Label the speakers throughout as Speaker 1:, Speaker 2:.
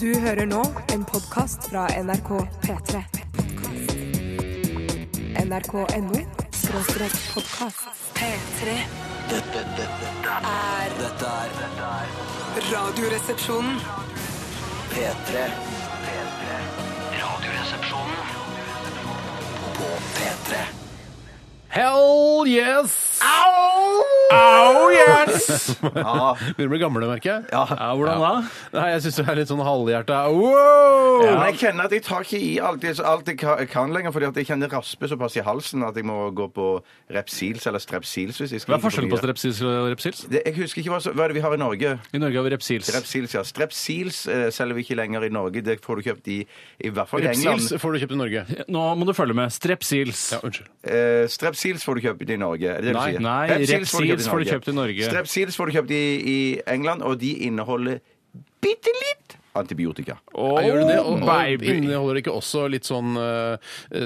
Speaker 1: Du hører nå en podkast fra NRK P3. NRK.no skråstrek podkast. P3
Speaker 2: Dette, dette,
Speaker 1: er
Speaker 2: dette er
Speaker 1: Radioresepsjonen.
Speaker 2: P3. P3. Radioresepsjonen på P3.
Speaker 3: Hell yes! Au! yes!
Speaker 2: Ja,
Speaker 3: Begynner å bli gamle, merker jeg.
Speaker 2: Ja.
Speaker 3: hvordan da? Nei, Jeg syns det er litt sånn halvhjerta wow!
Speaker 2: men jeg kjenner at jeg tar ikke i alt, jeg- alt jeg ka- kan lenger, fordi at jeg kjenner raspe såpass i halsen at jeg må gå på Repsils eller Strepsils hvis jeg skal
Speaker 4: Hva er forskjellen på strepsils og repsils?
Speaker 2: Det, jeg husker ikke hva, så- hva er det vi har i Norge.
Speaker 4: I Norge har vi repsils.
Speaker 2: Strepsils, ja. Strepsils eh, selger vi ikke lenger i Norge. Det får du kjøpt i i hvert fall i
Speaker 3: Repsils
Speaker 2: England.
Speaker 3: får du kjøpt i Norge.
Speaker 4: Nå må du følge med. Strepsils.
Speaker 3: Ja, unnskyld.
Speaker 2: Eh, Strepsils får du kjøpt i Norge. Er det det du
Speaker 4: Nei,
Speaker 2: sier?
Speaker 4: nei,
Speaker 2: Strepsils
Speaker 4: Repsils får du kjøpt i Norge.
Speaker 2: Strepsils får du kjøpt i, i England, og de inneholder bitte litt antibiotika.
Speaker 4: Oh,
Speaker 3: Ja, gjør du det? Og, og
Speaker 4: baby.
Speaker 3: inneholder det ikke også litt sånn eh,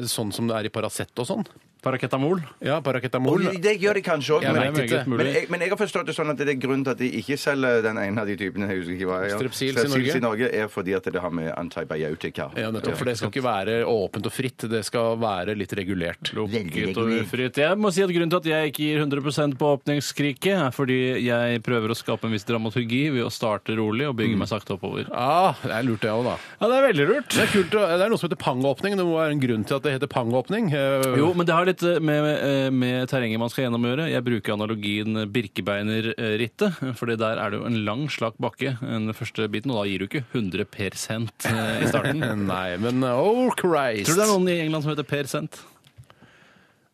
Speaker 3: sånn som det er i Paracet og sånn?
Speaker 4: Paracetamol.
Speaker 3: Ja,
Speaker 2: Og
Speaker 3: Paracetamol.
Speaker 2: det gjør de kanskje òg,
Speaker 3: Jeg
Speaker 2: men,
Speaker 4: vet ikke.
Speaker 3: vet ikke.
Speaker 2: men, jeg- men jeg har forstått det sånn at det er grunnen til at de ikke selger den ene av de typene. Jeg husker ikke hva jeg ja.
Speaker 3: Strepsils i
Speaker 2: Strepsils
Speaker 3: Norge?
Speaker 2: i Norge er fordi at det har med antibiotika
Speaker 3: Ja, nettopp. For det skal ikke være åpent og fritt. Det skal være litt regulert.
Speaker 4: Gutt og ufritt. Jeg må si at Grunnen til at jeg ikke gir 100 på åpningskriket, er fordi jeg prøver å skape en viss dramaturgi ved å starte rolig og
Speaker 3: Mm.
Speaker 4: bygge meg sakte oppover.
Speaker 3: Ah, det er lurt, det òg, da.
Speaker 4: Ja, Det er veldig lurt.
Speaker 3: Det er, kult, å- det er noe som heter pangåpning. Det må være en grunn til at det heter pangåpning. Eh,
Speaker 4: Jo, men det har litt eh, med, eh, med terrenget man skal gjennom å gjøre. Jeg bruker analogien Birkebeinerrittet, fordi der er det jo en lang, slak bakke den første biten, og da gir du ikke 100 per cent eh, i starten.
Speaker 3: Nei, men oh Christ.
Speaker 4: Tror du det er noen i England som heter Per Cent?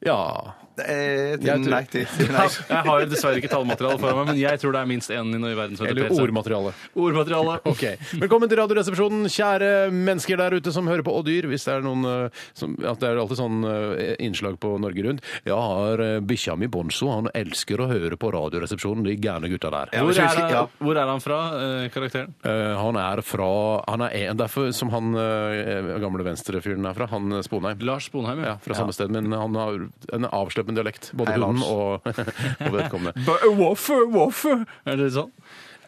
Speaker 3: Ja.
Speaker 2: Eh,
Speaker 3: Jeg tror-
Speaker 2: nei, det- nei.
Speaker 4: Jeg har jo dessverre ikke tallmateriale foran meg, men jeg tror det er minst én i verden som heter
Speaker 3: Eller
Speaker 4: Per Cent.
Speaker 3: ordmateriale.
Speaker 4: Ordmateriale.
Speaker 3: Ok. Velkommen til Radioresepsjonen, kjære mennesker der ute som hører på og dyr. Hvis det er noen eh, som, at Det er alltid sånn eh, innslag på Norge Rundt. Jeg har eh, bikkja mi Bonzo. Han elsker å høre på Radioresepsjonen, de gærne gutta der.
Speaker 2: Ja, men
Speaker 4: Hvor
Speaker 2: så
Speaker 4: er,
Speaker 2: husker- ja.
Speaker 4: han, hvor er han fra, eh, karakteren?
Speaker 3: Eh, han er fra han er en, Derfor som han eh, gamle venstrefyren er fra, han eh, Sponheim.
Speaker 4: Lars Bonheim,
Speaker 3: Ja, fra samme sted, men han har en avsleppende dialekt. Både
Speaker 2: Hei,
Speaker 3: hunden
Speaker 2: Lars.
Speaker 3: og, og vedkommende.
Speaker 4: Woffer, woffer! eh, Er det sånn?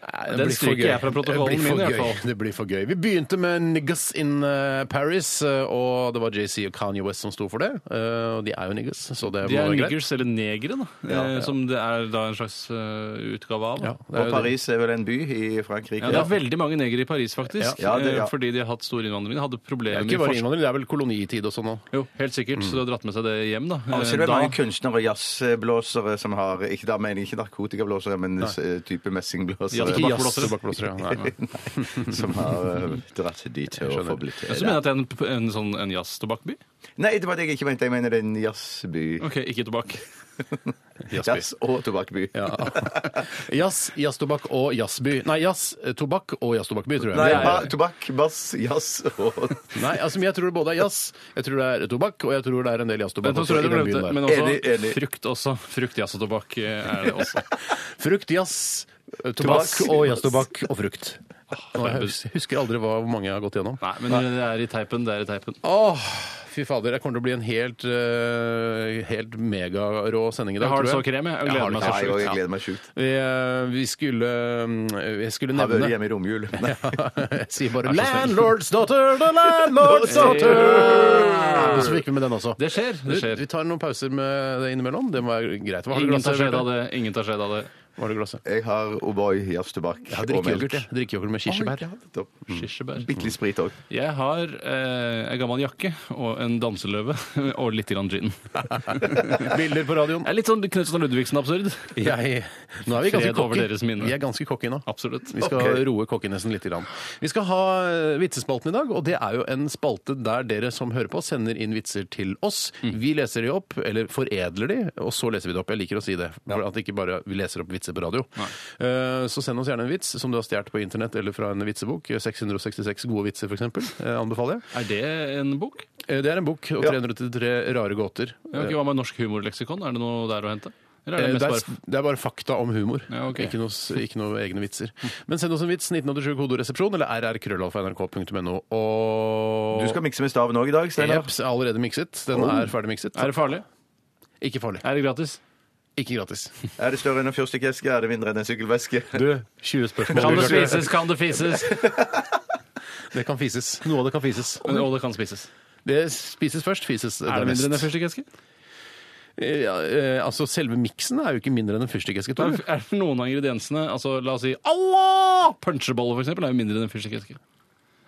Speaker 3: Nei,
Speaker 4: Den
Speaker 3: blir for
Speaker 4: stryker
Speaker 3: gøy.
Speaker 4: jeg fra protokollen
Speaker 3: Det blir for
Speaker 4: min i hvert
Speaker 3: gøy.
Speaker 4: fall.
Speaker 3: Det blir for gøy. Vi begynte med Niggas in eh, Paris, eh, og det var JC og Kanye West som sto for det. Eh, Og de er jo niggas, så det
Speaker 4: De
Speaker 3: må
Speaker 4: er
Speaker 3: være greit.
Speaker 4: niggers, eller negere, da. eh, Som det er da en slags eh, utgave av.
Speaker 3: Ja,
Speaker 4: da.
Speaker 3: det er
Speaker 2: Og
Speaker 3: jo det.
Speaker 2: Paris er vel en by i Frankrike?
Speaker 4: Ja, det er veldig mange negere i Paris, faktisk.
Speaker 2: Ja, ja, det- ja.
Speaker 4: eh, Fordi de har hatt stor innvandring. De hadde
Speaker 3: Det er
Speaker 4: problemer med
Speaker 3: ikke bare
Speaker 4: forskning.
Speaker 3: innvandring, det er vel kolonitid og sånn nå.
Speaker 4: Jo, helt sikkert. Så de har dratt med seg det hjem, da.
Speaker 2: Ja, og så er
Speaker 4: Eh,
Speaker 2: det mange kunstnere og jazzblåsere som har Ikke da mener jeg ikke narkotikablåsere, men s- eh, type messingblåsere.
Speaker 4: Ikke jazzblåsere.
Speaker 3: Tobakkblåsere, ja. Nei, nei.
Speaker 2: som har eh, dratt dit og forblitt
Speaker 4: Ja, Så mener jeg at det er en, en, sånn, en jazztobakkby?
Speaker 2: Nei, det var det jeg ikke mente. Jeg mener det er en jazzby.
Speaker 4: OK, ikke tobakk.
Speaker 3: Jazzby.
Speaker 2: Jazz- og tobakkby.
Speaker 3: Ja. Jazz, jazztobakk og jazzby. Nei, jazz, eh, tobakk og jazztobakkby, tror jeg.
Speaker 2: Nei,
Speaker 3: Det er-
Speaker 2: ba, tobakk, bass, jazz og
Speaker 3: Nei, altså men jeg tror både er jazz, jeg tror det er tobakk, og jeg tror det er en del
Speaker 4: Men,
Speaker 3: jazztobakk
Speaker 4: så tror
Speaker 3: også
Speaker 4: jeg
Speaker 3: i
Speaker 4: du
Speaker 3: den
Speaker 4: glemte,
Speaker 3: byen der.
Speaker 4: men også
Speaker 2: Enig, enig.
Speaker 4: frukt også. Frukt, jazz og tobakk eh, er det også.
Speaker 3: Frukt, jazz, tobakk og jazztobakk og frukt. Nå, jeg hus- husker aldri hva, hvor mange jeg har gått gjennom.
Speaker 4: Ah, Nei, men det er i teipen. Det er i teipen.
Speaker 3: Åh, fy fader, jeg kommer til å bli en helt, eh, helt megarå sending i dag,
Speaker 4: Jeg har det
Speaker 3: tror
Speaker 4: så krem, jeg. Jeg gleder
Speaker 3: har det
Speaker 4: meg
Speaker 2: Nei,
Speaker 4: så
Speaker 3: så
Speaker 4: sjukt.
Speaker 2: og jeg
Speaker 4: Ja.
Speaker 2: gleder meg sjukt.
Speaker 3: Vi, eh, vi skulle, mm, jeg skulle
Speaker 2: Har vært
Speaker 3: nevne...
Speaker 2: hjemme i romjul. Nei.
Speaker 3: Jeg sier bare
Speaker 4: Vær så snill.
Speaker 3: Landlord's daughter, the landlord's daughter! Og så fikk vi med den også.
Speaker 4: Det skjer. det
Speaker 3: Vi-
Speaker 4: skjer.
Speaker 3: Vi tar noen pauser med det innimellom. Det må være greit. Hva har du
Speaker 4: Ingen tar
Speaker 3: glasset?
Speaker 4: skjedd av
Speaker 3: Bjarte?
Speaker 4: det. Ingen tar skjedd av det.
Speaker 3: Hva har du glasset?
Speaker 2: Jeg har O'boy, jazztobakk
Speaker 3: Jeg har
Speaker 2: og melk. Mm.
Speaker 3: drikkejoghurt, jeg. Drikkejoghurt med kirsebær. Mm.
Speaker 2: Bitte
Speaker 4: Kirsebær.
Speaker 2: litt sprit òg.
Speaker 4: Jeg har eh, en gammel jakke og en danseløve og litt grann gin.
Speaker 3: Bilder på radioen.
Speaker 4: Det er litt sånn Knutsen og Ludvigsen-absurd.
Speaker 3: Jeg, nå er vi ganske
Speaker 4: Fred over
Speaker 3: cocky.
Speaker 4: deres minne.
Speaker 3: Vi er ganske cocky nå.
Speaker 4: Absolutt.
Speaker 3: Vi skal
Speaker 2: Ok.
Speaker 3: roe kokkinesen litt. Grann. Vi skal ha eh, vitsespalten i dag, og det er jo en spalte der dere som hører på, sender inn vitser til oss.
Speaker 4: Mm.
Speaker 3: Vi leser de opp, eller foredler de, og så leser vi det opp. Jeg liker å si det. For at ikke bare vi leser opp vitser på radio. Eh, Så send oss gjerne en vits som du har stjålet på internett eller fra en vitsebok. Eh, 666 gode vitser, f.eks. Anbefaler jeg.
Speaker 4: Er det en bok?
Speaker 3: Eh, Det er en bok, og 333 rare gåter.
Speaker 4: Jeg har ikke Hva med Norsk humorleksikon? Er det noe der å hente? Eller
Speaker 3: Eh,
Speaker 4: er det
Speaker 3: Det er,
Speaker 4: mest bare
Speaker 3: det er bare fakta om humor.
Speaker 4: Ja, ok.
Speaker 3: ikke, noe, s- ikke noe egne vitser. Men send oss en vits. 1987 kodoresepsjon eller rrkrøllalfa.nrk.no. Og
Speaker 2: Du skal mikse med staven òg i dag, Steinar.
Speaker 3: Oh. Jeps, er allerede mikset. Den er ferdig mikset.
Speaker 4: Er det farlig?
Speaker 3: Ikke farlig.
Speaker 4: Er det gratis?
Speaker 3: Ikke gratis.
Speaker 2: Er det større enn en fyrstikkeske? Er det mindre enn en sykkelveske?
Speaker 3: Du, 20 spørsmål.
Speaker 4: Kan det
Speaker 3: Bjarte.
Speaker 4: spises, kan det fises?
Speaker 3: Det kan fises. Noe av det kan fises.
Speaker 4: Og det kan spises.
Speaker 3: Det spises først, fises
Speaker 4: Er det mindre enn en
Speaker 3: dernest.
Speaker 4: fyrstikkeske?
Speaker 3: Ja, eh, altså, selve miksen er jo ikke mindre enn en fyrstikkeske.
Speaker 4: Er
Speaker 3: Tor.
Speaker 4: er det noen av ingrediensene altså La oss si Allah! Punchebolle, for eksempel, er jo mindre enn en fyrstikkeske.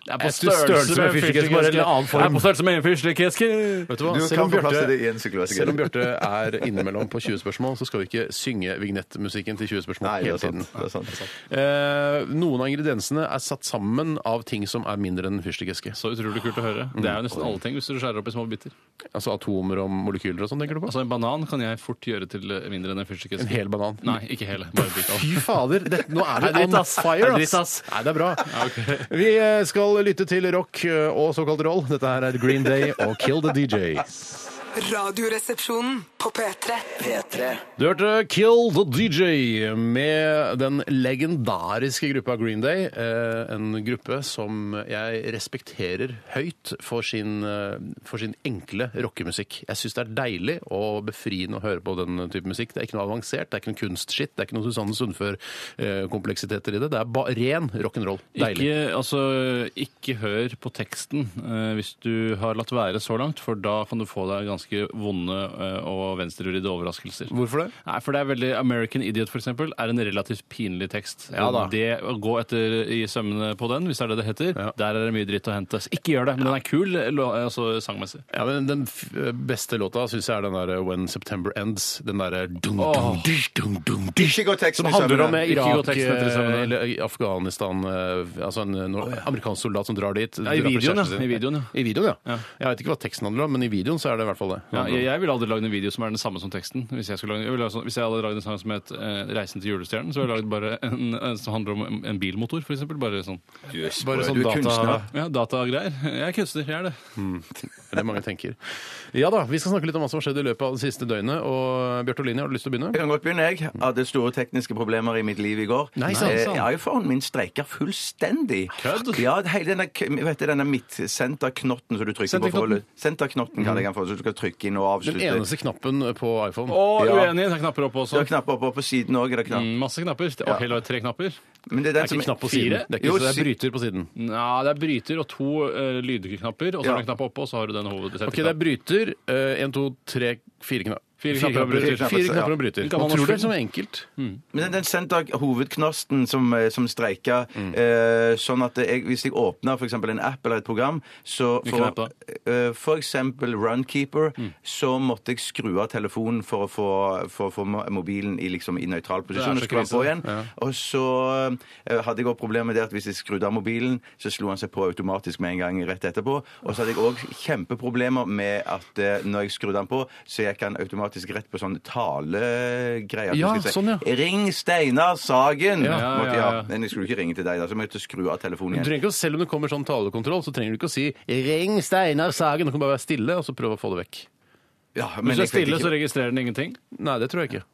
Speaker 4: Det er på
Speaker 3: Jeg synes Eh, størrelse med fyrstikkeske, bare en annen form. Mm.
Speaker 4: Det er på størrelse med en fyrstikkeske.
Speaker 3: Vet du hva?
Speaker 2: Du
Speaker 3: Selv
Speaker 2: kan
Speaker 3: om
Speaker 2: få plass
Speaker 3: Bjarte-
Speaker 2: til det i en sykkelveske.
Speaker 3: Selv om Bjarte er innimellom på 20 spørsmål, så skal vi ikke synge vignettmusikken til 20 spørsmål
Speaker 2: Nei, det
Speaker 3: hele
Speaker 2: er sant.
Speaker 3: tiden.
Speaker 2: Det er sant.
Speaker 3: Eh, noen av ingrediensene er satt sammen av ting som er mindre enn en fyrstikkeske.
Speaker 4: Så utrolig kult å
Speaker 3: Mm.
Speaker 4: høre. Det er jo nesten alle ting hvis du skjærer opp i små biter.
Speaker 3: Altså atomer og molekyler og sånn, tenker du på?
Speaker 4: Altså En banan kan jeg fort gjøre til eh, mindre enn en fyrstikkeske.
Speaker 3: En hel banan.
Speaker 4: Nei, ikke hele. Bare en bit av den.
Speaker 3: Fy fader! Det, nå er
Speaker 4: Det
Speaker 3: det
Speaker 4: er dritt,
Speaker 3: on
Speaker 4: ass.
Speaker 3: fire,
Speaker 4: Det er dritt,
Speaker 3: ass!
Speaker 4: ass.
Speaker 3: Nei, det er bra. Vi eh, skal lytte til rock eh, og såkalt roll. Dette her er Green Day og Kill the DJ.
Speaker 5: Radioresepsjonen på P3. P3.
Speaker 3: Du hørte Kill the DJ med den legendariske gruppa Green Day. eh, En gruppe som jeg respekterer høyt for sin, eh, for sin enkle rockemusikk. Jeg syns det er deilig og befriende å høre på den type musikk. Det er ikke noe avansert, det er ikke noe kunstskitt, det er ikke noe Susanne Sundfør-kompleksiteter i det. Det er ba ren rock'n'roll. Deilig.
Speaker 4: Ikke, altså, ikke hør på teksten eh, hvis du har latt være så langt, for da kan du få deg ganske vonde eh, og venstrevridde overraskelser.
Speaker 3: Hvorfor det?
Speaker 4: Nei, for det er veldig American Idiot, for eksempel, er en relativt pinlig tekst.
Speaker 3: Ja da.
Speaker 4: Det å gå etter i sømmene på den, hvis det er det det heter,
Speaker 3: Ja.
Speaker 4: der er det mye dritt å hente. Så Ikke gjør det, men den er kul lo- altså, sangmessig.
Speaker 3: Ja, men Den f eh, beste låta syns jeg er den der eh, When September Ends. Den eh, derre
Speaker 4: Åh.
Speaker 2: Ikke gå teksten
Speaker 3: Som
Speaker 2: i
Speaker 3: handler om eh,
Speaker 2: sømmene.
Speaker 4: Ikke gå
Speaker 3: Irak eh,
Speaker 4: teksten etter i sømmene.
Speaker 3: eller Afghanistan eh, Altså en eh, nor- amerikansk soldat som drar dit.
Speaker 4: i
Speaker 3: dreper
Speaker 4: videoen,
Speaker 3: kjæresten
Speaker 4: ja.
Speaker 3: sin.
Speaker 4: I videoen, ja.
Speaker 3: I videoen, ja.
Speaker 4: Ja.
Speaker 3: Jeg vet ikke hva teksten handler om, men i videoen så er det i hvert fall det.
Speaker 4: Ja, jeg, jeg ville aldri lagd en video som er den samme som teksten. Hvis jeg, skulle lage, jeg ville, altså- hvis jeg hadde lagd en sang som het eh, 'Reisen til julestjernen', så ville jeg lagd bare en, en som handler om en, en bilmotor, for eksempel. Bare sånn
Speaker 2: Du er sprø,
Speaker 3: Bare sånn
Speaker 2: du er
Speaker 3: data-
Speaker 2: kunstner.
Speaker 4: ja, datagreier. Jeg er kunstner, jeg er det.
Speaker 3: Det er mange tenker. Ja da, vi skal snakke litt om hva som har skjedd i løpet av det siste døgnet. Og eh, Bjarte Oline, har du lyst til å begynne?
Speaker 2: Jeg kan godt begynne, jeg. Hadde store tekniske problemer i mitt liv i går.
Speaker 3: Mm. Nei, sant,
Speaker 2: Eh,
Speaker 3: sant.
Speaker 2: Ja, iPhonen min streiker fullstendig.
Speaker 4: Kødd?
Speaker 2: Ja, hele denne, k- vet du, denne midtsenterknotten som du trykker på for å
Speaker 4: Senterknotten?
Speaker 2: lø- Senterknotten kaller jeg den for, så du skal trykke inn og
Speaker 3: Den
Speaker 2: avslutte.
Speaker 3: eneste knappen på iPhone.
Speaker 4: Å,
Speaker 2: Ja.
Speaker 4: uenig! Det er knapper oppe
Speaker 2: Du
Speaker 4: også.
Speaker 2: har knapper oppe, og på siden òg er det knapp.
Speaker 4: Mm, Masse knapper. Det- Ok, la oss tre knapper.
Speaker 2: Men det er den
Speaker 3: det Mm. er ikke
Speaker 2: som
Speaker 3: knapp på
Speaker 4: Fire?
Speaker 3: siden. Det er,
Speaker 2: Jo,
Speaker 3: ikke, det er
Speaker 2: si-
Speaker 3: bryter på siden.
Speaker 4: Nja, det er bryter og to uh, lydknapper, og så
Speaker 2: Ja.
Speaker 4: er det en knapp oppe, og så har du den hovedsetteknappen.
Speaker 3: Ok, det er bryter. Én, to, tre, fire knapper.
Speaker 4: Fire knapper og bryter.
Speaker 3: Fire knapper og bryter.
Speaker 4: Ja. Kan man
Speaker 3: Man tror det er
Speaker 4: også-
Speaker 3: som enkelt.
Speaker 2: Men den, den sender hovedknosten som, eh, som streiker,
Speaker 3: Mm.
Speaker 2: eh, sånn at jeg, hvis jeg åpner for eksempel en app eller et program, så
Speaker 4: Hvilken app da?
Speaker 2: eh, for eksempel Runkeeper,
Speaker 3: Mm.
Speaker 2: så måtte jeg skru av telefonen for å få, for, å få mo- mobilen i, liksom, i nøytral posisjon.
Speaker 4: Det er så
Speaker 2: og skru den
Speaker 4: krise.
Speaker 2: på igjen. Og så eh, hadde jeg også problemer med det at hvis jeg skrudde av mobilen, så slo han seg på automatisk med en gang rett etterpå. Og så hadde jeg òg kjempeproblemer med at eh, når jeg skrudde den på, så gikk han automatisk rett på sånn talegreier. at du
Speaker 3: Ja,
Speaker 2: skulle si,
Speaker 3: sånn, ja.
Speaker 2: Ring Steinar Sagen!
Speaker 4: Ja, ja,
Speaker 2: Måtte-
Speaker 4: ja, ja.
Speaker 2: Men jeg skulle ikke ringe til deg, da, så jeg måtte skru av telefonen
Speaker 3: Du
Speaker 2: igjen.
Speaker 3: trenger ikke, å- Selv om det kommer sånn talekontroll, så trenger du ikke å si 'ring Steinar Sagen'. Du kan bare være stille og så prøve å få det vekk.
Speaker 2: Ja,
Speaker 4: Hvis du er
Speaker 2: jeg tenkte
Speaker 4: stille, så
Speaker 2: ikke-
Speaker 4: registrerer den ingenting.
Speaker 3: Nei, det tror jeg ikke.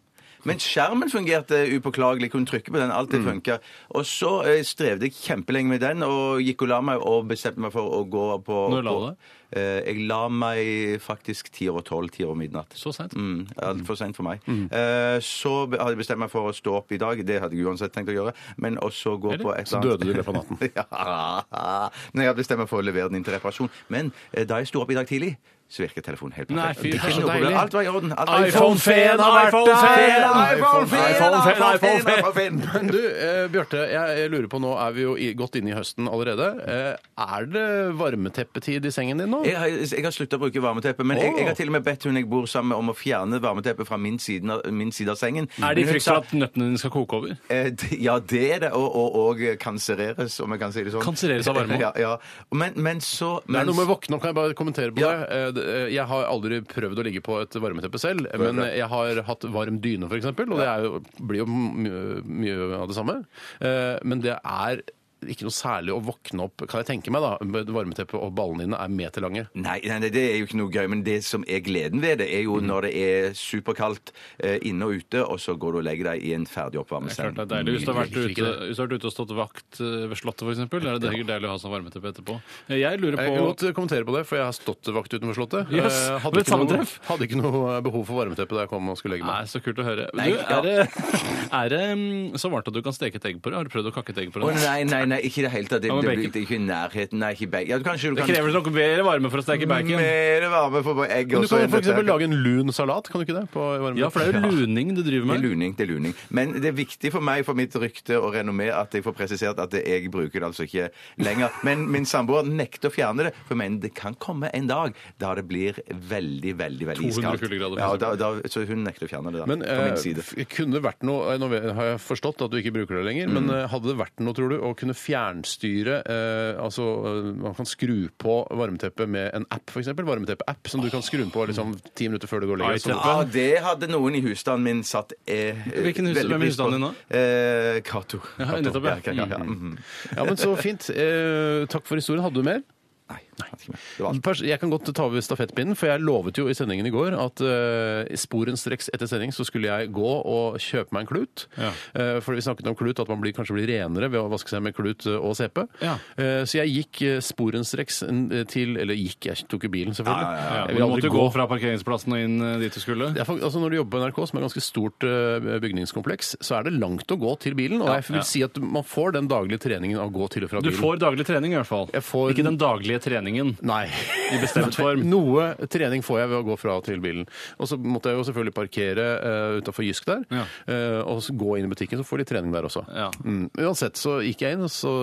Speaker 2: men skjermen fungerte upåklagelig. Kunne trykke på den. Alt det
Speaker 4: Mm.
Speaker 2: funka. Og så eh, strevde jeg kjempelenge med den, og gikk og la meg og bestemte meg for å gå på
Speaker 4: Når la
Speaker 2: på-
Speaker 4: du deg?
Speaker 2: Eh, Jeg la meg faktisk ti over tolv, ti over midnatt.
Speaker 4: Så seint.
Speaker 2: Mm, Altfor seint for meg.
Speaker 4: Mm.
Speaker 2: Eh, så be- hadde jeg bestemt meg for å stå opp i dag. Det hadde jeg uansett tenkt å gjøre. Men også gå
Speaker 4: Eller?
Speaker 2: på et
Speaker 3: Så
Speaker 2: eller annet
Speaker 3: døde du i løpet av natten.
Speaker 2: ja. Men jeg hadde bestemt meg for å levere den inn til reparasjon. Men eh, da jeg sto opp i dag tidlig, så virket telefonen helt
Speaker 4: Nei,
Speaker 2: perfekt.
Speaker 4: fy, det er
Speaker 2: Ikke
Speaker 4: så
Speaker 2: noe problem.
Speaker 4: deilig.
Speaker 2: Alt var i orden. Alt var i orden.
Speaker 4: iPhone-fen har vært der!
Speaker 2: iPhone-fen,
Speaker 4: iPhone-fen,
Speaker 2: iPhone-fen,
Speaker 4: iPhone-fen!
Speaker 2: iPhone-fen!
Speaker 3: Men du, eh, Bjarte, jeg, jeg lurer på nå, er vi jo i, godt inne i høsten allerede. Eh, er det varmeteppetid i sengen din nå?
Speaker 2: Jeg har, jeg har slutta å bruke varmeteppe, men jeg, jeg har til og med bedt hun jeg bor sammen med om å fjerne varmeteppet fra min side, av- min side av sengen.
Speaker 4: Er det
Speaker 2: Men
Speaker 4: i
Speaker 2: hun
Speaker 4: frykt
Speaker 2: sa-
Speaker 4: for at nøttene dine skal koke over?
Speaker 2: Eh, d- Ja, det er det. Og, og, og kansereres, om jeg kan si det sånn.
Speaker 4: Kansereres av varme?
Speaker 2: Ja, ja. Men, men så
Speaker 3: Det er
Speaker 2: men-
Speaker 3: noe med å våkne opp, kan jeg bare kommentere på
Speaker 2: Ja.
Speaker 3: det. Eh, det. eh, Jeg har aldri prøvd å ligge på et varmeteppe selv, men jeg har hatt varm dyne f.eks., og det er jo, blir jo mye, mye av det samme. Eh, Men det er ikke noe særlig å våkne opp Kan jeg tenke meg, da. med Varmeteppet og ballene dine er meterlange.
Speaker 2: Nei, nei, nei, det er jo ikke noe gøy, men det som er gleden ved det, er
Speaker 4: Mm.
Speaker 2: jo når det er superkaldt eh, inne og ute, og så går du og legger deg i en ferdig oppvarmet
Speaker 4: Klart det er deilig hvis du har vært ute, hvis du har vært ute og stått vakt eh, ved Slottet f.eks. Er det sikkert deilig å ha sånn varmeteppe etterpå? Jeg lurer
Speaker 3: Jeg kan
Speaker 4: på
Speaker 3: godt eh, kommentere på det, for jeg har stått vakt utenfor Slottet.
Speaker 4: Yes,
Speaker 3: Eh, hadde,
Speaker 4: det
Speaker 3: ikke
Speaker 4: er
Speaker 3: noe,
Speaker 4: sammentreff.
Speaker 3: hadde ikke noe eh, behov for varmeteppe da jeg kom og skulle legge
Speaker 4: Nei,
Speaker 3: meg.
Speaker 4: så kult å høre. Du,
Speaker 2: Nei, ja.
Speaker 4: er, det, er det mm, så varmt at du kan steke et egg på det? Har du prøvd å kakke et egg på
Speaker 2: Å
Speaker 4: det?
Speaker 2: nei, nei, nei, ikke i det hele tatt. Det,
Speaker 4: Ja,
Speaker 2: det,
Speaker 4: men
Speaker 2: blir-
Speaker 4: bacon.
Speaker 2: det er ikke i nærheten. Nei, ikke bacon. Ja, du, kanskje du
Speaker 4: Det
Speaker 2: kan
Speaker 4: krever nok mer varme for å steke bacon.
Speaker 2: mer varme for bare egg.
Speaker 3: Men
Speaker 2: og
Speaker 3: du
Speaker 2: så
Speaker 3: kan
Speaker 2: en
Speaker 3: for eksempel
Speaker 2: dette-
Speaker 3: lage en lun salat, kan du ikke det? På varmeteppet?
Speaker 4: Ja, for det er jo luning du driver
Speaker 2: Det er
Speaker 4: med.
Speaker 2: luning, det er luning. Men det er viktig for meg, for mitt rykte og renommé, at jeg får presisert at jeg bruker det altså ikke lenger. Men min samboer nekter å fjerne det, for jeg mener det kan komme en dag da det blir veldig, veldig veldig
Speaker 4: 200
Speaker 2: iskaldt.
Speaker 4: kuldegrader, for
Speaker 2: Ja, da, da, så hun nekter å fjerne det, da.
Speaker 3: Men
Speaker 2: på
Speaker 3: eh,
Speaker 2: min side.
Speaker 3: f- kunne det vært noe eh, Nå ve- har jeg forstått at du ikke bruker det lenger,
Speaker 2: Mm.
Speaker 3: men eh, hadde det vært noe, tror du, å kunne fjernstyre eh, Altså, eh, man kan skru på varmeteppet med en app, f.eks. Varmeteppe-app, som du kan skru på liksom ti minutter før du går og legger deg.
Speaker 4: iTunes.
Speaker 2: Ja, det hadde noen i husstanden min satt eh,
Speaker 4: Hvilken hus-
Speaker 2: veldig
Speaker 4: hvem er
Speaker 2: pris på.
Speaker 4: husstanden din nå?
Speaker 2: Eh, Cato.
Speaker 4: Ja,
Speaker 2: Cato.
Speaker 4: nettopp, ja. Mm.
Speaker 2: Ja, ja, ja. mhm.
Speaker 3: Så- Ja, men så fint. Eh, takk for historien. Hadde du mer?
Speaker 2: Nei, jeg vet ikke mer. det var alt.
Speaker 3: Pers- Jeg kan godt ta over stafettpinnen, for jeg lovet jo i sendingen i går at uh, sporenstreks etter sending så skulle jeg gå og kjøpe meg en klut.
Speaker 4: Ja.
Speaker 3: Eh, for vi snakket om klut, at man blir, kanskje blir renere ved å vaske seg med klut eh, og CP.
Speaker 4: Ja.
Speaker 3: Eh, så jeg gikk eh, sporenstreks eh, til Eller gikk, jeg tok jo bilen,
Speaker 2: Ja,
Speaker 3: selvfølgelig.
Speaker 2: ja,
Speaker 4: Ja,
Speaker 3: Jeg vil
Speaker 4: men du
Speaker 3: aldri
Speaker 4: måtte jo gå fra parkeringsplassen og inn eh, dit du skulle.
Speaker 3: det er fakt- altså når du jobber på NRK, som er et ganske stort eh, bygningskompleks, så er det langt å gå til bilen. Og jeg vil
Speaker 4: ja.
Speaker 3: si at man får den daglige treningen av å gå til og fra
Speaker 4: Du
Speaker 3: bilen.
Speaker 4: får daglig trening i hvert fall.
Speaker 3: Jeg får-
Speaker 4: Ikke den daglige treningen
Speaker 3: Nei.
Speaker 4: i bestemt form.
Speaker 3: Noe trening får jeg ved å gå fra og til bilen. Og så måtte jeg jo selvfølgelig parkere uh, utafor Jysk der,
Speaker 4: Ja.
Speaker 3: eh, og så gå inn i butikken, så får de trening der også.
Speaker 4: Ja.
Speaker 3: Mm. Uansett så gikk jeg inn, og så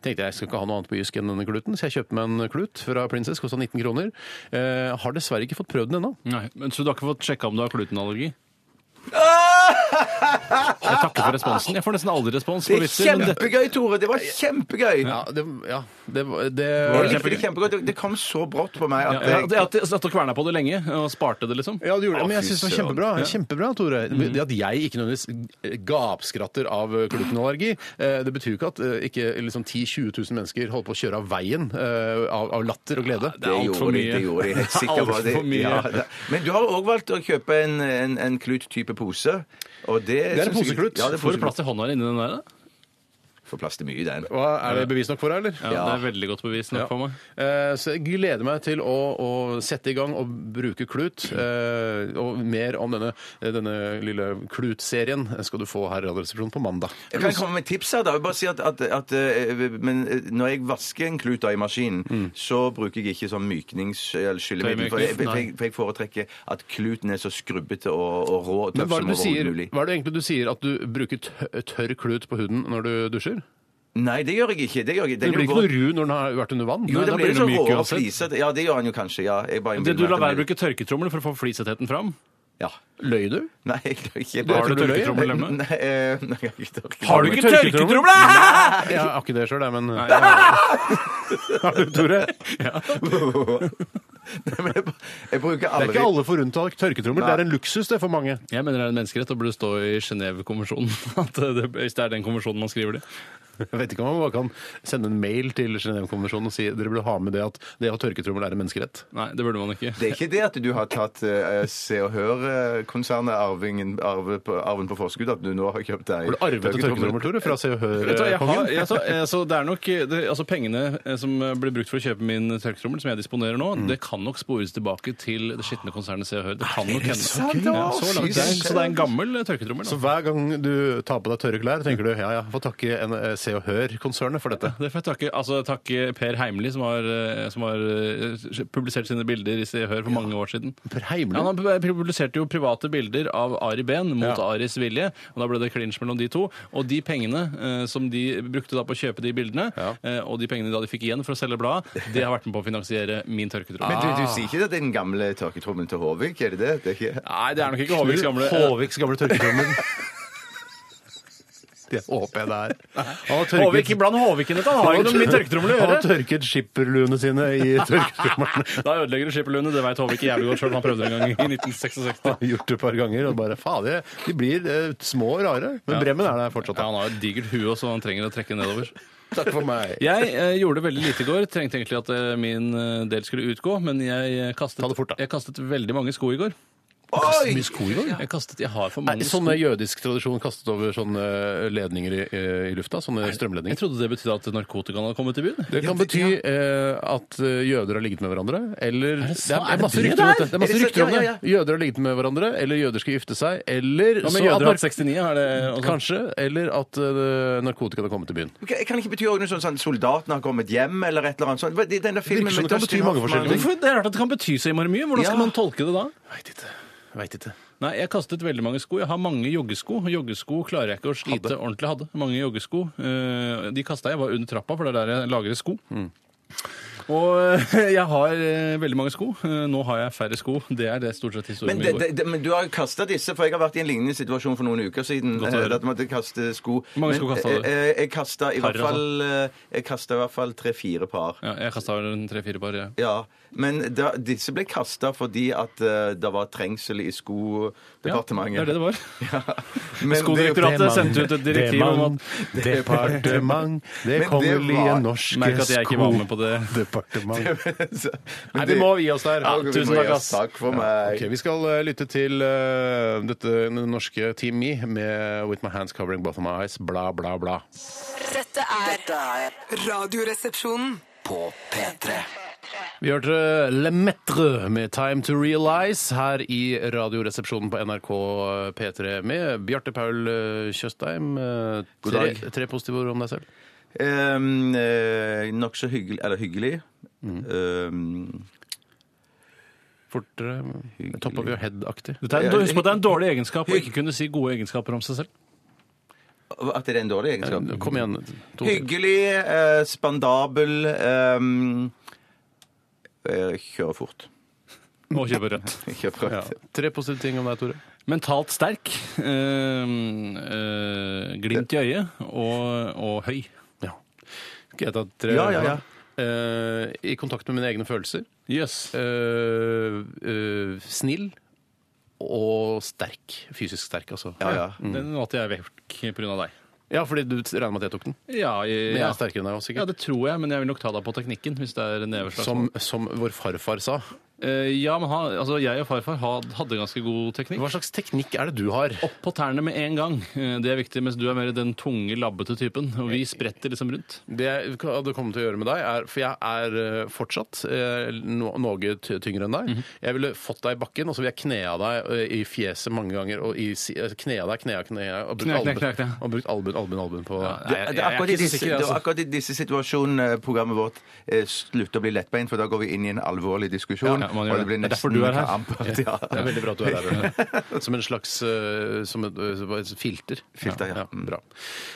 Speaker 3: tenkte jeg jeg skal ikke ha noe annet på Jysk enn denne kluten, så jeg kjøpte meg en klut fra Princess, kosta 19 kroner. Eh, har dessverre ikke fått prøvd den ennå.
Speaker 4: Nei, men Så du har ikke fått sjekka om du har glutenallergi? Jeg takker for responsen. Jeg får nesten aldri respons
Speaker 2: Ah! Det
Speaker 4: på
Speaker 2: er
Speaker 4: vitser. Men dette
Speaker 2: kjempegøy, Tore! Det var kjempegøy!
Speaker 3: Ja, det, ja, det, var- det
Speaker 2: Jeg likte det kjempegodt. Det- Det kom så brått på meg at
Speaker 4: ja, det at jeg satt og kverna på det lenge og sparte det, liksom.
Speaker 3: Ja, du gjorde det,
Speaker 2: Å,
Speaker 3: men jeg
Speaker 2: fy
Speaker 3: synes det var
Speaker 2: søren. Mm.
Speaker 3: kjempebra. Kjempebra, Tore. Det at jeg ikke nødvendigvis gapskratter av glutenallergi, eh, det betyr jo ikke at eh, ikke liksom 10 000-20 000 mennesker holder på å kjøre av veien eh, av, av latter og glede.
Speaker 4: Det er alt for
Speaker 2: gjorde de,
Speaker 4: mye.
Speaker 2: Det gjorde de, helt sikker på.
Speaker 4: Alt
Speaker 2: Det-
Speaker 4: for mye.
Speaker 2: ja, det- Men du har òg valgt å kjøpe en, en, en klut-type pose. Og det,
Speaker 3: er en
Speaker 2: synes jeg-
Speaker 3: poseklut.
Speaker 2: Ja, det er
Speaker 4: Får du plass
Speaker 2: poseklut.
Speaker 4: til hånda inni den der? da?
Speaker 2: Får plass til mye i den.
Speaker 3: Hva, er det bevis nok for deg, eller?
Speaker 4: Ja, Det er veldig godt bevis nok for meg.
Speaker 3: Eh, Så jeg gleder meg til å, å sette i gang og bruke klut. eh, Og mer om denne, denne lille klutserien skal du få her i Radioresepsjonen på mandag.
Speaker 2: Jeg kan komme med tips her, da. Jeg vil bare si at, at, at eh, men eh, når jeg vasker en klut da i maskinen, så bruker jeg ikke sånn myknings- eller skyllemiddel. For, jeg-
Speaker 4: Tøymykning,
Speaker 2: for, jeg- for jeg foretrekker at kluten er så skrubbete og, og rå og
Speaker 3: Men
Speaker 2: tøff
Speaker 3: hva er,
Speaker 2: som
Speaker 3: det du sier,
Speaker 2: overhodet mulig.
Speaker 3: hva er det egentlig du sier? At du bruker tø- tørr klut på huden når du dusjer?
Speaker 2: Nei, det gjør jeg ikke. Det gjør jeg.
Speaker 3: Den
Speaker 2: Den
Speaker 3: blir
Speaker 2: er
Speaker 3: ikke noe ru når den har vært under vann?
Speaker 2: Jo,
Speaker 3: Nei,
Speaker 2: det
Speaker 3: da
Speaker 2: blir,
Speaker 3: den
Speaker 2: så
Speaker 3: myk
Speaker 2: rå og
Speaker 3: uansett.
Speaker 2: flisete. Ja, det gjør han jo kanskje. ja. Jeg bare
Speaker 4: Det du
Speaker 2: innbiller meg
Speaker 4: lar
Speaker 2: at den
Speaker 4: være å
Speaker 2: blir-
Speaker 4: bruke tørketrommel for å få flisetheten fram?
Speaker 2: Ja.
Speaker 3: Løy du?
Speaker 2: Nei, jeg gjør ikke
Speaker 4: Har
Speaker 3: tror
Speaker 4: du
Speaker 3: du løy,
Speaker 4: tørketrommel hjemme?
Speaker 2: Nei, eh, nei, jeg har ikke tørketrommel.
Speaker 4: Har du ikke
Speaker 3: Tørketrommel?
Speaker 4: tørketrommel?!
Speaker 3: Jeg har ikke det sjøl, men
Speaker 4: Nei, jeg har ikke.
Speaker 3: Har du, Tore?
Speaker 2: Nei, men jeg, jeg bruker
Speaker 3: Det er
Speaker 2: aldri
Speaker 3: ikke alle forunt å ha tørketrommel. Det er en luksus det for mange.
Speaker 4: Jeg mener det er en menneskerett og burde stå i Genéve-konvensjonen. at det- Hvis det er den konvensjonen man skriver det.
Speaker 3: Jeg vet ikke om man bare kan sende en mail til Genévekonvensjonen og si dere burde ha med det at det å ha tørketrommel er en menneskerett.
Speaker 4: Nei, det burde man ikke.
Speaker 2: Det er ikke det at du har tatt eh, Se og Hør-konsernet arvingen, arve på, arven på forskudd, at du nå har kjøpt deg
Speaker 3: Har du arvet et tørketrommel, Tore, fra Se og
Speaker 4: Vet du hva, jeg har,
Speaker 3: Hør-kongen?
Speaker 4: jeg, så, eh, så det er nok eh, det, altså Pengene eh, som eh, blir brukt for å kjøpe min tørketrommel, som jeg disponerer nå, det kan nok spores tilbake til det skitne konsernet Se og Hør. Det kan nok hende.
Speaker 2: sant? Det var
Speaker 4: Ja, så, langt. Det er, så det er en gammel eh, tørketrommel.
Speaker 3: Så
Speaker 4: Da.
Speaker 3: hver gang du tar på deg tørre klær, tenker du ja, ja, får takke en, eh, Se og Hør-konsernet for dette.
Speaker 4: Det får jeg takke, altså, takke Per Heimli, som har, eh, som har eh, publisert sine bilder i Se og Hør for mange år siden.
Speaker 3: Per
Speaker 4: Ja,
Speaker 3: Heimly.
Speaker 4: han publiserte jo private bilder av Ari Behn mot
Speaker 3: Ja.
Speaker 4: Aris vilje. og Da ble det clinch mellom de to. Og de pengene eh, som de brukte da på å kjøpe de bildene,
Speaker 3: Ja.
Speaker 4: eh, og de pengene da de fikk igjen for å selge bladet, det har vært med på å finansiere min
Speaker 2: Men
Speaker 4: tørketrommel.
Speaker 2: du, du sier ikke at det er den gamle tørketrommelen til Håvik? Er det det? det er ikke...
Speaker 4: Ah. Nei, det er nok ikke Håviks gamle
Speaker 3: Håviks gamle tørketrommel. Det håper jeg det er. Han har tørket-
Speaker 4: Håvik, Bland Håviken ditt, han har jo ikke noe med min tørketrommel å
Speaker 3: Han har
Speaker 4: gjøre!
Speaker 3: tørket skipperluene sine i tørketrommelen.
Speaker 4: Da ødelegger du skipperlundet, det veit Håvik jævlig godt sjøl, han prøvde en gang i 1966.
Speaker 3: Han har gjort det et par ganger og bare fader, de blir eh, små og rare. Men bremmen er der fortsatt.
Speaker 4: Ja, han har jo et digert hue, så han trenger å trekke nedover.
Speaker 3: Takk for meg.
Speaker 4: Jeg eh, gjorde veldig lite i går. Trengte egentlig at eh, min eh, del skulle utgå, men jeg eh, kastet,
Speaker 3: Ta det fort, da.
Speaker 4: jeg kastet veldig mange sko i går.
Speaker 3: Kastet mye sko i går?
Speaker 4: Jeg kastet, jeg har for
Speaker 3: Er
Speaker 4: mange
Speaker 3: det
Speaker 4: sko.
Speaker 3: sånn jødisk tradisjon kastet over sånne eh, ledninger i, i lufta? Sånne strømledninger?
Speaker 4: Jeg trodde det betydde at narkotikaen hadde kommet til byen.
Speaker 3: Det kan bety eh, at jøder har ligget med hverandre, eller Det
Speaker 4: sant?
Speaker 3: er- det er
Speaker 4: Er det
Speaker 3: masse
Speaker 4: det
Speaker 3: rykter om
Speaker 4: der?
Speaker 3: dette. Det er
Speaker 2: Er
Speaker 3: masse
Speaker 2: det så-
Speaker 3: rykter om
Speaker 2: ja,
Speaker 3: det.
Speaker 2: ja,
Speaker 3: Jøder har ligget med hverandre, eller jøder skal gifte seg, eller så
Speaker 4: Hva med jøder
Speaker 3: at
Speaker 4: hatt 69? Er det også?
Speaker 3: Mm, Kanskje. Eller at eh, narkotika hadde kommet til byen.
Speaker 2: Men Kan kan ikke bety også noe sånn, sånn soldatene har kommet hjem, eller et eller annet sånt? Den der filmen med
Speaker 3: Virker som det kan
Speaker 2: Dustin
Speaker 3: bety mange
Speaker 2: Hoffman-
Speaker 3: forskjellige ting.
Speaker 4: Hvorfor? Det er rart at det kan bety så innmari mye. Hvordan skal
Speaker 2: Ja.
Speaker 4: man tolke det da?
Speaker 3: Veit ikke. Veit ikke.
Speaker 4: Nei, Jeg kastet veldig mange sko. Jeg har mange joggesko. Joggesko klarer jeg ikke å slite ordentlig. Hadde mange joggesko. Eh, De kasta jeg. jeg var under trappa, for det er der jeg lagrer sko.
Speaker 3: Mm.
Speaker 4: Og eh, jeg har eh, veldig mange sko. Eh, Nå har jeg færre sko. Det er det stort sett historien
Speaker 2: Men,
Speaker 4: min
Speaker 2: det,
Speaker 4: går.
Speaker 2: det, det, men du har jo kasta disse, for jeg har vært i en lignende situasjon for noen uker siden.
Speaker 4: Godt å høre.
Speaker 2: eh, At jeg måtte kaste sko.
Speaker 4: Hvor mange sko kastet du?
Speaker 2: eh, eh, Jeg kasta i,
Speaker 4: Par, sånn?
Speaker 2: hvert fall, eh, jeg kastet i hvert fall tre-fire par.
Speaker 4: Ja, jeg kasta tre-fire par. jeg.
Speaker 2: Ja, Men da, disse ble kasta fordi at eh, det var trengsel i
Speaker 4: Ja,
Speaker 2: skodepartementet.
Speaker 4: det er det det var.
Speaker 2: Ja. Men
Speaker 4: Skodirektoratet
Speaker 2: det er jo-
Speaker 4: sendte ut et direktiv om at-
Speaker 3: Departement, det
Speaker 2: Men det
Speaker 3: kongelige
Speaker 2: var-
Speaker 3: norske
Speaker 4: Merk at jeg ikke var med på det.
Speaker 3: Departement.
Speaker 2: Men
Speaker 3: Nei,
Speaker 2: det-
Speaker 3: vi må gi oss der.
Speaker 2: Ja, vi
Speaker 4: tusen
Speaker 2: må
Speaker 4: takk,
Speaker 2: gjøre-
Speaker 4: ass.
Speaker 2: Takk for meg.
Speaker 3: Ok, Vi skal eh, lytte til eh, dette norske Team Me med With My Hands Covering Both of My Eyes, bla, bla, bla.
Speaker 5: Dette er Radioresepsjonen. På P3.
Speaker 3: Vi hørte Le Metre med Time to Realize her i Radioresepsjonen på NRK P3 med Bjarte Paul eh, Tjøstheim. Eh,
Speaker 2: God
Speaker 3: tre-
Speaker 2: dag.
Speaker 3: Tre positive ord om deg selv.
Speaker 2: Um, eh, Nokså hyggelig Eller hyggelig.
Speaker 4: Mm.
Speaker 2: Um,
Speaker 3: Fortere. eh, Top of your head-aktig.
Speaker 4: Dette er en,
Speaker 2: Ja,
Speaker 4: husk på at det er en dårlig egenskap å ikke kunne si gode egenskaper om seg selv.
Speaker 2: at det er en dårlig egenskap?
Speaker 3: Eh, Kom igjen. to til.
Speaker 2: Hyggelig, eh, spandabel ehm, eh, Kjører fort.
Speaker 4: Og kjøpe rødt.
Speaker 2: Kjører fort.
Speaker 3: Ja. Tre positive ting om deg, Tore.
Speaker 4: Mentalt sterk. øhm, øh, glimt i øyet og, og høy.
Speaker 3: Ja. Skal jeg ta tre?
Speaker 2: Ja, ja, ja.
Speaker 3: Eh, I kontakt med mine egne følelser.
Speaker 4: Jøss.
Speaker 3: Eh, eh, snill og sterk. Fysisk sterk, altså.
Speaker 2: Ja, ja.
Speaker 4: Den valgte jeg vekk pga. deg.
Speaker 3: Ja, fordi du regner med at jeg tok den?
Speaker 4: Ja, jeg,
Speaker 3: Men jeg
Speaker 4: ja.
Speaker 3: er sterkere enn deg også,
Speaker 4: ja,
Speaker 3: sikkert.
Speaker 4: det tror jeg, men jeg vil nok ta deg på teknikken. hvis det er neveslag.
Speaker 3: som, som vår farfar sa.
Speaker 4: Eh, ja, men han, altså, Jeg og farfar had- hadde ganske god teknikk.
Speaker 3: Hva slags teknikk er det du har?
Speaker 4: Opp på tærne med en gang. Eh, Det er viktig, mens du er mer den tunge, labbete typen. Og vi spretter liksom rundt.
Speaker 3: Det jeg hadde kommet til å gjøre med deg, er For jeg er eh, fortsatt eh, no, noe ty- tyngre enn deg.
Speaker 4: Mhm.
Speaker 3: Jeg ville fått deg i bakken, og så ville jeg knea deg eh, i fjeset mange ganger. Og i, si- eh, knea deg, knea, knea. Og brukt
Speaker 4: Knea, knea,
Speaker 3: albuen-
Speaker 4: knea, knea.
Speaker 3: og brukt albuen, albuen, albuen på
Speaker 4: Ja,
Speaker 2: Det,
Speaker 4: Nei,
Speaker 2: det,
Speaker 4: jeg-
Speaker 2: er
Speaker 4: jeg er
Speaker 2: akkurat i
Speaker 4: ikke så
Speaker 2: disse,
Speaker 4: sikker,
Speaker 2: det er
Speaker 4: altså.
Speaker 2: akkurat i disse situasjonene eh, programmet vårt eh, slutter å bli lettbeint, for da går vi inn i en alvorlig diskusjon.
Speaker 4: Ja, ja, man gjør
Speaker 2: og det
Speaker 4: det.
Speaker 2: blir
Speaker 4: Det er derfor
Speaker 2: nesten
Speaker 4: du er her.
Speaker 2: ampert, ja.
Speaker 3: Det er veldig bra at du er her. Som en slags eh, som et, eh, et filter.
Speaker 2: Filter, ja. Mm.
Speaker 3: bra.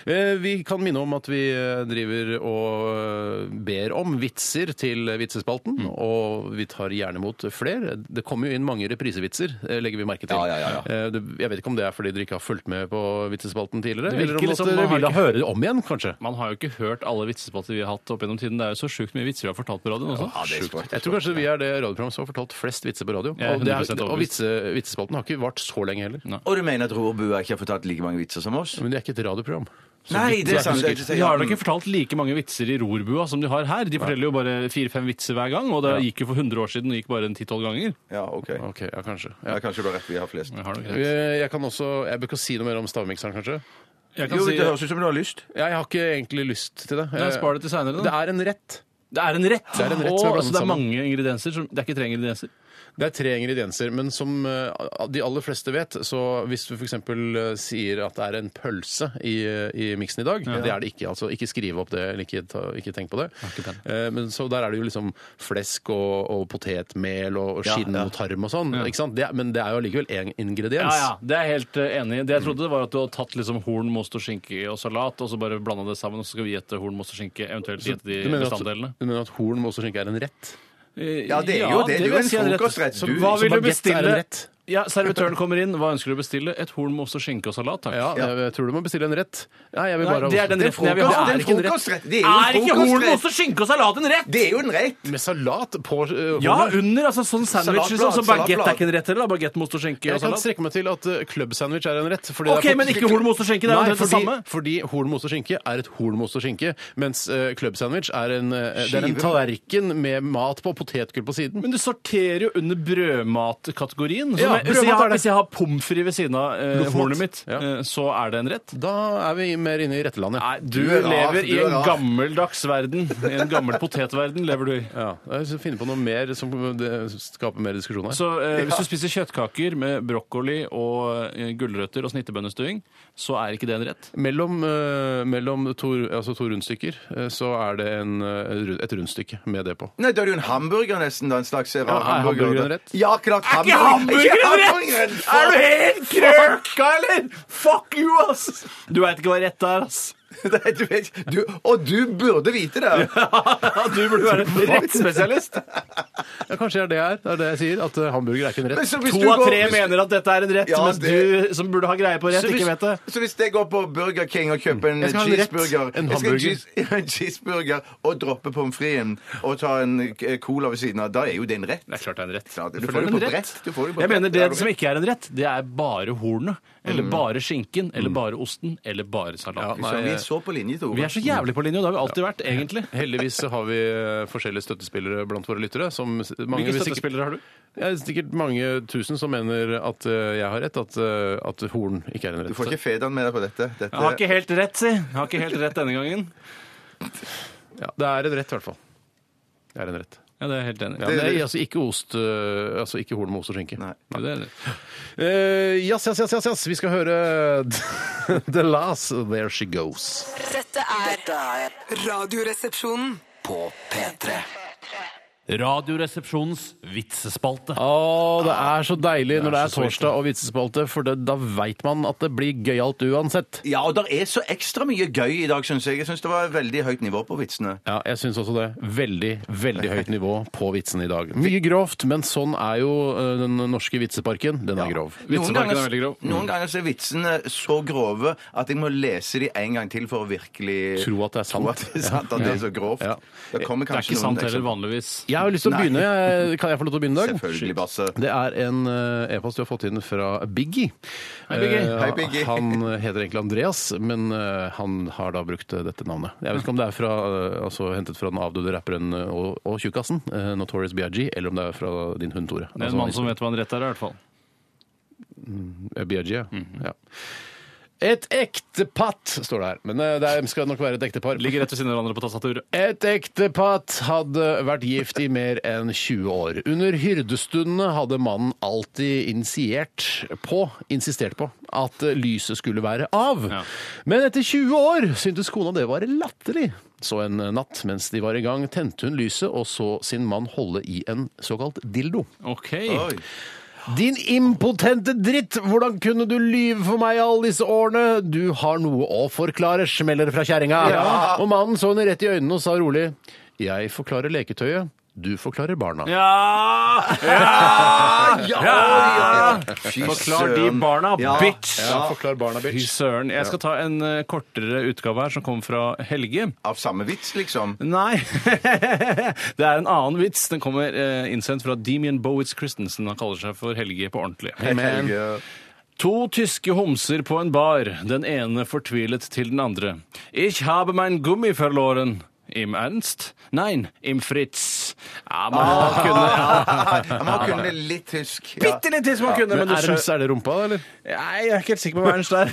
Speaker 3: Eh, Vi kan minne om at vi eh, driver og eh, ber om vitser til eh, vitsespalten,
Speaker 2: Mm.
Speaker 3: og vi tar gjerne imot flere. Det kommer jo inn mange reprisevitser, eh, legger vi merke til.
Speaker 2: Ja, ja, ja, ja.
Speaker 3: Eh, det- Jeg vet ikke om det er fordi dere ikke har fulgt med på vitsespalten tidligere,
Speaker 4: Det virker
Speaker 3: eller om
Speaker 4: liksom
Speaker 3: at
Speaker 4: man
Speaker 3: dere
Speaker 4: har
Speaker 3: vil
Speaker 4: ikke-
Speaker 3: høre det om igjen, kanskje.
Speaker 4: Man har jo ikke hørt alle vitsespalter vi har hatt opp gjennom tiden. Det er jo så sjukt mye vitser vi har fortalt på radioen også.
Speaker 2: Ja, det er sjukt.
Speaker 3: Jeg tror kanskje vi er det radioprogrammet som har fortalt flest vitser på radio.
Speaker 4: Jeg er
Speaker 3: Og, det er,
Speaker 4: 100%
Speaker 3: og
Speaker 4: overbevist.
Speaker 3: vitse, vitsespalten har ikke vart så lenge heller.
Speaker 2: Og du mener at rorbua ikke har fortalt like mange vitser som oss?
Speaker 3: Men det er ikke et radioprogram.
Speaker 2: Nei, det er sant. Det er
Speaker 4: De har da ikke fortalt like mange vitser i rorbua som de har her. De forteller jo bare fire-fem vitser hver gang, og det gikk jo for 100 år siden og gikk bare en 10-12 ganger.
Speaker 2: Ja, OK.
Speaker 3: Ok, ja, kanskje. Ja.
Speaker 2: Ja, kanskje du har rett, vi har flest.
Speaker 4: Jeg har nok rett.
Speaker 3: Eh, Jeg kan også, jeg bør ikke si noe mer om stavmikseren, kanskje.
Speaker 4: Jeg kan
Speaker 2: Jo,
Speaker 4: si,
Speaker 2: det høres ut som du har lyst.
Speaker 3: Jeg har ikke egentlig lyst til det.
Speaker 4: Nei, spar det til senere, da.
Speaker 3: Det er en rett.
Speaker 4: det er en rett!
Speaker 3: Det er en rett
Speaker 4: Å,
Speaker 3: som er blandet
Speaker 4: altså, det er
Speaker 3: sammen.
Speaker 4: mange ingredienser. Som, det er ikke tre ingredienser.
Speaker 3: Det er tre ingredienser, men som eh, de aller fleste vet, så hvis du f.eks. sier at det er en pølse i, i miksen i dag, det er det ikke. altså Ikke skriv opp det, eller ikke, ta, ikke tenk på det.
Speaker 4: ikke
Speaker 3: Eh, men så der er det jo liksom flesk og, og potetmel og, og
Speaker 2: Ja,
Speaker 3: skinn
Speaker 2: ja.
Speaker 3: og tarm og sånn. ikke sant? Det, er- men det er jo allikevel én ingrediens.
Speaker 4: Ja, ja, Det er jeg helt eh, enig i. Det jeg trodde, var at du hadde tatt liksom horn, most og skinke og salat, og så bare blanda det sammen, og så skal vi gjette horn, most og skinke, eventuelt gjette de
Speaker 3: Du mener, at, Eh,
Speaker 4: bestanddelene.
Speaker 3: du mener at horn med ost og skinke er en rett?
Speaker 2: Ja, det er jo det. Det er jo en frokostrett.
Speaker 4: Så
Speaker 2: Du-
Speaker 4: hva
Speaker 2: så
Speaker 4: vil du
Speaker 3: Baguette er en
Speaker 4: bestille?
Speaker 3: rett.
Speaker 4: Ja, Servitøren kommer inn. Hva ønsker du å bestille? Et horn med ost og skinke og salat, takk.
Speaker 3: Ja, jeg tror du må bestille en rett. Nei, jeg vil
Speaker 4: Nei,
Speaker 3: bare ha ost.
Speaker 4: det er den retten jeg vil
Speaker 2: Det er
Speaker 4: ha.
Speaker 2: en
Speaker 4: Det er ikke en rett.
Speaker 2: frokostrett. Det er jo
Speaker 4: Er
Speaker 2: en
Speaker 4: ikke horn med
Speaker 2: frokostrett.
Speaker 4: ost og skinke og salat en rett?!
Speaker 2: Det er jo en rett!
Speaker 3: Med salat på uh,
Speaker 4: Ja,
Speaker 3: hornet.
Speaker 4: under. altså Sånn sandwich.
Speaker 2: Salatblad,
Speaker 4: Liksom, så baguette
Speaker 2: salatblad.
Speaker 4: er ikke en rett heller. da. Baguette med ost og skinke
Speaker 3: Jeg
Speaker 4: og
Speaker 3: kan
Speaker 4: salat.
Speaker 3: strekke meg til at uh, klubbsandwich er en rett. Fordi
Speaker 4: OK, men ikke horn med ost og skinke. Det
Speaker 3: Nei,
Speaker 4: er jo omtrent det
Speaker 3: fordi,
Speaker 4: samme.
Speaker 3: fordi horn med ost og skinke er et horn med ost og skinke, mens uh, klubbsandwich er en, uh, det er en
Speaker 2: Skive.
Speaker 3: tallerken med mat på og potetgull på siden.
Speaker 4: Men du sorterer jo under brødmatkategorien. Så
Speaker 3: Ja,
Speaker 4: med- hvis, jeg
Speaker 3: brødmat er
Speaker 4: har,
Speaker 3: det.
Speaker 4: hvis jeg har pommes frites ved siden av eh,
Speaker 3: Loffmat.
Speaker 4: hornet mitt,
Speaker 3: Ja.
Speaker 4: eh, så er det en rett?
Speaker 3: Da er vi mer inne i rettelandet.
Speaker 4: Nei, du,
Speaker 2: Du er rar,
Speaker 4: lever i
Speaker 2: du er
Speaker 4: en
Speaker 2: rar.
Speaker 4: gammeldags verden. I en gammel potetverden lever du i.
Speaker 3: Ja, jeg skal finne på noe mer som uh, det skaper mer diskusjon her.
Speaker 4: Så eh, hvis du spiser kjøttkaker med brokkoli og eh, gulrøtter og snittebønnestuing, så er ikke det en rett.
Speaker 3: Mellom, eh, mellom to, altså to rundstykker eh, så er det en, eh, ru- et rundstykke med det på.
Speaker 2: Nei, da er det jo en hamburger nesten, da. En slags eh, rar
Speaker 3: er
Speaker 2: hamburger.
Speaker 3: hamburgeren rett?
Speaker 2: Ja, klart.
Speaker 4: Er ikke hamburgeren rett?! Er du helt krøka, eller?! Fuck you, ass! Du veit ikke hva rett er, ass.
Speaker 2: Nei, du vet, ikke. du, og du burde vite det!
Speaker 4: Ja, du burde være rettspesialist.
Speaker 3: Ja, kanskje det er det her. Det er det jeg sier. At eh, hamburger er ikke en
Speaker 2: Men
Speaker 3: rett.
Speaker 2: så hvis
Speaker 4: To
Speaker 2: du
Speaker 4: av
Speaker 2: går-
Speaker 4: tre
Speaker 2: hvis-
Speaker 4: mener at dette er en rett,
Speaker 2: Ja,
Speaker 4: mens
Speaker 2: det-
Speaker 4: du som burde ha greie på rett,
Speaker 2: så hvis-
Speaker 4: ikke vet det.
Speaker 2: Så hvis jeg går på Burger King og kjøper en
Speaker 3: Jeg skal ha en rett,
Speaker 2: cheeseburger
Speaker 3: en
Speaker 2: jeg skal ha
Speaker 3: hamburger.
Speaker 2: cheese- en cheeseburger og droppe pommes fritesen og ta en eh, cola ved siden av, da er jo det en rett.
Speaker 4: Det er klart det er en rett.
Speaker 2: Ja, du får
Speaker 4: For er
Speaker 2: det
Speaker 4: en
Speaker 2: på brett. Du får det på
Speaker 4: Jeg
Speaker 2: brett.
Speaker 4: mener
Speaker 2: Det er
Speaker 4: det
Speaker 2: det.
Speaker 4: som ikke er en rett, det er bare hornet. Eller bare skinken. Eller bare osten. Eller bare
Speaker 3: Ja,
Speaker 4: salaten.
Speaker 3: nei,
Speaker 2: Så vi er så på linje, Tore.
Speaker 4: Vi er så jævlig på linje, og det har vi alltid vært, egentlig.
Speaker 3: Heldigvis så har vi eh, forskjellige støttespillere blant våre lyttere. Som s- mange,
Speaker 4: Hvilke
Speaker 3: vil sikkert-
Speaker 4: støttespillere har du?
Speaker 3: Ja, det er sikkert mange tusen som mener at eh, jeg har rett, at, eh, at horn ikke er en rett.
Speaker 2: Du får ikke federen med deg på dette. dette.
Speaker 4: Jeg har ikke helt rett, si. Jeg har ikke helt rett denne gangen.
Speaker 3: ja, det er en rett, i hvert fall. Det er en rett.
Speaker 4: Ja, det er jeg helt enig. i.
Speaker 3: Ja, men det er altså ikke ost, eh, altså ikke horn med ost og skinke.
Speaker 2: Nei.
Speaker 4: Ja, det er det.
Speaker 3: Eh, Jass, jass, jass, jass, jass. Vi skal høre The Last There She Goes.
Speaker 5: Dette er Radioresepsjonen.
Speaker 6: Radioresepsjonens vitsespalte.
Speaker 3: Å, det er så deilig når det er
Speaker 4: så sweet,
Speaker 3: torsdag og vitsespalte, for det, da veit man at det blir gøyalt uansett.
Speaker 2: Ja, og det er så ekstra mye gøy i dag, syns jeg. Jeg syns det var veldig høyt nivå på vitsene.
Speaker 3: Ja, jeg syns også det. Veldig, veldig høyt nivå på vitsene i dag. Mye grovt, men sånn er jo eh, den norske vitseparken. Den er grov. Mm.
Speaker 4: Vitsemarken
Speaker 2: ganger-
Speaker 4: er veldig grov.
Speaker 2: Noen ganger så er vitsene så grove at jeg må lese de en gang til for å virkelig
Speaker 3: Tro at det er sant.
Speaker 2: Tro at det er sant, at det er så grovt.
Speaker 3: Ja.
Speaker 2: Det kommer
Speaker 4: Det er
Speaker 2: kanskje
Speaker 4: ikke sant
Speaker 2: noen
Speaker 4: heller, vanligvis.
Speaker 3: Jeg har lyst til å
Speaker 2: Nei.
Speaker 3: begynne. Jeg- Kan jeg få lov til å begynne i dag?
Speaker 2: Selvfølgelig, Basse.
Speaker 3: Det er en eh, e-post du har fått inn fra Biggie. Hei,
Speaker 2: Biggie. Hei, Biggie.
Speaker 3: Han heter egentlig Andreas, men eh, han har da brukt eh, dette navnet. Jeg vet ikke om det er fra, eh, altså, hentet fra den avdøde rapperen eh, og, og tjukkasen, eh, Notorious BIG, eller om det er fra din hund, Tore. Altså
Speaker 4: Det er en mann som vet hva en rett er, i hvert fall.
Speaker 3: BIG, ja. Eh, ja. Et ektepatt, står det her. Men eh, det er- skal nok være et ektepar.
Speaker 4: Ligger rett ved siden av hverandre på tastaturet.
Speaker 3: Et ektepatt hadde vært gift i mer enn 20 år. Under hyrdestundene hadde mannen alltid initiert på, insistert på at lyset skulle være av.
Speaker 4: Ja.
Speaker 3: Men etter 20 år syntes kona det var latterlig. Så en natt mens de var i gang, tente hun lyset og så sin mann holde i en såkalt dildo.
Speaker 4: OK.
Speaker 2: Oi.
Speaker 3: Din impotente dritt! Hvordan kunne du lyve for meg alle disse årene? Du har noe å forklare, smeller det fra kjerringa. Og mannen så henne rett i øynene og sa rolig Jeg forklarer leketøyet, du forklarer barna.
Speaker 4: Ja! Ah,
Speaker 2: Ja, ja, um, ja. Fy
Speaker 4: Forklar de
Speaker 2: søren.
Speaker 4: barna,
Speaker 2: Ja.
Speaker 4: bitch!
Speaker 3: Ja, forklar barna,
Speaker 4: Fy
Speaker 3: bitch.
Speaker 4: søren. Jeg skal ta en eh, kortere utgave her, som kommer fra Helge.
Speaker 2: Av samme vits, liksom.
Speaker 4: Nei. det er en annen vits. Den kommer eh, innsendt fra Demian Bowitz Christensen. Han kaller seg for Helge på ordentlig.
Speaker 2: Helge.
Speaker 4: To tyske homser på en bar, den ene fortvilet til den andre. Ich habe mein Gummi verloren. Im Ernst? Nein, im Fritz. Ja, man kunne ja.
Speaker 2: Ah, Ja, man kunne litt tysk. Ah. Ja.
Speaker 4: Bitte litt tysk man kunne,
Speaker 3: Men
Speaker 4: men, du
Speaker 3: Ernst,
Speaker 4: skjø-
Speaker 3: er det rumpa, eller?
Speaker 4: Nei, jeg er ikke helt sikker på hva Ernst er.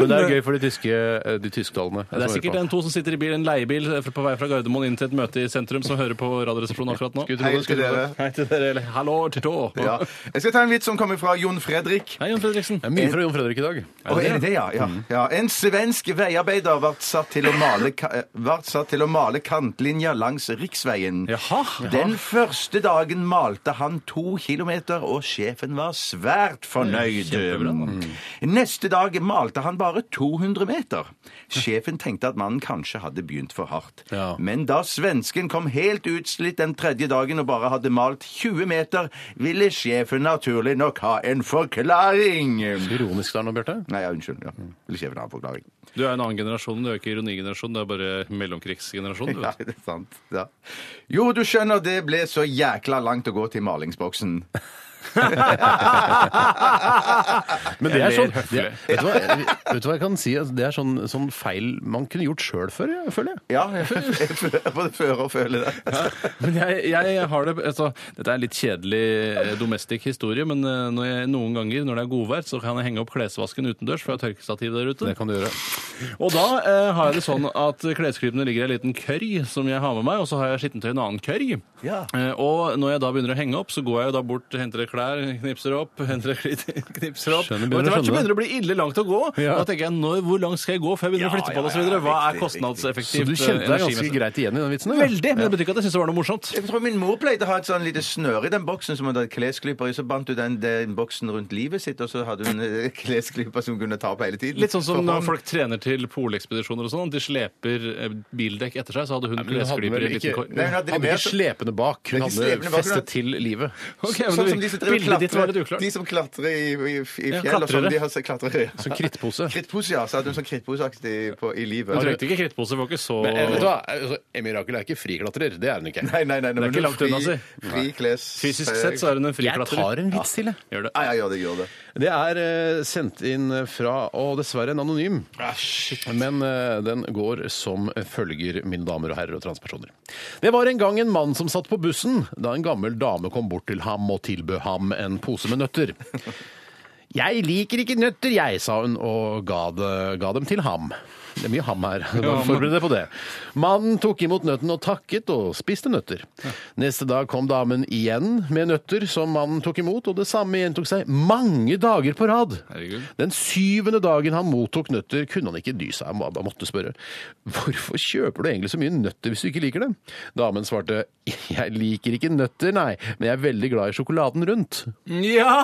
Speaker 3: Men det er gøy for de tyske, eh, de tysktalene.
Speaker 4: Det er sikkert en to som sitter i bil, en leiebil på vei fra Gardermoen inn til et møte i sentrum, som hører på Radioresepsjonen akkurat nå.
Speaker 2: Hei til dere.
Speaker 4: Hei til dere. eller Hallo til tå.
Speaker 2: Ja. Jeg skal ta en vits som kommer fra Jon Fredrik.
Speaker 4: Hei, Jon Fredriksen.
Speaker 3: Det er mye fra Jon Fredrik i dag.
Speaker 2: Og er det det, ja? Mm. ja. ja. En svensk veiarbeider ble satt til å male, ka- eh, vart satt til å male kantlinjer langs riksveien.
Speaker 4: Jaha.
Speaker 2: Den første dagen malte han to kilometer, og sjefen var svært fornøyd. Mm. Neste dag malte han bare 200 meter. Sjefen tenkte at mannen kanskje hadde begynt for hardt.
Speaker 3: Ja.
Speaker 2: Men da svensken kom helt utslitt den tredje dagen og bare hadde malt 20 meter, ville sjefen naturlig nok ha en forklaring.
Speaker 3: Ironisk der nå, Bjarte.
Speaker 2: Nei, ja, unnskyld. Ja.
Speaker 4: Mm.
Speaker 2: Ville sjefen ha en forklaring.
Speaker 4: Du er en annen generasjon, du er ikke ironigenerasjon, du er bare mellomkrigsgenerasjon. Du
Speaker 2: Ja,
Speaker 4: vet.
Speaker 2: det er sant. Ja. Jo, du skjønner, det ble så jækla langt å gå til malingsboksen.
Speaker 3: Men det er
Speaker 4: Jeg
Speaker 3: sånn
Speaker 4: ler
Speaker 3: det, vet, du hva, vet du hva jeg kan si? Altså, Det er sånn, sånn feil man kunne gjort sjøl før, jeg, føler jeg.
Speaker 2: Ja, jeg føler- både fører og føler det.
Speaker 4: Men jeg, jeg har det altså, Dette er en litt kjedelig eh, domestic historie, men eh, når jeg, noen ganger når det er godvær, så kan jeg henge opp klesvasken utendørs, for jeg har tørkestativ der ute.
Speaker 3: Det kan du gjøre.
Speaker 4: Og da eh, har jeg det sånn at kleskrypene ligger i en liten kørg som jeg har med meg, og så har jeg skittentøy i en annen kørg.
Speaker 2: Ja.
Speaker 4: Eh, og når jeg da begynner å henge opp, så går jeg jo da bort, henter et klær, knipser opp, henter et klitt, knipser opp.
Speaker 3: Skjønner,
Speaker 4: og
Speaker 3: begynner å
Speaker 4: etter hvert så
Speaker 3: skjønne det.
Speaker 4: begynner det å bli ille langt å gå.
Speaker 3: Ja.
Speaker 4: Da tenker jeg, når, hvor langt skal jeg gå før jeg begynner å
Speaker 2: Ja,
Speaker 4: flytte
Speaker 2: ja,
Speaker 4: på det, og så
Speaker 2: ja,
Speaker 4: videre? Hva er
Speaker 2: riktig,
Speaker 4: kostnadseffektivt?
Speaker 3: Så du kjente deg ganske
Speaker 4: eh, energimessig?
Speaker 3: greit igjen i den vitsen? eller?
Speaker 4: Veldig, men det betyr ikke at jeg syns det var noe morsomt.
Speaker 2: Jeg tror min mor pleide å ha et sånn lite snøre i den boksen som hun hadde klesklyper i. Så bandt hun den, den boksen rundt livet sitt, og så hadde hun eh, klesklyper som hun kunne ta på hele tiden.
Speaker 4: Litt sånn som
Speaker 2: For
Speaker 4: når
Speaker 2: hånd.
Speaker 4: folk trener til polekspedisjoner og sånn. De sleper eh, bildekk etter seg, så hadde hun
Speaker 3: Men hun hadde
Speaker 4: klesklyper
Speaker 3: vel
Speaker 4: i en
Speaker 3: ikke,
Speaker 4: liten kor.
Speaker 2: Nei, hun hadde
Speaker 3: hadde ikke
Speaker 2: levert-
Speaker 3: slepende bak.
Speaker 2: Det
Speaker 3: Hun
Speaker 2: er ikke slepende
Speaker 3: hadde
Speaker 2: bak, hun
Speaker 3: festet
Speaker 2: hadde-
Speaker 3: til livet.
Speaker 4: Ok, men
Speaker 2: Sånn
Speaker 4: det-
Speaker 2: som de som driver og
Speaker 4: Bildet ditt var litt
Speaker 2: klatrer-
Speaker 4: uklart.
Speaker 2: De som klatrer i, i, i fjell. og
Speaker 4: Ja, Sånn
Speaker 2: sånn,
Speaker 4: klatrere.
Speaker 2: de har så klatrere. Ja.
Speaker 3: Som krittpose.
Speaker 2: Krittpose, ja. Så hadde hun sånn krittposeaktig på- i livet.
Speaker 4: Hun trengte ikke krittpose, var ikke så
Speaker 3: Men, eh, vet du hva? Altså, Emmy Rakel er ikke friklatrer. Det er hun ikke.
Speaker 2: Nei, nei, nei, nei,
Speaker 4: Det er
Speaker 2: men
Speaker 4: ikke
Speaker 2: hun
Speaker 4: langt unna,
Speaker 2: fri-
Speaker 4: si.
Speaker 2: Fri kles...
Speaker 4: Fysisk sett så er hun en friklatrer.
Speaker 3: en vits til, jeg.
Speaker 4: Gjør det.
Speaker 2: Ja, ja, gjør det, gjør det.
Speaker 3: Det er eh, sendt inn fra, og dessverre en anonym,
Speaker 2: Ah,
Speaker 3: men eh, den går som følger, mine damer og herrer og transpersoner. Det var en gang en mann som satt på bussen da en gammel dame kom bort til ham og tilbød ham en pose med nøtter. Jeg liker ikke nøtter, jeg, sa hun og ga, det, ga dem til ham. Det er mye ham her. Bare Forbered deg på det. Mannen tok imot nøtten og takket og spiste nøtter. Neste dag kom damen igjen med nøtter som mannen tok imot, og det samme gjentok seg mange dager på rad.
Speaker 4: Herregud.
Speaker 3: Den syvende dagen han mottok nøtter, kunne han ikke dy seg. Han må- han måtte spørre hvorfor kjøper du egentlig så mye nøtter hvis du ikke liker dem. Damen svarte jeg liker ikke nøtter, nei, men jeg er veldig glad i sjokoladen rundt.
Speaker 4: Ja!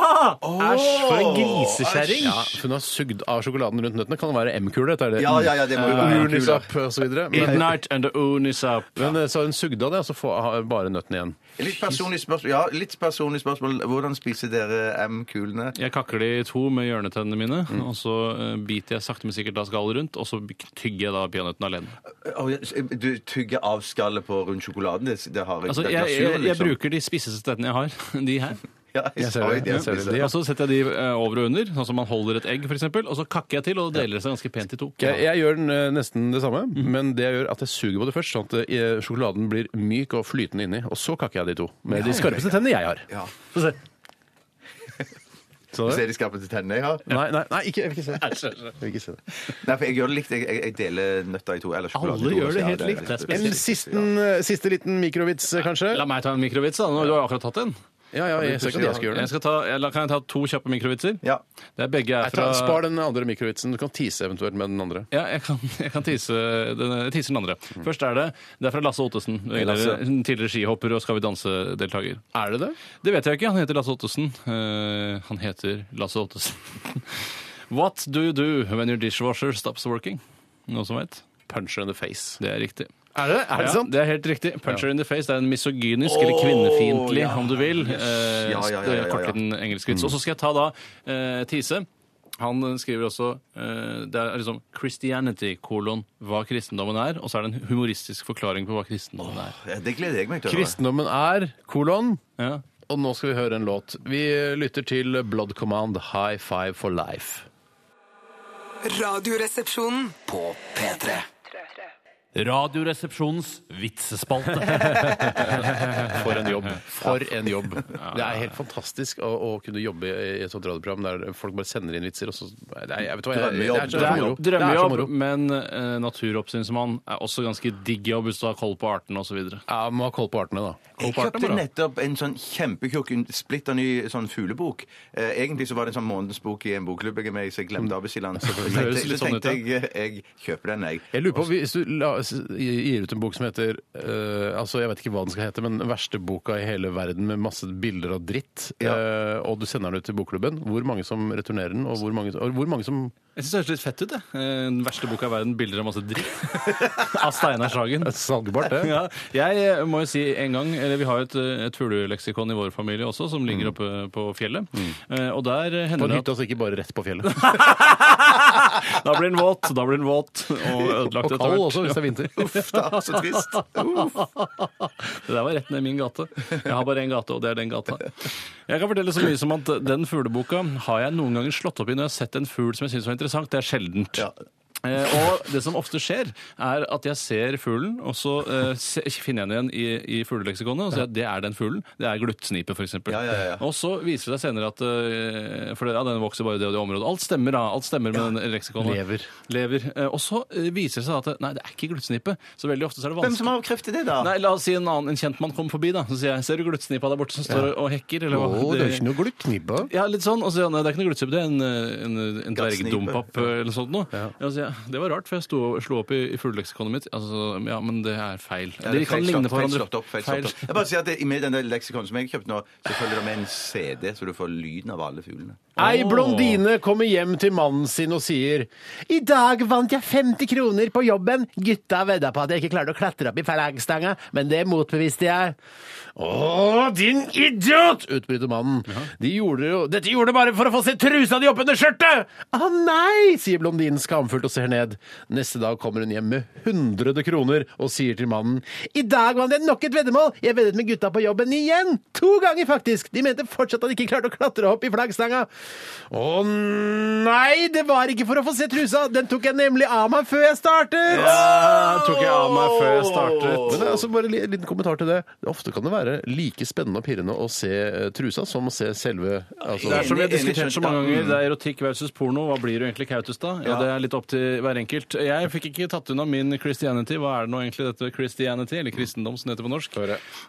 Speaker 4: Æsj, for en grisekjerring!
Speaker 3: Ja, for hun har sugd av sjokoladen rundt nøttene. Kan det være M-kule? dette er det?
Speaker 2: Ja, ja, ja, det må jo være
Speaker 3: Eh,
Speaker 2: M-kule.
Speaker 3: Unisap og så videre. Men,
Speaker 4: Midnight and the oon is up.
Speaker 3: men eh, så har hun sugd av det, og så får, har bare nøttene igjen.
Speaker 2: Litt personlig spørsmål. Ja, litt personlig spørsmål. Hvordan spiser dere M-kulene?
Speaker 4: Jeg kakker de i to med hjørnetennene mine, og så eh, biter jeg sakte, men sikkert da skallet rundt, og så tygger jeg da peanøtten alene.
Speaker 2: Å, ja, s- du tygger av skallet på rundt sjokoladen? Det, det har
Speaker 4: Altså,
Speaker 2: det er
Speaker 4: jeg, jeg,
Speaker 2: glasuren,
Speaker 4: jeg,
Speaker 2: liksom.
Speaker 4: bruker de spisseste tettene jeg har. De her.
Speaker 2: ja, jeg,
Speaker 3: Jeg ser
Speaker 2: sa jo
Speaker 3: det, jeg
Speaker 2: det,
Speaker 3: ser det.
Speaker 2: Lise.
Speaker 3: Ja.
Speaker 4: Og så setter jeg de eh, over og under, sånn som man holder et egg, for eksempel, og så kakker jeg til, og det deler seg ganske pent i to.
Speaker 3: Jeg, jeg gjør den, eh, nesten det samme, men det jeg gjør at jeg suger på det først, sånn at eh, sjokoladen blir myk og flytende inni, og så kakker jeg de to. Med de skarpeste tennene jeg har.
Speaker 2: Ja.
Speaker 3: Få se. Så
Speaker 2: Ser
Speaker 3: det?
Speaker 2: de skarpeste tennene jeg har?
Speaker 3: Nei, nei, nei ikke, jeg vil ikke se det. Jeg vil ikke se det.
Speaker 2: Nei, for jeg gjør det likt. Jeg, jeg, jeg deler nøtta i to. Eller sjokoladen
Speaker 4: Alle
Speaker 2: i to,
Speaker 4: gjør
Speaker 2: så
Speaker 4: det
Speaker 2: ja,
Speaker 4: helt likt. Det er
Speaker 2: litt
Speaker 4: spesielt.
Speaker 3: En sisten, eh, siste liten mikrovits, eh, kanskje?
Speaker 4: La meg ta en mikrovits, da. Nå, du har jo akkurat tatt en.
Speaker 3: Ja, ja, jeg ser ikke at jeg skal gjøre
Speaker 4: Jeg
Speaker 3: det.
Speaker 4: skal ta, eller kan jeg ta to kjappe mikrovitser?
Speaker 2: Ja.
Speaker 4: Det er begge er
Speaker 3: Nei, ta,
Speaker 4: fra
Speaker 3: spar den andre mikrovitsen. Du kan tise eventuelt med den andre.
Speaker 4: Ja, jeg kan, jeg kan tise den, jeg teaser den andre. Først er det Det er fra Lasse Ottesen.
Speaker 3: Lasse.
Speaker 4: En Tidligere skihopper og Skal vi danse-deltaker.
Speaker 3: Er det det?
Speaker 4: Det vet jeg ikke. Han heter Lasse Ottesen. Eh, han heter Lasse Ottesen. What do you do when your dishwasher stops working? Noen som vet?
Speaker 3: Punch in the face.
Speaker 4: Det er riktig.
Speaker 3: Er det, er det
Speaker 4: Ja,
Speaker 3: sant?
Speaker 4: det er helt riktig. Puncher in the face. Det er en misogynisk,
Speaker 2: Åh,
Speaker 4: eller kvinnefiendtlig,
Speaker 2: ja.
Speaker 4: om du vil.
Speaker 2: Yes.
Speaker 4: eh,
Speaker 2: Ja, ja, ja, ja, ja.
Speaker 4: Kort liten engelsk vits. Og så skal jeg ta da eh, Tise. Han skriver også eh, Det er liksom 'Christianity', kolon, hva kristendommen er. Og så er det en humoristisk forklaring på hva kristendommen er.
Speaker 2: Ja, det gleder jeg meg til å høre.
Speaker 3: Kristendommen er kolon,
Speaker 4: Ja.
Speaker 3: og nå skal vi høre en låt. Vi lytter til Blood Command, High Five for Life.
Speaker 5: Radioresepsjonen.
Speaker 6: Radioresepsjonens vitsespalte.
Speaker 3: For en jobb. For en jobb. Det er helt fantastisk å, å kunne jobbe i et sånt radioprogram der folk bare sender inn vitser, og så Nei, jeg vet hva, jeg,
Speaker 2: Drømmejobb.
Speaker 3: Det er så moro. Det er så
Speaker 4: Drømmejobb,
Speaker 3: moro.
Speaker 4: men eh, naturoppsynsmann er også ganske digg jobb hvis du har koll på artene osv.
Speaker 3: Ja, Må ha koll på artene, da.
Speaker 2: Jeg
Speaker 3: Koll på
Speaker 2: kjøpte
Speaker 3: artene, bra.
Speaker 2: nettopp en sånn kjempetjukk, en splitter ny sånn fuglebok. Eh, egentlig så var det en sånn månedsbok i en bokklubb jeg er med i, så jeg glemte å bestille den. Så
Speaker 4: Mm. høres
Speaker 2: tenkte,
Speaker 4: litt
Speaker 2: så
Speaker 4: sånn ut,
Speaker 2: tenkte jeg eh, jeg kjøper den, jeg.
Speaker 3: Jeg lurer på, Hvis du la, s- gir ut en bok som heter eh, altså Jeg vet ikke hva den skal hete, men den verste boka i hele verden med masse bilder av dritt,
Speaker 2: Ja.
Speaker 3: eh, og du sender den ut til bokklubben, hvor mange som returnerer den, og hvor mange, og hvor mange som
Speaker 4: Jeg syns det høres litt fett ut. jeg. Eh, Den verste boka i verden, 'Bilder av masse dritt'. Av Steinar Sagen.
Speaker 3: Salgbart, det.
Speaker 4: Ja, jeg eh, må jo si en gang eller Vi har jo et, eh, et fugleleksikon i vår familie også, som ligger oppe på fjellet. Eh, Og der eh,
Speaker 3: På
Speaker 4: hender
Speaker 3: en
Speaker 4: det
Speaker 3: hytte, altså ikke bare rett på fjellet.
Speaker 4: at Da blir den våt, da blir den våt. Og
Speaker 3: Og
Speaker 4: ødelagt etter
Speaker 3: kald
Speaker 4: hvert.
Speaker 3: også, hvis det er vinter.
Speaker 2: Uff da, så trist. Uh, Uff.
Speaker 4: Det der var rett ned i min gate. Jeg har bare én gate, og det er den gata. Jeg kan fortelle så mye som at den fugleboka har jeg noen ganger slått opp i når jeg har sett en fugl som jeg syns var interessant. Det er sjeldent. Eh, og det som ofte skjer, er at jeg ser fuglen, og så eh, se, finner jeg den igjen i, i fugleleksikonet. Og så sier jeg at det er den fuglen. Det er gluttsnipe, f.eks.
Speaker 2: Ja, ja, ja, ja.
Speaker 4: Og så viser det seg senere at eh, For det, ja, den vokser bare i det og det området. Alt stemmer, da. Alt stemmer med den leksikonet.
Speaker 3: Lever.
Speaker 4: Lever. Eh, og så eh, viser det seg at det- nei, det er ikke gluttsnipe. Så veldig ofte så er det
Speaker 2: Hvem
Speaker 4: vanskelig
Speaker 2: som har avkreftet det, da?
Speaker 4: Nei, La oss si en annen en kjentmann kommer forbi. da Så sier jeg, 'Ser du gluttsnipa der borte som står og hekker?' Eller,
Speaker 3: Å,
Speaker 4: hva?
Speaker 3: det er ikke noe glutknibba.
Speaker 4: ja, litt sånn. Og så sier han, 'Nei, det er ikke noe gluttsnipe, det er en, eh, en, eh, en
Speaker 2: Glattsnipe.
Speaker 4: dvergdompapp eh, eller noe sånt'. Noe. Ja. så sier jeg, det var rart, for jeg sto, og- slo opp i, i fugleleksikonet mitt. Altså, ja, men det er feil.
Speaker 2: Ja, det
Speaker 4: de
Speaker 2: er
Speaker 4: kan
Speaker 2: feil
Speaker 4: ligne
Speaker 2: slått-
Speaker 4: på
Speaker 2: feil
Speaker 4: hverandre.
Speaker 2: slått opp, feil slått opp. Jeg bare sier at det, Med den der leksikon som jeg har kjøpt nå, så følger det med en CD, så du får lyden av alle fuglene.
Speaker 3: Ei blondine kommer hjem til mannen sin og sier I dag vant jeg 50 kroner på jobben. Gutta vedda på at jeg ikke klarte å klatre opp i flaggstanga, men det motbeviste jeg. Å, din idiot! utbryter mannen. De gjorde jo Dette gjorde de bare for å få se trusa di oppunder skjørtet! Å nei! sier blondinen skamfullt og ser ned. Neste dag kommer hun hjem med 100 kroner og sier til mannen I dag vant jeg nok et veddemål! Jeg veddet med gutta på jobben igjen! To ganger, faktisk! De mente fortsatt at de ikke klarte å klatre opp i flaggstanga. Å nei, det var ikke for å få se trusa! Den tok jeg nemlig av meg før jeg startet!
Speaker 4: tok jeg av meg før jeg startet.
Speaker 3: Men det er altså bare li- en liten kommentar til det. Ofte kan det være like spennende og pirrende å se eh, trusa som å se selve
Speaker 4: Det er
Speaker 3: altså,
Speaker 4: som vi har
Speaker 2: Enig, enig,
Speaker 4: diskutert så mange
Speaker 2: skjønt, ja.
Speaker 4: ganger, det er erotikk versus porno. Hva blir du egentlig, Kautokeino? da? Ja,
Speaker 2: Ja.
Speaker 4: det er litt opp til hver enkelt. Jeg fikk ikke tatt unna min Christianity. Hva er det nå egentlig dette Christianity, eller kristendom som det heter på norsk?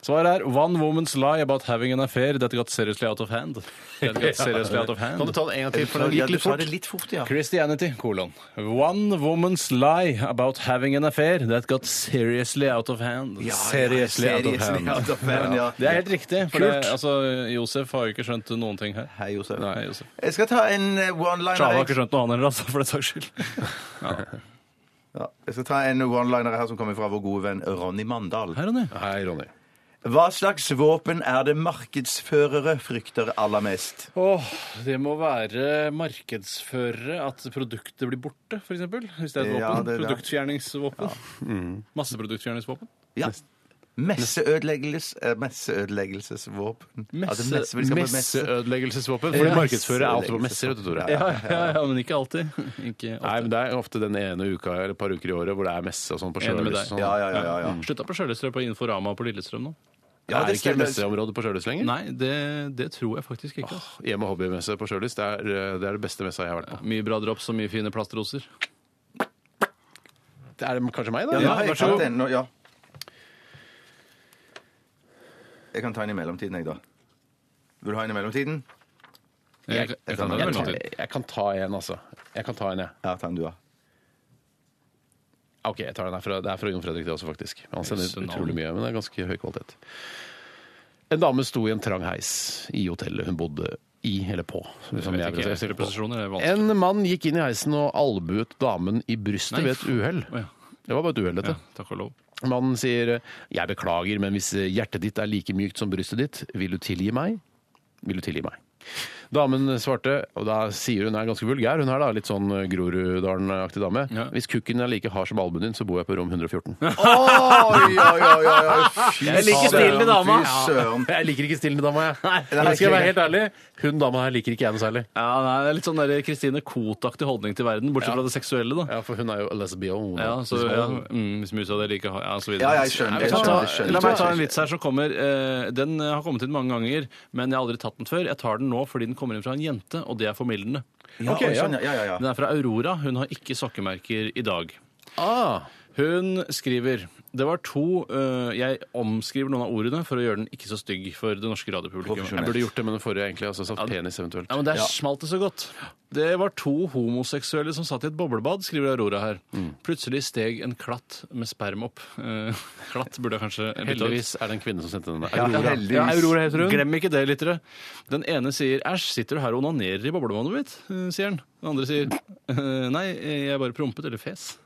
Speaker 4: Svaret er One Woman's Lie About Having an Affair That Got Seriously Out of Hand. That got seriously out of
Speaker 3: Kan du
Speaker 4: hand.
Speaker 3: ta den en gang til, for
Speaker 2: Ja,
Speaker 3: den gikk
Speaker 2: du
Speaker 3: litt
Speaker 2: sa
Speaker 3: fort?
Speaker 2: det litt fort, ja.
Speaker 4: Christianity, kolon. One woman's lie about having an affair that got seriously out of hand.
Speaker 2: Ja, ja,
Speaker 4: seriously out of hand.
Speaker 2: seriously out of hand, ja.
Speaker 4: Det er helt riktig. For det, altså, Josef har jo ikke skjønt noen ting her.
Speaker 2: Hei, Josef.
Speaker 4: Nei, Josef.
Speaker 2: Jeg skal ta en eh, one-liner.
Speaker 4: Sjava har
Speaker 2: jeg.
Speaker 4: ikke skjønt noe annet heller, altså, for den saks skyld.
Speaker 2: Ja, jeg skal ta en one-liner her som kommer fra vår gode venn Ronny Mandal.
Speaker 4: Her, Ronny.
Speaker 3: Hei, Ronny.
Speaker 2: Hva slags våpen er det markedsførere frykter aller mest?
Speaker 4: Åh, det må være markedsførere at produktet blir borte, f.eks. Hvis det er et
Speaker 2: Ja,
Speaker 4: våpen.
Speaker 2: det Mm. er det.
Speaker 4: Produktfjerningsvåpen. Masseproduktfjerningsvåpen.
Speaker 2: Ja. Messeødeleggelses, eh, messeødeleggelsesvåpen. Altså, messe- vi skal på messe.
Speaker 3: Messeødeleggelsesvåpen. Fordi
Speaker 2: Ja.
Speaker 3: markedsfører er alltid på messer, vet du, Tore.
Speaker 4: Ja, ja, ja, men ikke alltid.
Speaker 3: Nei,
Speaker 4: Ikke alltid.
Speaker 3: men Det er ofte den ene uka eller et par uker i året hvor det er messe og sånn på
Speaker 4: Enig med
Speaker 3: Sjøløs.
Speaker 4: deg.
Speaker 3: og sånn.
Speaker 2: Ja, ja, ja. ja, ja.
Speaker 4: Slutta Mm. på Sjølestrøm på Inforama på Lillestrøm nå?
Speaker 2: ja
Speaker 3: det er ikke
Speaker 2: stemmer.
Speaker 3: messeområde på Sjøløs lenger.
Speaker 4: Nei, det, det tror jeg faktisk ikke. Altså.
Speaker 3: Hjemme- og hobbymesse på Sjøløs, det, er, eh, det er det beste messa jeg har vært på.
Speaker 4: Mye bra drops og mye fine plastroser.
Speaker 3: Det er kanskje meg, da?
Speaker 2: Ja, nå har
Speaker 3: vær
Speaker 2: jeg
Speaker 3: så
Speaker 2: tatt
Speaker 3: god.
Speaker 2: en. Nå, ja. Jeg kan ta en i mellomtiden, jeg, da. Vil du ha en i mellomtiden?
Speaker 4: Jeg, jeg, kan ta det
Speaker 3: Jeg
Speaker 4: vel
Speaker 3: kan,
Speaker 4: til.
Speaker 3: jeg kan ta en, altså. Jeg kan ta en, jeg.
Speaker 2: Ja, ta en du, da.
Speaker 3: Ok, jeg tar den her fra, Det er fra Jon Fredrik, det også, faktisk. Han sender
Speaker 4: Jøsse navn.
Speaker 3: utrolig mye, men det er ganske høy kvalitet. En dame sto i en trang heis i hotellet hun bodde i, eller på. Som
Speaker 4: vet
Speaker 3: jeg
Speaker 4: ikke,
Speaker 3: vil si.
Speaker 4: jeg stiller posisjoner, det er vanskelig.
Speaker 3: En mann gikk inn i heisen og albuet damen i brystet
Speaker 4: Nei,
Speaker 3: ved et uhell.
Speaker 4: Å, ja.
Speaker 3: Det var bare et uhell, dette.
Speaker 4: Ja, takk og lov.
Speaker 3: Mannen sier 'jeg beklager, men hvis hjertet ditt er like mykt som brystet ditt, vil du tilgi meg?' Vil du tilgi meg? Damen svarte, og da sier hun er ganske vulgær, hun er da litt sånn Groruddalen-aktig dame.
Speaker 4: Ja.
Speaker 3: Hvis kukken er like hard som albuen din, så bor jeg på rom 114.
Speaker 2: Oi, oi, oi, oi, oi. Fy
Speaker 3: Jeg
Speaker 2: søren,
Speaker 3: liker stilen i dama.
Speaker 2: Fy søren.
Speaker 3: Jeg liker ikke stilen til dama, jeg.
Speaker 2: Nei,
Speaker 3: Men skal jeg være helt ærlig, hun dama her liker ikke jeg noe særlig.
Speaker 4: Ja, nei, det er Litt sånn der Kristine Koht-aktig holdning til verden, bortsett fra det seksuelle, da.
Speaker 3: Ja, for hun er jo lesbian.
Speaker 4: Ja, så, ja, mm, hvis musa di liker ja, og så videre.
Speaker 2: Ja, jeg skjønner, jeg
Speaker 4: Nei,
Speaker 2: skjønner,
Speaker 4: men ta-
Speaker 2: jeg skjønner.
Speaker 4: La meg ta en vits her som kommer. eh, Den eh, har kommet inn mange ganger, men jeg har aldri tatt den før. Jeg tar den nå fordi den kommer inn fra en jente, og det er formildende.
Speaker 2: Ja,
Speaker 3: Ok,
Speaker 2: oi, sånn, ja, ja, ja.
Speaker 4: Den er fra Aurora. Hun har ikke sokkemerker i dag.
Speaker 3: Ah,
Speaker 4: Hun skriver Det var to eh, Jeg omskriver noen av ordene for å gjøre den ikke så stygg for det norske radiopublikummet.
Speaker 2: Profesjonelt.
Speaker 3: Jeg burde gjort det med den forrige, egentlig. Altså sagt penis, eventuelt.
Speaker 4: Ja, men Der smalt det så godt. Det var to homoseksuelle som satt i et boblebad, skriver Aurora her.
Speaker 2: Mm.
Speaker 4: Plutselig steg en klatt med sperm opp. Eh, klatt burde jeg kanskje bytte ut.
Speaker 3: Heldigvis er det en kvinne som sendte den.
Speaker 2: Ja,
Speaker 3: Aurora.
Speaker 2: heldigvis.
Speaker 4: Ja, Aurora heter hun. Glem ikke det, lyttere. Den ene sier 'æsj, sitter du her og onanerer i boblevannet mitt?' eh, sier han. Den andre sier «Eh, 'nei, jeg bare prompet eller fes'.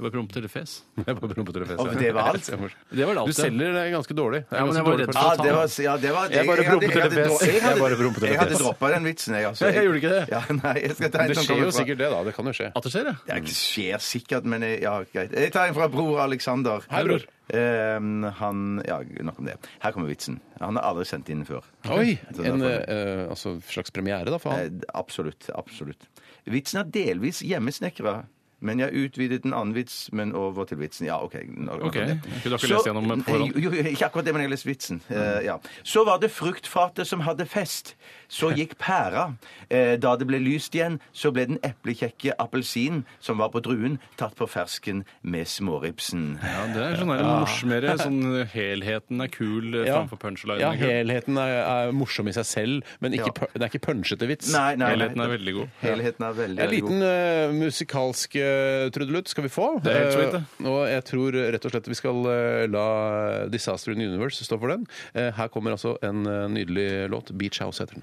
Speaker 4: Jeg bare prompet eller fes.
Speaker 3: Jeg bare promper til det fjeset.
Speaker 2: Og det var alt?
Speaker 4: Det var det
Speaker 3: Du
Speaker 4: alt. ja.
Speaker 3: selger det ganske dårlig. Det er
Speaker 4: Ja, men
Speaker 3: ganske
Speaker 4: jeg var
Speaker 3: dårlig
Speaker 4: redd
Speaker 3: for-
Speaker 2: Ja,
Speaker 4: for at
Speaker 2: det var, ja, det var
Speaker 3: Jeg bare
Speaker 2: hadde-
Speaker 3: prompet
Speaker 2: hadde-
Speaker 3: til det fjes.
Speaker 2: jeg hadde-
Speaker 3: Jeg bare prompet til det
Speaker 2: Jeg hadde
Speaker 3: fjes.
Speaker 2: droppa den vitsen, jeg. Altså.
Speaker 4: Ja, jeg gjorde ikke det.
Speaker 2: Ja, nei, jeg skal ta en
Speaker 3: Det
Speaker 2: som
Speaker 3: skjer
Speaker 2: kommer
Speaker 3: jo
Speaker 2: fra
Speaker 3: sikkert det, da. Det kan jo skje.
Speaker 4: At det skjer, ja.
Speaker 2: Ja, Det skjer sikkert, men jeg- ja, greit. Jeg tar en fra bror Alexander.
Speaker 4: Hei, bror.
Speaker 2: Ehm, han Ja, nok om det. Her kommer vitsen. Han har aldri sendt inn før.
Speaker 3: Oi!
Speaker 2: Så
Speaker 3: En
Speaker 2: derfor-
Speaker 3: eh, altså, slags premiere, da, for
Speaker 2: Eh,
Speaker 3: han.
Speaker 2: Absolutt. Absolutt. Vitsen er delvis hjemmesnekra. Men jeg utvidet en annen vits, men over til vitsen. Ja, OK. nok om
Speaker 4: Ok.
Speaker 2: det.
Speaker 4: Kunne du ikke
Speaker 2: Så-
Speaker 4: lest gjennom på forhånd?
Speaker 2: Jo, jo, ikke akkurat det, men jeg har lest vitsen. Eh, ja. Så var det fruktfatet som hadde fest. Så gikk pæra. Eh, da det ble lyst igjen, så ble den eplekjekke appelsin som var på druen, tatt på fersken med småribsen.
Speaker 4: Ja, det er sånn der morsommere. Sånn helheten er kul eh,
Speaker 3: Ja.
Speaker 4: framfor punchlinen.
Speaker 3: Ja,
Speaker 4: er kul.
Speaker 3: helheten er, er morsom i seg selv, men ikke,
Speaker 2: Ja.
Speaker 3: pu- den er ikke punchete vits.
Speaker 2: Nei, nei, nei.
Speaker 4: Helheten er veldig god.
Speaker 2: Helheten er veldig,
Speaker 3: En
Speaker 2: veldig god.
Speaker 3: liten eh, musikalsk eh, trudelutt skal vi få.
Speaker 4: Det er helt sweet, det.
Speaker 3: Eh, og jeg tror rett og slett vi skal eh, la Disaster in the Universe stå for den. Eh, her kommer altså en eh, nydelig låt. Beach House heter den.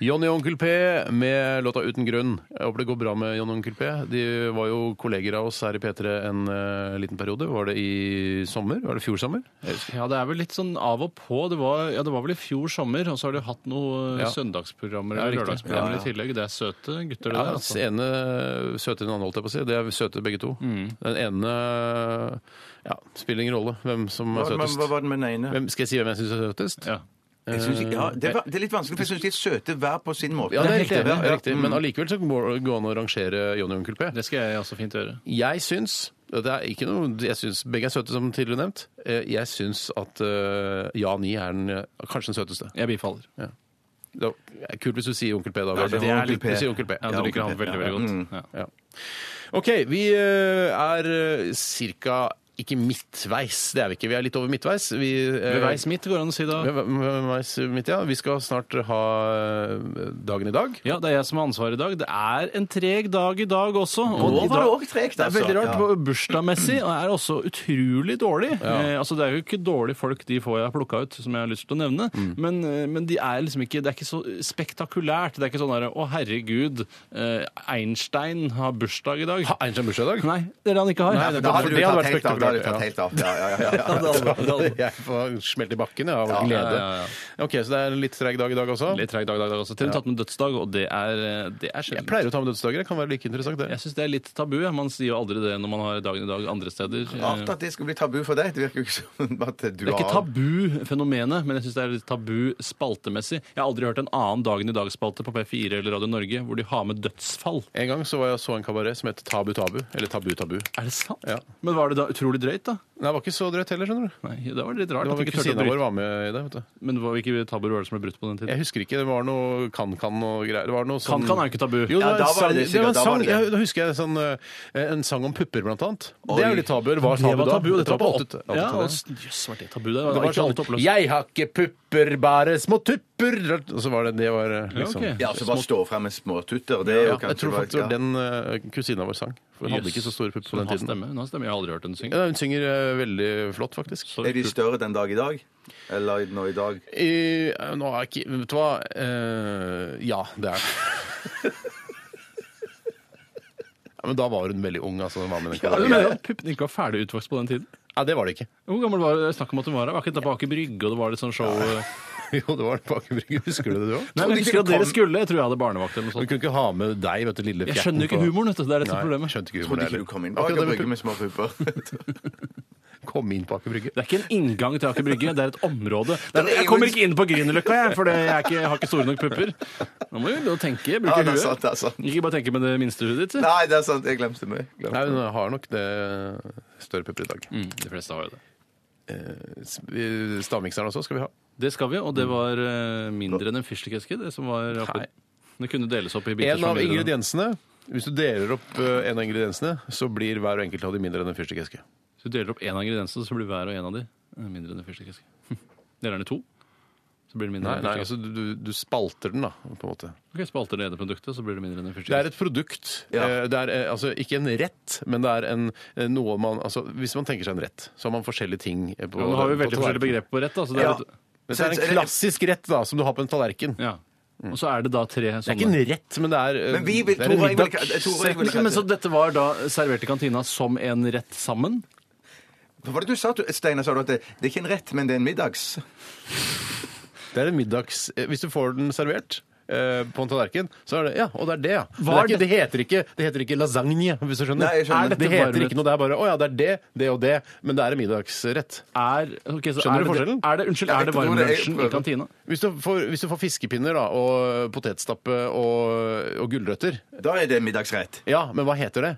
Speaker 3: Johnny og Onkel P med låta 'Uten grunn'. Jeg håper det går bra med Johnny og Onkel P. De var jo kolleger av oss her i P3 en eh, liten periode. Var det i sommer? Var det fjor sommer?
Speaker 4: Ja, det er vel litt sånn av og på. Det var, ja, det var vel i fjor sommer, og så har de hatt noen
Speaker 3: Ja.
Speaker 4: søndagsprogrammer
Speaker 3: Ja,
Speaker 4: eller
Speaker 3: riktig. Ja,
Speaker 4: lørdagsprogrammer
Speaker 3: ja.
Speaker 4: i tillegg. Det er søte gutter, det
Speaker 3: Ja,
Speaker 4: der.
Speaker 3: altså.
Speaker 4: Altså.
Speaker 3: ene søte enn den andre, holdt jeg på å si. Det er søte begge to. Den ene ja, spiller ingen rolle hvem som er
Speaker 2: Hva, men,
Speaker 3: søtest.
Speaker 2: hva var det med den ene?
Speaker 3: Hvem, skal jeg si hvem jeg syns er søtest? Eh,
Speaker 4: Ja.
Speaker 2: Jeg synes ikke- Ja, det, var, det er litt vanskelig, for jeg syns de er søte hver på sin måte.
Speaker 3: Ja, det er riktig.
Speaker 2: Ja,
Speaker 3: Ja,
Speaker 2: ja. Mm.
Speaker 3: riktig. Men allikevel så må det gå an å rangere Jonny og Onkel P.
Speaker 4: Det skal jeg også fint gjøre.
Speaker 3: Jeg syns det er ikke noe, jeg synes, Begge er søte, som tidligere nevnt. Eh, Jeg syns at eh, Jan I er den, eh, kanskje den søteste.
Speaker 4: Jeg bifaller.
Speaker 3: Det er kult hvis du sier Onkel P da.
Speaker 2: Ja, det
Speaker 3: Bjarte.
Speaker 2: er Onkel P.
Speaker 3: Du sier Onkel P.
Speaker 4: Ja, du
Speaker 2: Ja,
Speaker 4: liker han
Speaker 2: ok.
Speaker 4: veldig,
Speaker 2: Ja,
Speaker 4: veldig godt. Ja.
Speaker 3: Ja. OK, vi eh, er ca. ikke midtveis. Det er vi ikke. Vi er litt over midtveis. Vi, eh,
Speaker 4: Ved veis mitt går det an å si da.
Speaker 3: Ved ve- ved veis midt, ja. Vi skal snart ha eh, dagen i dag.
Speaker 4: Ja, det er jeg som har ansvaret i dag. Det er en treg dag i dag også. Og
Speaker 2: Nå
Speaker 4: i
Speaker 2: var det
Speaker 4: dag-
Speaker 2: òg tregt,
Speaker 4: Det er
Speaker 2: altså.
Speaker 4: veldig rart.
Speaker 2: Ja.
Speaker 4: Bursdagsmessig og er også utrolig dårlig. Eh, altså, det er jo ikke dårlige folk, de få jeg har plukka ut, som jeg har lyst til å nevne. Men, eh, men de er liksom ikke, det er ikke så spektakulært. Det er ikke sånn derre Å, herregud, eh, Einstein har bursdag i dag.
Speaker 3: Har Einstein bursdag i dag?
Speaker 4: Nei, det er det han ikke har.
Speaker 3: Nei, det
Speaker 2: Da
Speaker 3: er
Speaker 2: hadde du
Speaker 3: Det hadde
Speaker 2: tatt
Speaker 3: vært
Speaker 2: helt av. Da hadde du
Speaker 3: spektakulært,
Speaker 2: tatt helt av. Ja, ja, ja, ja.
Speaker 3: Jeg får smelt i bakken jeg, av
Speaker 2: Ja,
Speaker 3: glede.
Speaker 4: ja, ja,
Speaker 3: OK, så det er en litt treg dag i dag også.
Speaker 4: Litt treg dag i dag også. Til og med tatt med dødsdag, og det er, eh, det er
Speaker 3: Jeg
Speaker 4: sjelden.
Speaker 3: pleier å ta med dødsdager. Det kan være like interessant, det.
Speaker 4: Jeg syns det er litt tabu. ja. Man sier jo aldri det når man har dagen i dag andre steder. Eh,
Speaker 2: Rart at det skulle bli tabu for deg. Det virker jo ikke som at du
Speaker 4: Det er ikke
Speaker 2: har
Speaker 4: tabu-fenomenet, men jeg synes det er litt tabu spaltemessig. Jeg har aldri hørt en annen Dagen i dag-spalte på P4 eller Radio Norge hvor de har med dødsfall.
Speaker 3: En gang så var jeg og så en kabaret som het Tabu Tabu. Eller Tabu Tabu.
Speaker 4: Er det sant?
Speaker 3: Ja.
Speaker 4: Men var det da utrolig drøyt, da?
Speaker 3: Nei, det var ikke så drøyt heller, skjønner du.
Speaker 4: Nei, det var litt rart.
Speaker 3: Det
Speaker 4: at
Speaker 3: var
Speaker 4: vi
Speaker 3: vel
Speaker 4: ikke turte å
Speaker 3: Kusina
Speaker 4: bryte-
Speaker 3: vår var med i det. vet du.
Speaker 4: Men det var ikke tabuer var det som ble brutt på den tiden?
Speaker 3: Jeg husker ikke. Det var noe kan-kan og greier. Det var noe sånn...
Speaker 4: Kan-kan er jo ikke tabu.
Speaker 3: Jo, det
Speaker 2: Ja,
Speaker 3: var
Speaker 2: da
Speaker 3: en
Speaker 2: var
Speaker 3: sang,
Speaker 2: det
Speaker 3: det
Speaker 2: det,
Speaker 3: var
Speaker 2: sikkert.
Speaker 3: en
Speaker 2: Da var
Speaker 3: sang,
Speaker 2: det det.
Speaker 3: jeg, da husker jeg sånn, eh, en sang om pupper, blant annet. Det er jo
Speaker 2: Oi.
Speaker 3: litt tabu. Det var tabu,
Speaker 4: det var
Speaker 3: da.
Speaker 4: tabu, og det
Speaker 3: var på
Speaker 4: åtte-
Speaker 3: åtte- åttetallet.
Speaker 4: Ja, og s- jøss, var det tabu der?
Speaker 3: Det var
Speaker 4: ikke alle
Speaker 3: sånn
Speaker 4: toppløs.
Speaker 3: Jeg har ikke pupper, bare små tupper. Og så var det det var eh, liksom
Speaker 4: ok.
Speaker 2: Ja, så bare stå frem med småtutter. Det er jo
Speaker 3: Ja, Jeg
Speaker 2: kanskje
Speaker 3: tror
Speaker 2: bare-
Speaker 3: faktisk det
Speaker 2: ja.
Speaker 3: var den eh, kusina vår sang. For hun hadde ikke så store pupper på
Speaker 4: Hun
Speaker 3: den
Speaker 4: har
Speaker 3: tiden.
Speaker 4: Stemme. Hun har stemme. Jeg har aldri hørt henne synge.
Speaker 3: Sånn Ja, hun synger eh, veldig flott, faktisk.
Speaker 4: Så
Speaker 2: Er de
Speaker 4: kult.
Speaker 2: større den dag i dag? Eller nå i dag?
Speaker 3: I, eh, nå er ikke Vet du hva? Eh, ja, det er det. Ja, men da var hun veldig ung, altså. Hun var med den
Speaker 4: Du
Speaker 3: kolonien.
Speaker 4: mener at puppene ikke var ferdig utvokst på den tiden?
Speaker 3: Nei, det var det ikke.
Speaker 4: Hvor gammel var det snakk om at hun var? her? Var ikke dette på Aker Brygge, og det var litt sånn show
Speaker 3: Jo, det var det på Aker Brygge. Husker du det, du òg?
Speaker 4: Nei, men jeg husker at dere skulle. Jeg tror jeg hadde barnevakt eller noe
Speaker 3: Hun
Speaker 4: sånt.
Speaker 3: kunne ikke ha med deg, vet du, lille
Speaker 4: Jeg skjønner ikke humoren, vet du. Det er det som er
Speaker 3: Nei,
Speaker 4: problemet.
Speaker 3: skjønte ikke
Speaker 2: Trodde
Speaker 3: humoren
Speaker 2: ikke
Speaker 3: heller.
Speaker 2: du kom inn bak
Speaker 3: Akkurat
Speaker 2: og
Speaker 3: det med
Speaker 2: brygge med små pupper.
Speaker 3: pupp- Kom inn på Aker Brygge.
Speaker 4: Det er ikke en inngang til Aker Brygge, det er et område. Det er,
Speaker 2: Det er
Speaker 4: jeg
Speaker 2: jo-
Speaker 4: kommer ikke inn på Grünerløkka, jeg, for det- jeg er ikke, jeg har ikke store nok pupper. Nå må vi begynne å tenke, bruke
Speaker 2: Ja, det er sant, det er
Speaker 4: huet.
Speaker 2: sant.
Speaker 4: Ikke bare tenke med det minste huet ditt. si.
Speaker 2: Nei, det er sant. Jeg glemte meg. Glemte.
Speaker 3: Nei, hun har nok det større pupper i dag.
Speaker 4: Mm, de fleste har jo det.
Speaker 3: Eh, Stavmikseren også skal vi ha.
Speaker 4: Det skal vi, og det var eh, mindre enn en fyrstikkeske, det som var oppe.
Speaker 3: Nei.
Speaker 4: Det kunne deles opp i biter.
Speaker 3: En
Speaker 4: som
Speaker 3: av
Speaker 4: gjorde det.
Speaker 3: ingrediensene Hvis du deler opp eh, en av ingrediensene, så blir hver enkelt av de mindre enn en fyrstikkeske.
Speaker 4: Hvis du deler opp én av ingrediensene, så blir hver og en av de eh, mindre enn en fyrstikkeske. Hm. Deler den i to, så blir det mindre.
Speaker 3: Nei,
Speaker 4: enn en
Speaker 3: nei,
Speaker 4: fyrstikkeske.
Speaker 3: altså du, du- du spalter den, da, på en måte.
Speaker 4: Ok, Spalter det ene produktet, så blir det mindre enn en
Speaker 3: Det er
Speaker 4: fyrstikkeske.
Speaker 3: et produkt.
Speaker 2: Ja.
Speaker 3: Eh, Det er eh, altså ikke en rett, men det er en, eh, noe man altså, Hvis man tenker seg en rett, så har man forskjellige ting eh, på
Speaker 4: Ja, Nå har vi veldig
Speaker 3: på tallerkenen.
Speaker 4: forskjellige begrep på rett. Da, så det er
Speaker 2: Ja.
Speaker 4: et-
Speaker 3: Men det er en klassisk rett da, som du har på en tallerken.
Speaker 4: ja. Og så er det da tre
Speaker 3: Det er ikke en
Speaker 4: sånne.
Speaker 3: rett, men det er, eh,
Speaker 2: Men vi vil-
Speaker 3: det er en
Speaker 2: Tore, jeg vil
Speaker 3: middag.
Speaker 2: ikke- jeg tror jeg vil-
Speaker 4: Men, men Så dette var da servert i kantina som en rett sammen?
Speaker 2: Hva var det du sa, du- Steinar? Sa du at det, det er ikke en rett, men det er en middags?
Speaker 3: Det er en middags... eh, Hvis du får den servert eh, på en tallerken, så er det Ja, og det er det, ja. Men
Speaker 4: Var
Speaker 3: Det, er ikke, det, heter ikke, det heter ikke lasagne, hvis du skjønner.
Speaker 2: Nei, jeg skjønner.
Speaker 3: Er dette
Speaker 4: Det
Speaker 3: det
Speaker 4: bare
Speaker 3: heter
Speaker 4: et-
Speaker 3: ikke noe, det er bare Å ja, det er det, det og det, men det er en middagsrett.
Speaker 4: Er, ok,
Speaker 3: Skjønner
Speaker 4: så er
Speaker 3: du
Speaker 4: det-
Speaker 3: forskjellen?
Speaker 4: Er det, unnskyld,
Speaker 2: Ja,
Speaker 4: er
Speaker 2: jeg
Speaker 4: det
Speaker 2: tror det- jeg
Speaker 4: varmlunsjen i
Speaker 2: prøver.
Speaker 4: kantina?
Speaker 3: Hvis du får, hvis du får fiskepinner da, og potetstappe og, og gulrøtter,
Speaker 2: Da er det en middagsrett.
Speaker 3: ja, men hva heter det?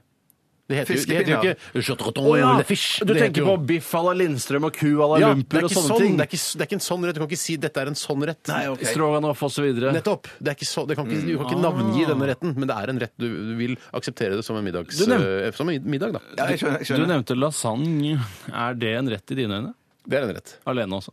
Speaker 3: Det heter, jo- det heter jo
Speaker 2: Fiskepinner.
Speaker 3: ikke chotreton
Speaker 4: Å ja,
Speaker 3: eller fish.
Speaker 4: Du
Speaker 3: Det heter
Speaker 4: tenker
Speaker 3: jo-
Speaker 4: på biff à la Lindstrøm og ku à la
Speaker 3: ja, det,
Speaker 4: Lumper
Speaker 3: er
Speaker 4: og
Speaker 3: ikke
Speaker 4: sånne
Speaker 3: sånn,
Speaker 4: ting?
Speaker 3: det, er ikke, det er ikke en sånn rett. Du kan ikke si 'dette er en sånn rett'.
Speaker 2: Nei, ok.
Speaker 4: Stroganoff osv.
Speaker 3: Nettopp. Det er ikke så, det kan ikke, du kan
Speaker 4: Mm.
Speaker 3: ikke navngi denne retten, men det er en rett du, du vil akseptere det som en, middags,
Speaker 4: Ah. Du nevn-
Speaker 3: eh, som en middag. da.
Speaker 2: Ja, jeg skjønner. Jeg
Speaker 4: Du
Speaker 2: skjønner.
Speaker 4: nevnte lasagne. Er det en rett i dine øyne?
Speaker 3: Det er en rett.
Speaker 4: Alene også.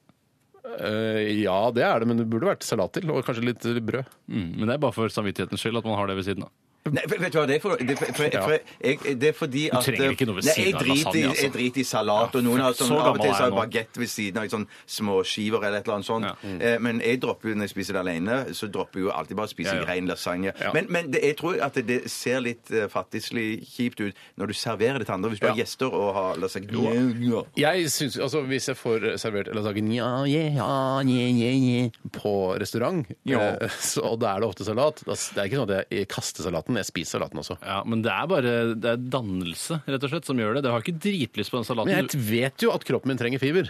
Speaker 3: Eh, ja, det er det, men det burde vært salat til, og kanskje litt brød.
Speaker 4: Mm, men det er bare for samvittighetens skyld at man har det ved siden av.
Speaker 2: Nei, vet vet du hva, det er, for, det, er for, for, for, jeg, det er fordi at
Speaker 4: trenger ikke noe ved
Speaker 2: Nei,
Speaker 4: siden
Speaker 2: jeg
Speaker 4: av
Speaker 2: driter i-
Speaker 4: lasagne, altså.
Speaker 2: Jeg driter i salat, og noen har sånn,
Speaker 4: så
Speaker 2: av og
Speaker 4: gammel
Speaker 2: til
Speaker 4: er
Speaker 2: så har jeg
Speaker 4: jeg nå.
Speaker 2: bagett ved siden av, i sånn små skiver eller et eller annet sånt.
Speaker 4: Ja. Mm.
Speaker 2: Eh, Men jeg dropper jo, når jeg spiser det alene, så dropper jeg jo alltid bare å spise
Speaker 4: Ja, ja.
Speaker 2: rein lasagne. Men, men det, jeg tror at det ser litt eh, fattigslig kjipt ut når du serverer det til andre, hvis du har gjester og har lasagne.
Speaker 3: Jeg synes, altså Hvis jeg får servert lasagne ja, yeah, ja, yeah, yeah, yeah, på restaurant,
Speaker 4: Ja.
Speaker 3: eh, så, og da er det ofte salat da, s- Det er ikke sånn at jeg kaster salaten, jeg spiser salaten også.
Speaker 4: Ja, Men det er bare det er dannelse rett og slett som gjør det. Det har ikke dritlyst på den salaten.
Speaker 3: Men jeg vet jo at kroppen min trenger fiber.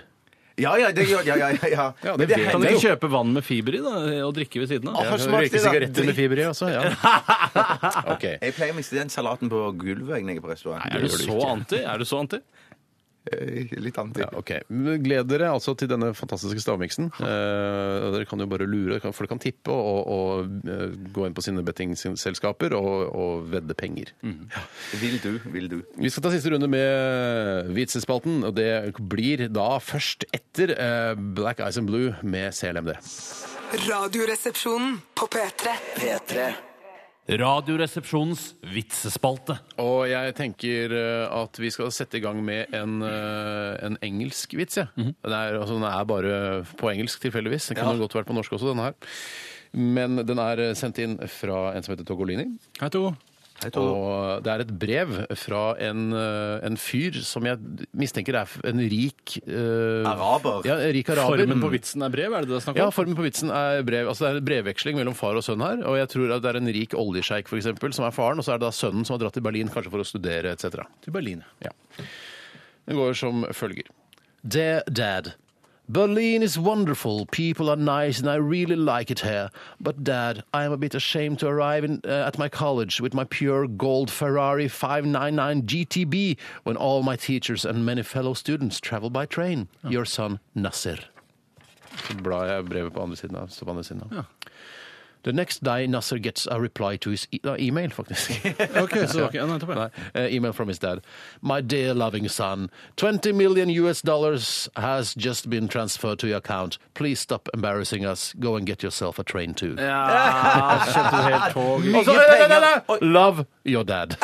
Speaker 2: Ja, ja, det gjør ja, ja, ja, ja.
Speaker 3: Ja, det
Speaker 2: Men
Speaker 3: vet
Speaker 4: Du kan
Speaker 2: hender
Speaker 4: ikke kjøpe vann med fiber i da, og drikke ved siden av.
Speaker 2: Åh, har
Speaker 3: Jeg
Speaker 2: smakt det,
Speaker 3: røyker
Speaker 2: da.
Speaker 3: sigaretter med fiber i også. Ja. Ok.
Speaker 2: Jeg pleier å miste den salaten på gulvet når jeg er på restaurant.
Speaker 4: er du så anti? Er du så anti?
Speaker 2: Eh, Litt annet.
Speaker 3: Ja, ok. Men Gled dere altså til denne fantastiske stavmiksen. Eh, dere kan jo bare lure, dere kan- folk kan tippe og, og eh, gå inn på sine bettingselskaper og, og vedde penger.
Speaker 2: Vil du, vil du.
Speaker 3: Vi skal ta siste runde med vitsespalten, og det blir da først etter eh, Black Ice and Blue med CLMD.
Speaker 5: Radioresepsjonen på P3. P3.
Speaker 6: Radioresepsjonens vitsespalte.
Speaker 3: Og jeg tenker eh, at vi skal sette i gang med en, eh, en engelsk vits, jeg.
Speaker 4: Mhm.
Speaker 3: Den er- altså, den er bare på engelsk tilfeldigvis. Den kunne godt vært på norsk også, denne her. Men den er eh, sendt inn fra en som heter Togolini.
Speaker 4: Hei, Togo.
Speaker 3: Og det er et brev fra en, eh, en fyr som jeg mistenker er en rik eh,
Speaker 2: Araber.
Speaker 3: Ja, en rik araber.
Speaker 4: Formen på vitsen er brev, er det det det er snakk om?
Speaker 3: Ja, formen på vitsen er brev. Altså Det er en brevveksling mellom far og sønn her. Og jeg tror at det er en rik oljesjeik for eksempel, som er faren, og så er det da sønnen som har dratt til Berlin kanskje for å studere etc.
Speaker 4: til Berlin.
Speaker 3: Ja. Den går som følger. Dear Dad. Berlin is wonderful. People are nice, and I really like it here. But, Dad, I am a bit ashamed to arrive in, uh, at my college with my pure gold Ferrari 599 GTB when all my teachers and many fellow students travel by train. Your son, Nasser. Så blar jeg brevet på andre siden av. står på andre siden av. The next day, Nasser gets a reply to his e- uh, email, faktisk.
Speaker 4: Ok, så ok, ja, nettopp, ja.
Speaker 3: Nei, eh, email from his dad. My dear loving son, 20 million US dollars has just been transferred to your account. Please stop embarrassing us. Go and get yourself a train too.
Speaker 4: Ja, skjønte du helt toget.
Speaker 3: Og så-
Speaker 2: Mye penger.
Speaker 3: nei, nei, nei. Love your dad.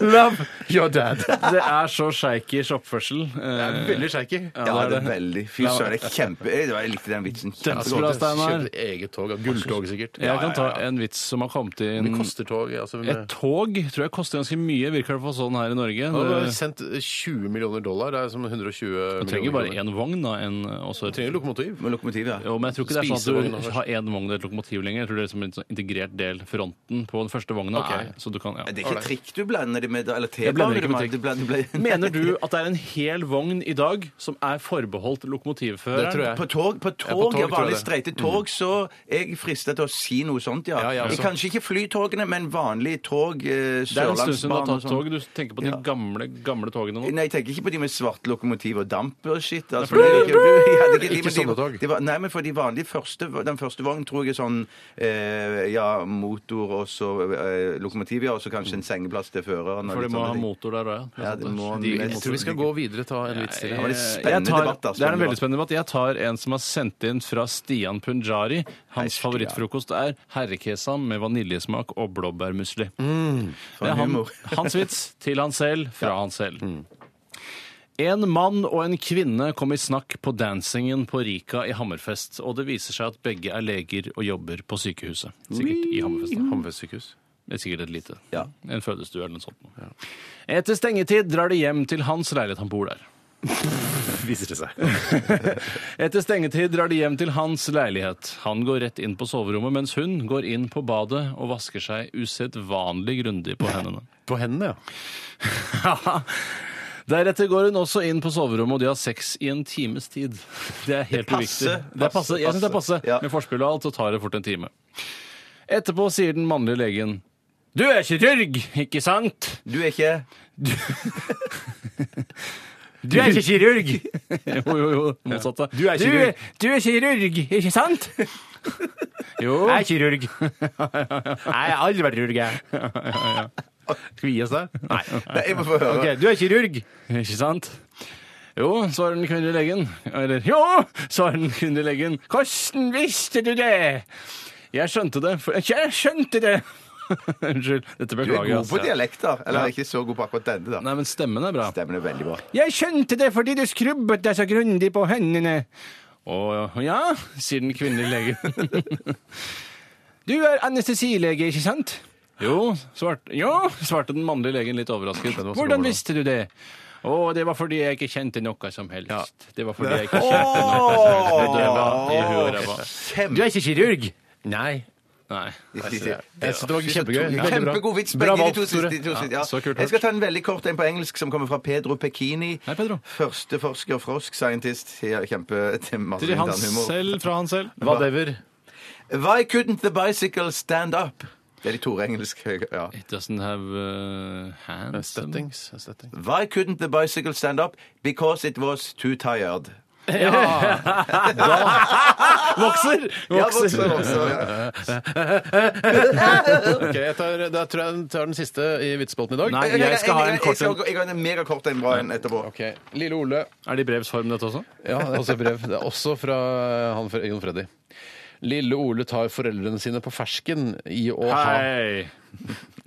Speaker 3: Love your dad.
Speaker 4: Det er så sjeikers oppførsel. Eh,
Speaker 3: Veldig shaky.
Speaker 2: Ja, det er veldig. Fy søren, det er kjempe... Jeg jeg likte den vitsen
Speaker 4: Bra,
Speaker 2: kjempegodt.
Speaker 4: Steinar.
Speaker 3: Kjøpte eget tog. av Gulltog, sikkert.
Speaker 4: Jeg kan ta en vits som har kommet inn.
Speaker 3: Det koster tog, altså.
Speaker 4: Et
Speaker 3: Med,
Speaker 4: tog tror jeg koster ganske mye, virker det for sånn her i Norge.
Speaker 3: Nå har
Speaker 4: Det-
Speaker 3: vi sendt 20 millioner dollar. Det er som 120 millioner
Speaker 4: Du trenger bare
Speaker 3: kroner.
Speaker 4: én vogn, da. En, også,
Speaker 3: Trenger lokomotiv.
Speaker 2: Med lokomotivet, ja.
Speaker 4: jo, men jeg tror ikke det er sånn
Speaker 3: Spisevogn
Speaker 4: at
Speaker 3: også.
Speaker 4: du har én vogn og et lokomotiv lenger. Jeg tror det er liksom en sånn integrert del, fronten, på den første vogna.
Speaker 3: Ok.
Speaker 4: Er, så du kan, ja.
Speaker 2: Det er ikke trikk du blander det med, da, eller
Speaker 4: Jeg blander
Speaker 2: T-bane.
Speaker 4: ikke
Speaker 2: du
Speaker 4: med
Speaker 2: blander-
Speaker 4: trikk.
Speaker 2: blander- blander-
Speaker 4: Mener du at det er en hel vogn i dag som er forbeholdt lokomotivføreren?
Speaker 3: Det tror jeg.
Speaker 2: På tog, på
Speaker 3: på tog
Speaker 2: tog, ja,
Speaker 3: tror jeg
Speaker 2: vanlig
Speaker 3: det.
Speaker 4: Mm.
Speaker 2: streite tog, så så jeg frista til å si noe sånt, ja.
Speaker 3: Ja, jeg også.
Speaker 2: Kanskje ikke flytogene, men vanlige tog. eh,
Speaker 4: altså. Det er en stund siden du har
Speaker 2: Sørlandsbanen og
Speaker 4: tatt
Speaker 2: sånn.
Speaker 4: tog. Du tenker på de
Speaker 2: Ja.
Speaker 4: gamle, gamle togene nå.
Speaker 2: Nei, jeg tenker ikke på de med svart lokomotiv og damp og shit. Altså,
Speaker 4: for det-
Speaker 2: Men det er ikke- ja, det er de,
Speaker 3: Ikke
Speaker 2: men de-
Speaker 3: sånne tog.
Speaker 2: de var- nei, men for de vanlige første, den første vognen tror jeg er sånn eh, ja, motor og så eh, lokomotiv, ja, og så kanskje en sengeplass til føreren. og
Speaker 4: For
Speaker 2: litt
Speaker 4: de må
Speaker 2: sånne
Speaker 4: ha
Speaker 2: ting.
Speaker 4: motor der òg, ja.
Speaker 2: Ja, det må-
Speaker 4: De-
Speaker 2: jeg
Speaker 3: altså, Jeg tror vi skal gå videre ta en vits til.
Speaker 2: Det var litt spennende
Speaker 4: eh, Jeg tar,
Speaker 2: debatt, altså,
Speaker 4: det er en
Speaker 2: om
Speaker 4: veldig spennende debatt. Jeg tar en som er sendt inn fra Stian Punjari.
Speaker 2: Nei,
Speaker 4: Hans
Speaker 2: Stian.
Speaker 4: favorittfrokost er herrekesam med vaniljesmak og blåbærmusli. Det
Speaker 2: en
Speaker 4: er han,
Speaker 2: Mm, humor. Mm.
Speaker 4: hans vits til han selv fra han selv. En mann og en kvinne kom i snakk på dansingen på Rika i Hammerfest, og det viser seg at begge er leger og jobber på sykehuset. Sikkert i Hammerfest. da.
Speaker 3: Hammerfest sykehus.
Speaker 4: Det er sikkert et lite.
Speaker 2: Ja.
Speaker 4: En fødestue eller noe sånt. Etter stengetid drar de hjem til hans leilighet. Han bor der.
Speaker 3: Viser det seg.
Speaker 4: Etter stengetid drar de hjem til hans leilighet. Han går rett inn på soverommet, mens hun går inn på badet og vasker seg usedvanlig grundig på hendene.
Speaker 3: På hendene, ja.
Speaker 4: Deretter går hun også inn på soverommet, og de har sex i en times tid. Det er helt
Speaker 2: Det er
Speaker 4: uviktig.
Speaker 2: passe.
Speaker 4: Det er passe. Jeg syns det er passe.
Speaker 2: Ja.
Speaker 4: Med forspill og alt så tar det fort en time. Etterpå sier den mannlige legen Du er kirurg, ikke sant?
Speaker 2: Du er ikke
Speaker 4: Du er ikke kirurg! jo, jo, jo. Motsatte.
Speaker 3: Du er kirurg.
Speaker 4: Du, er kirurg, ikke sant? jo.
Speaker 3: Jeg er kirurg. Jeg har aldri vært kirurg, jeg. Skal vi gi oss der? Nei.
Speaker 2: Nei, jeg må få høre.
Speaker 3: Ok, du er kirurg.
Speaker 4: Ikke sant? Jo, svarer den kvinnelige legen. Eller jo, svarer den kvinnelige legen. Hvordan visste du det? Jeg skjønte det. For, jeg skjønte det! Unnskyld. Dette
Speaker 2: Du er
Speaker 4: beklager
Speaker 2: god på
Speaker 4: altså.
Speaker 2: dialekter. Eller ikke så god på akkurat denne, da.
Speaker 4: Nei, men stemmen er bra.
Speaker 2: Stemmen er veldig bra.
Speaker 4: Jeg skjønte det fordi du skrubbet deg så grundig på hendene. Å ja, sier den kvinnelige legen. du er anestesilege, ikke sant? Jo, svarte, jo, svarte den mannlige legen litt overrasket. Hvordan visste du det? Å, det var fordi jeg ikke kjente noe som helst. Det var fordi jeg ikke kjente noe som helst. Det var i huet og ræva.
Speaker 3: Du er ikke kirurg. Nei.
Speaker 4: Nei.
Speaker 3: Jeg synes det var kjempegøy. Veldig bra.
Speaker 2: Kjempegod vits.
Speaker 3: Bra
Speaker 2: Begge de
Speaker 3: valgt,
Speaker 2: to
Speaker 3: Tore.
Speaker 2: siste. de to siste,
Speaker 4: Ja, så
Speaker 2: Ja.
Speaker 4: kult hørt.
Speaker 2: Jeg skal ta en veldig kort en på engelsk som kommer fra Pedro Pekini.
Speaker 4: Hei, Pedro.
Speaker 2: Førsteforsker, frosk, scientist. Ja, Kjempe til masse
Speaker 4: Til han
Speaker 2: internhumor.
Speaker 4: selv, fra han selv.
Speaker 3: Whatever.
Speaker 2: Why couldn't the bicycle stand up? Det er de Tore engelsk. Ja.
Speaker 4: It doesn't have uh, hands.
Speaker 3: Støttings. Støtting.
Speaker 2: Why couldn't the bicycle stand up? Because it was too tired.
Speaker 4: Vokser! Vokser.
Speaker 2: vokser, vokser, ja.
Speaker 3: Ok, jeg tar, da tror jeg jeg tar den siste i vitsespalten i dag.
Speaker 4: Nei, jeg skal ha en
Speaker 2: Jeg
Speaker 4: kort
Speaker 2: skal
Speaker 4: en.
Speaker 2: gå- Jeg har en megakort en bra en etterpå.
Speaker 3: Ok, Lille Ole.
Speaker 4: Er det i brevs form, dette også?
Speaker 3: Ja, det er også et brev. Det er også fra han fra Jon Freddy. Lille Ole tar foreldrene sine på fersken i å ha
Speaker 4: Hei!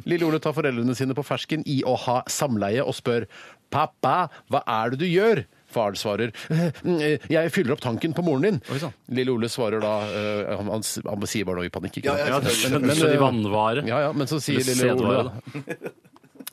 Speaker 3: Lille Ole tar foreldrene sine på fersken i å ha samleie og spør Pappa, hva er det du gjør? Far svarer «Eh, jeg fyller opp tanken på moren din.
Speaker 4: Oi, sånn. sann.
Speaker 3: Lille Ole svarer da eh, han, han, han sier bare noe i panikk. ikke sant?
Speaker 4: Ja, men, men, i vannvare.
Speaker 3: Ja, ja, men så sier
Speaker 4: Eller
Speaker 3: Lille Ole
Speaker 4: sædvare,
Speaker 3: da.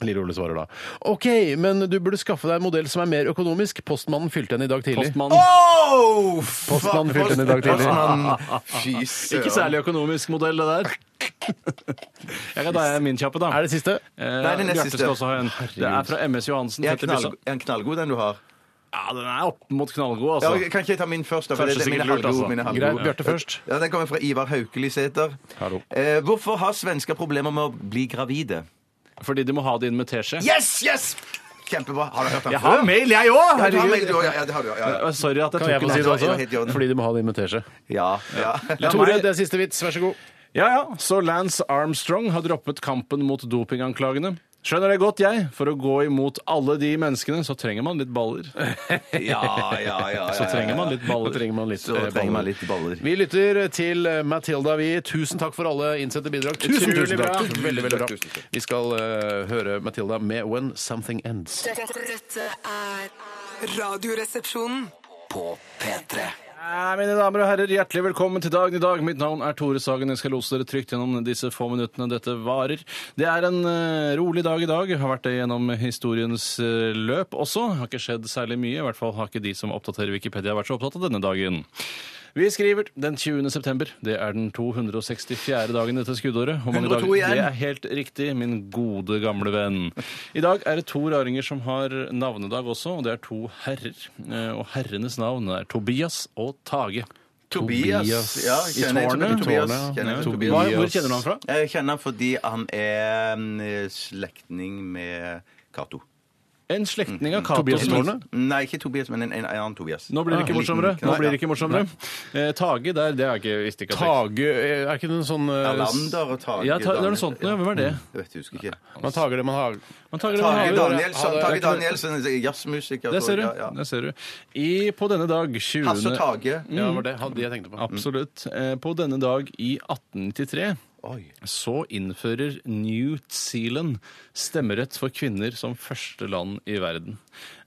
Speaker 3: Lille Ole svarer da. OK, men du burde skaffe deg en modell som er mer økonomisk. Postmannen fylte en i dag tidlig.
Speaker 4: Postmann.
Speaker 2: Oh, fuck.
Speaker 3: Postmannen fylte den i dag tidlig.
Speaker 2: Postmannen. Fy søren.
Speaker 4: Ikke særlig økonomisk modell, det der. Jeg kan ta en min kjappe, da.
Speaker 3: Er det siste?
Speaker 4: Eh,
Speaker 2: Nei, det er neste
Speaker 4: Bjarte skal
Speaker 2: siste.
Speaker 4: også ha en. Det er fra MS Johansen.
Speaker 2: Er
Speaker 4: Petter Byssa.
Speaker 2: knall- er den knallgod, den du har?
Speaker 4: Ja, den er opp mot knallgod,
Speaker 2: Ja,
Speaker 4: altså.
Speaker 2: kan ikke jeg ta min først? da, for
Speaker 4: Kanskje
Speaker 2: det er mine
Speaker 4: sikkert lurt,
Speaker 2: halvgode,
Speaker 4: altså.
Speaker 2: mine halvgode.
Speaker 3: Greit, Bjarte først.
Speaker 2: Ja, Den kommer fra Ivar Haukelisæter.
Speaker 3: Hallo.
Speaker 2: Eh, hvorfor har svensker problemer med å bli gravide?
Speaker 4: Fordi de må ha det inn med teskje.
Speaker 2: Yes! Yes! Kjempebra. Har du hørt den
Speaker 4: Jeg har
Speaker 2: før?
Speaker 4: mail, jeg òg!
Speaker 2: Ja, du har mail, du også. Ja, ja, det har du, ja, ja.
Speaker 4: Eh, Sorry at jeg
Speaker 3: Kan jeg
Speaker 4: tok
Speaker 3: få
Speaker 4: den.
Speaker 3: si det
Speaker 2: det var helt i
Speaker 3: også?
Speaker 2: orden.
Speaker 3: Fordi de må ha det inn med teskje.
Speaker 2: Ja, ja.
Speaker 3: Tore,
Speaker 4: meg-
Speaker 3: det er siste vits. Vær så god.
Speaker 4: Ja, ja. Så Lance Armstrong har droppet kampen mot dopinganklagene. Skjønner det godt, jeg. For å gå imot alle de menneskene, så trenger man litt baller.
Speaker 2: Ja, ja, ja, ja, ja.
Speaker 4: Så trenger man litt
Speaker 3: Da
Speaker 4: baller.
Speaker 3: trenger man litt,
Speaker 2: Så
Speaker 3: eh,
Speaker 2: trenger man
Speaker 3: baller.
Speaker 2: litt baller.
Speaker 3: Vi lytter til Matilda, vi. Tusen takk for alle innsendte bidrag. Tusen,
Speaker 4: Utrolig
Speaker 3: tusen
Speaker 4: bra.
Speaker 3: takk. Veldig, veldig bra. Vi skal eh, høre Matilda med When Something Ends.
Speaker 5: Dette, dette er Radioresepsjonen.
Speaker 4: Ja, mine damer og herrer, hjertelig velkommen til dagen i dag. Mitt navn er Tore Sagen. Jeg skal lose dere trygt gjennom disse få minuttene dette varer. Det er en eh, rolig dag i dag. Har vært det gjennom historiens eh, løp også. Har ikke skjedd særlig mye. I hvert fall har ikke de som oppdaterer Wikipedia vært så opptatt av denne dagen. Vi skriver den 20. september. Det er den 264. dagen i dette skuddåret.
Speaker 2: 102
Speaker 4: Hvor dager-
Speaker 2: igjen.
Speaker 4: Det er helt riktig, min gode, gamle venn. I dag er det to raringer som har navnedag også, og det er to herrer. Eh, Og herrenes navn er Tobias og Tage.
Speaker 2: Tobias.
Speaker 3: Tobias.
Speaker 2: Ja,
Speaker 3: I
Speaker 2: kjenner jeg
Speaker 3: tårnet?
Speaker 2: Tobias.
Speaker 3: Tårnet, ja.
Speaker 2: Kjenner jeg
Speaker 3: Ja,
Speaker 2: Tobias.
Speaker 4: Hva- Hvor kjenner du han fra?
Speaker 2: Jeg kjenner han fordi han er mm, slektning med Cato.
Speaker 4: En slektning av Cato.
Speaker 3: Tobias
Speaker 4: som-
Speaker 3: Tårne?
Speaker 2: Nei, ikke Tobias, men en, en annen Tobias. Ah,
Speaker 4: Nå blir det ikke
Speaker 2: En liten
Speaker 4: morsommere. Nå
Speaker 2: knapp.
Speaker 4: blir det ikke morsommere. Eh, Tage der, det har jeg ikke visst ikke at det-
Speaker 3: Tage eh, Er ikke det en sånn eh,
Speaker 2: Erlander og Tage
Speaker 4: Ja, Mm. ta, det er noe sånt noe. Hvem er det?
Speaker 2: Jeg vet, jeg husker ikke.
Speaker 3: Man tager det man har
Speaker 4: Man tager det man
Speaker 2: Tage
Speaker 4: har.
Speaker 2: Danielsson,
Speaker 3: det er
Speaker 2: Tage
Speaker 3: ikke-
Speaker 2: Danielsen, jazzmusiker.
Speaker 4: Det ser
Speaker 2: tror jeg, ja,
Speaker 4: du.
Speaker 2: ja.
Speaker 4: Det ser du. I, på denne dag 20.
Speaker 2: Hasse og Tage.
Speaker 3: Ja,
Speaker 4: Mm.
Speaker 3: det var det han- de jeg tenkte på.
Speaker 4: Absolutt. Eh, På denne dag i 1893
Speaker 2: Oi.
Speaker 4: så innfører New Zealand stemmerett for kvinner som første land i verden.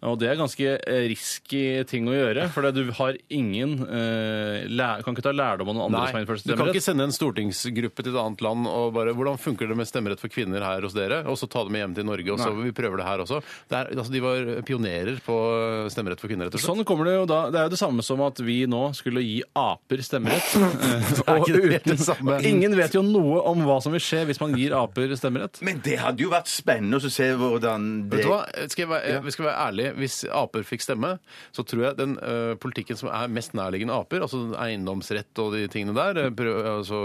Speaker 4: Og det er ganske eh, risky ting å gjøre, for det- du har ingen eh, læ- Kan ikke ta lærdom av noen andre som har
Speaker 3: Nei,
Speaker 4: innført
Speaker 3: du kan ikke
Speaker 4: stemmerett.
Speaker 3: sende en stortingsgruppe til et annet land og bare 'Hvordan funker det med stemmerett for kvinner her hos dere?' Og så ta det med hjem til Norge, og så vi prøver det her også. Det er, altså, de var pionerer på eh, stemmerett for kvinner, rett og slett.
Speaker 4: Sånn kommer Det jo da. Det er jo det samme som at vi nå skulle gi aper stemmerett. Eh, og
Speaker 3: ikke det helt
Speaker 4: uten-
Speaker 3: det samme?
Speaker 4: og Ingen vet jo noe om hva som vil skje hvis man gir aper stemmerett.
Speaker 2: Men det hadde jo vært spennende å se hvordan det
Speaker 3: Vet du hva?
Speaker 4: Eh,
Speaker 3: Eh, Skal jeg, være, jeg skal være ærlig. Hvis aper fikk stemme, så tror jeg den ø, politikken som er mest nærliggende aper, altså eiendomsrett og de tingene der, ø, prøv, altså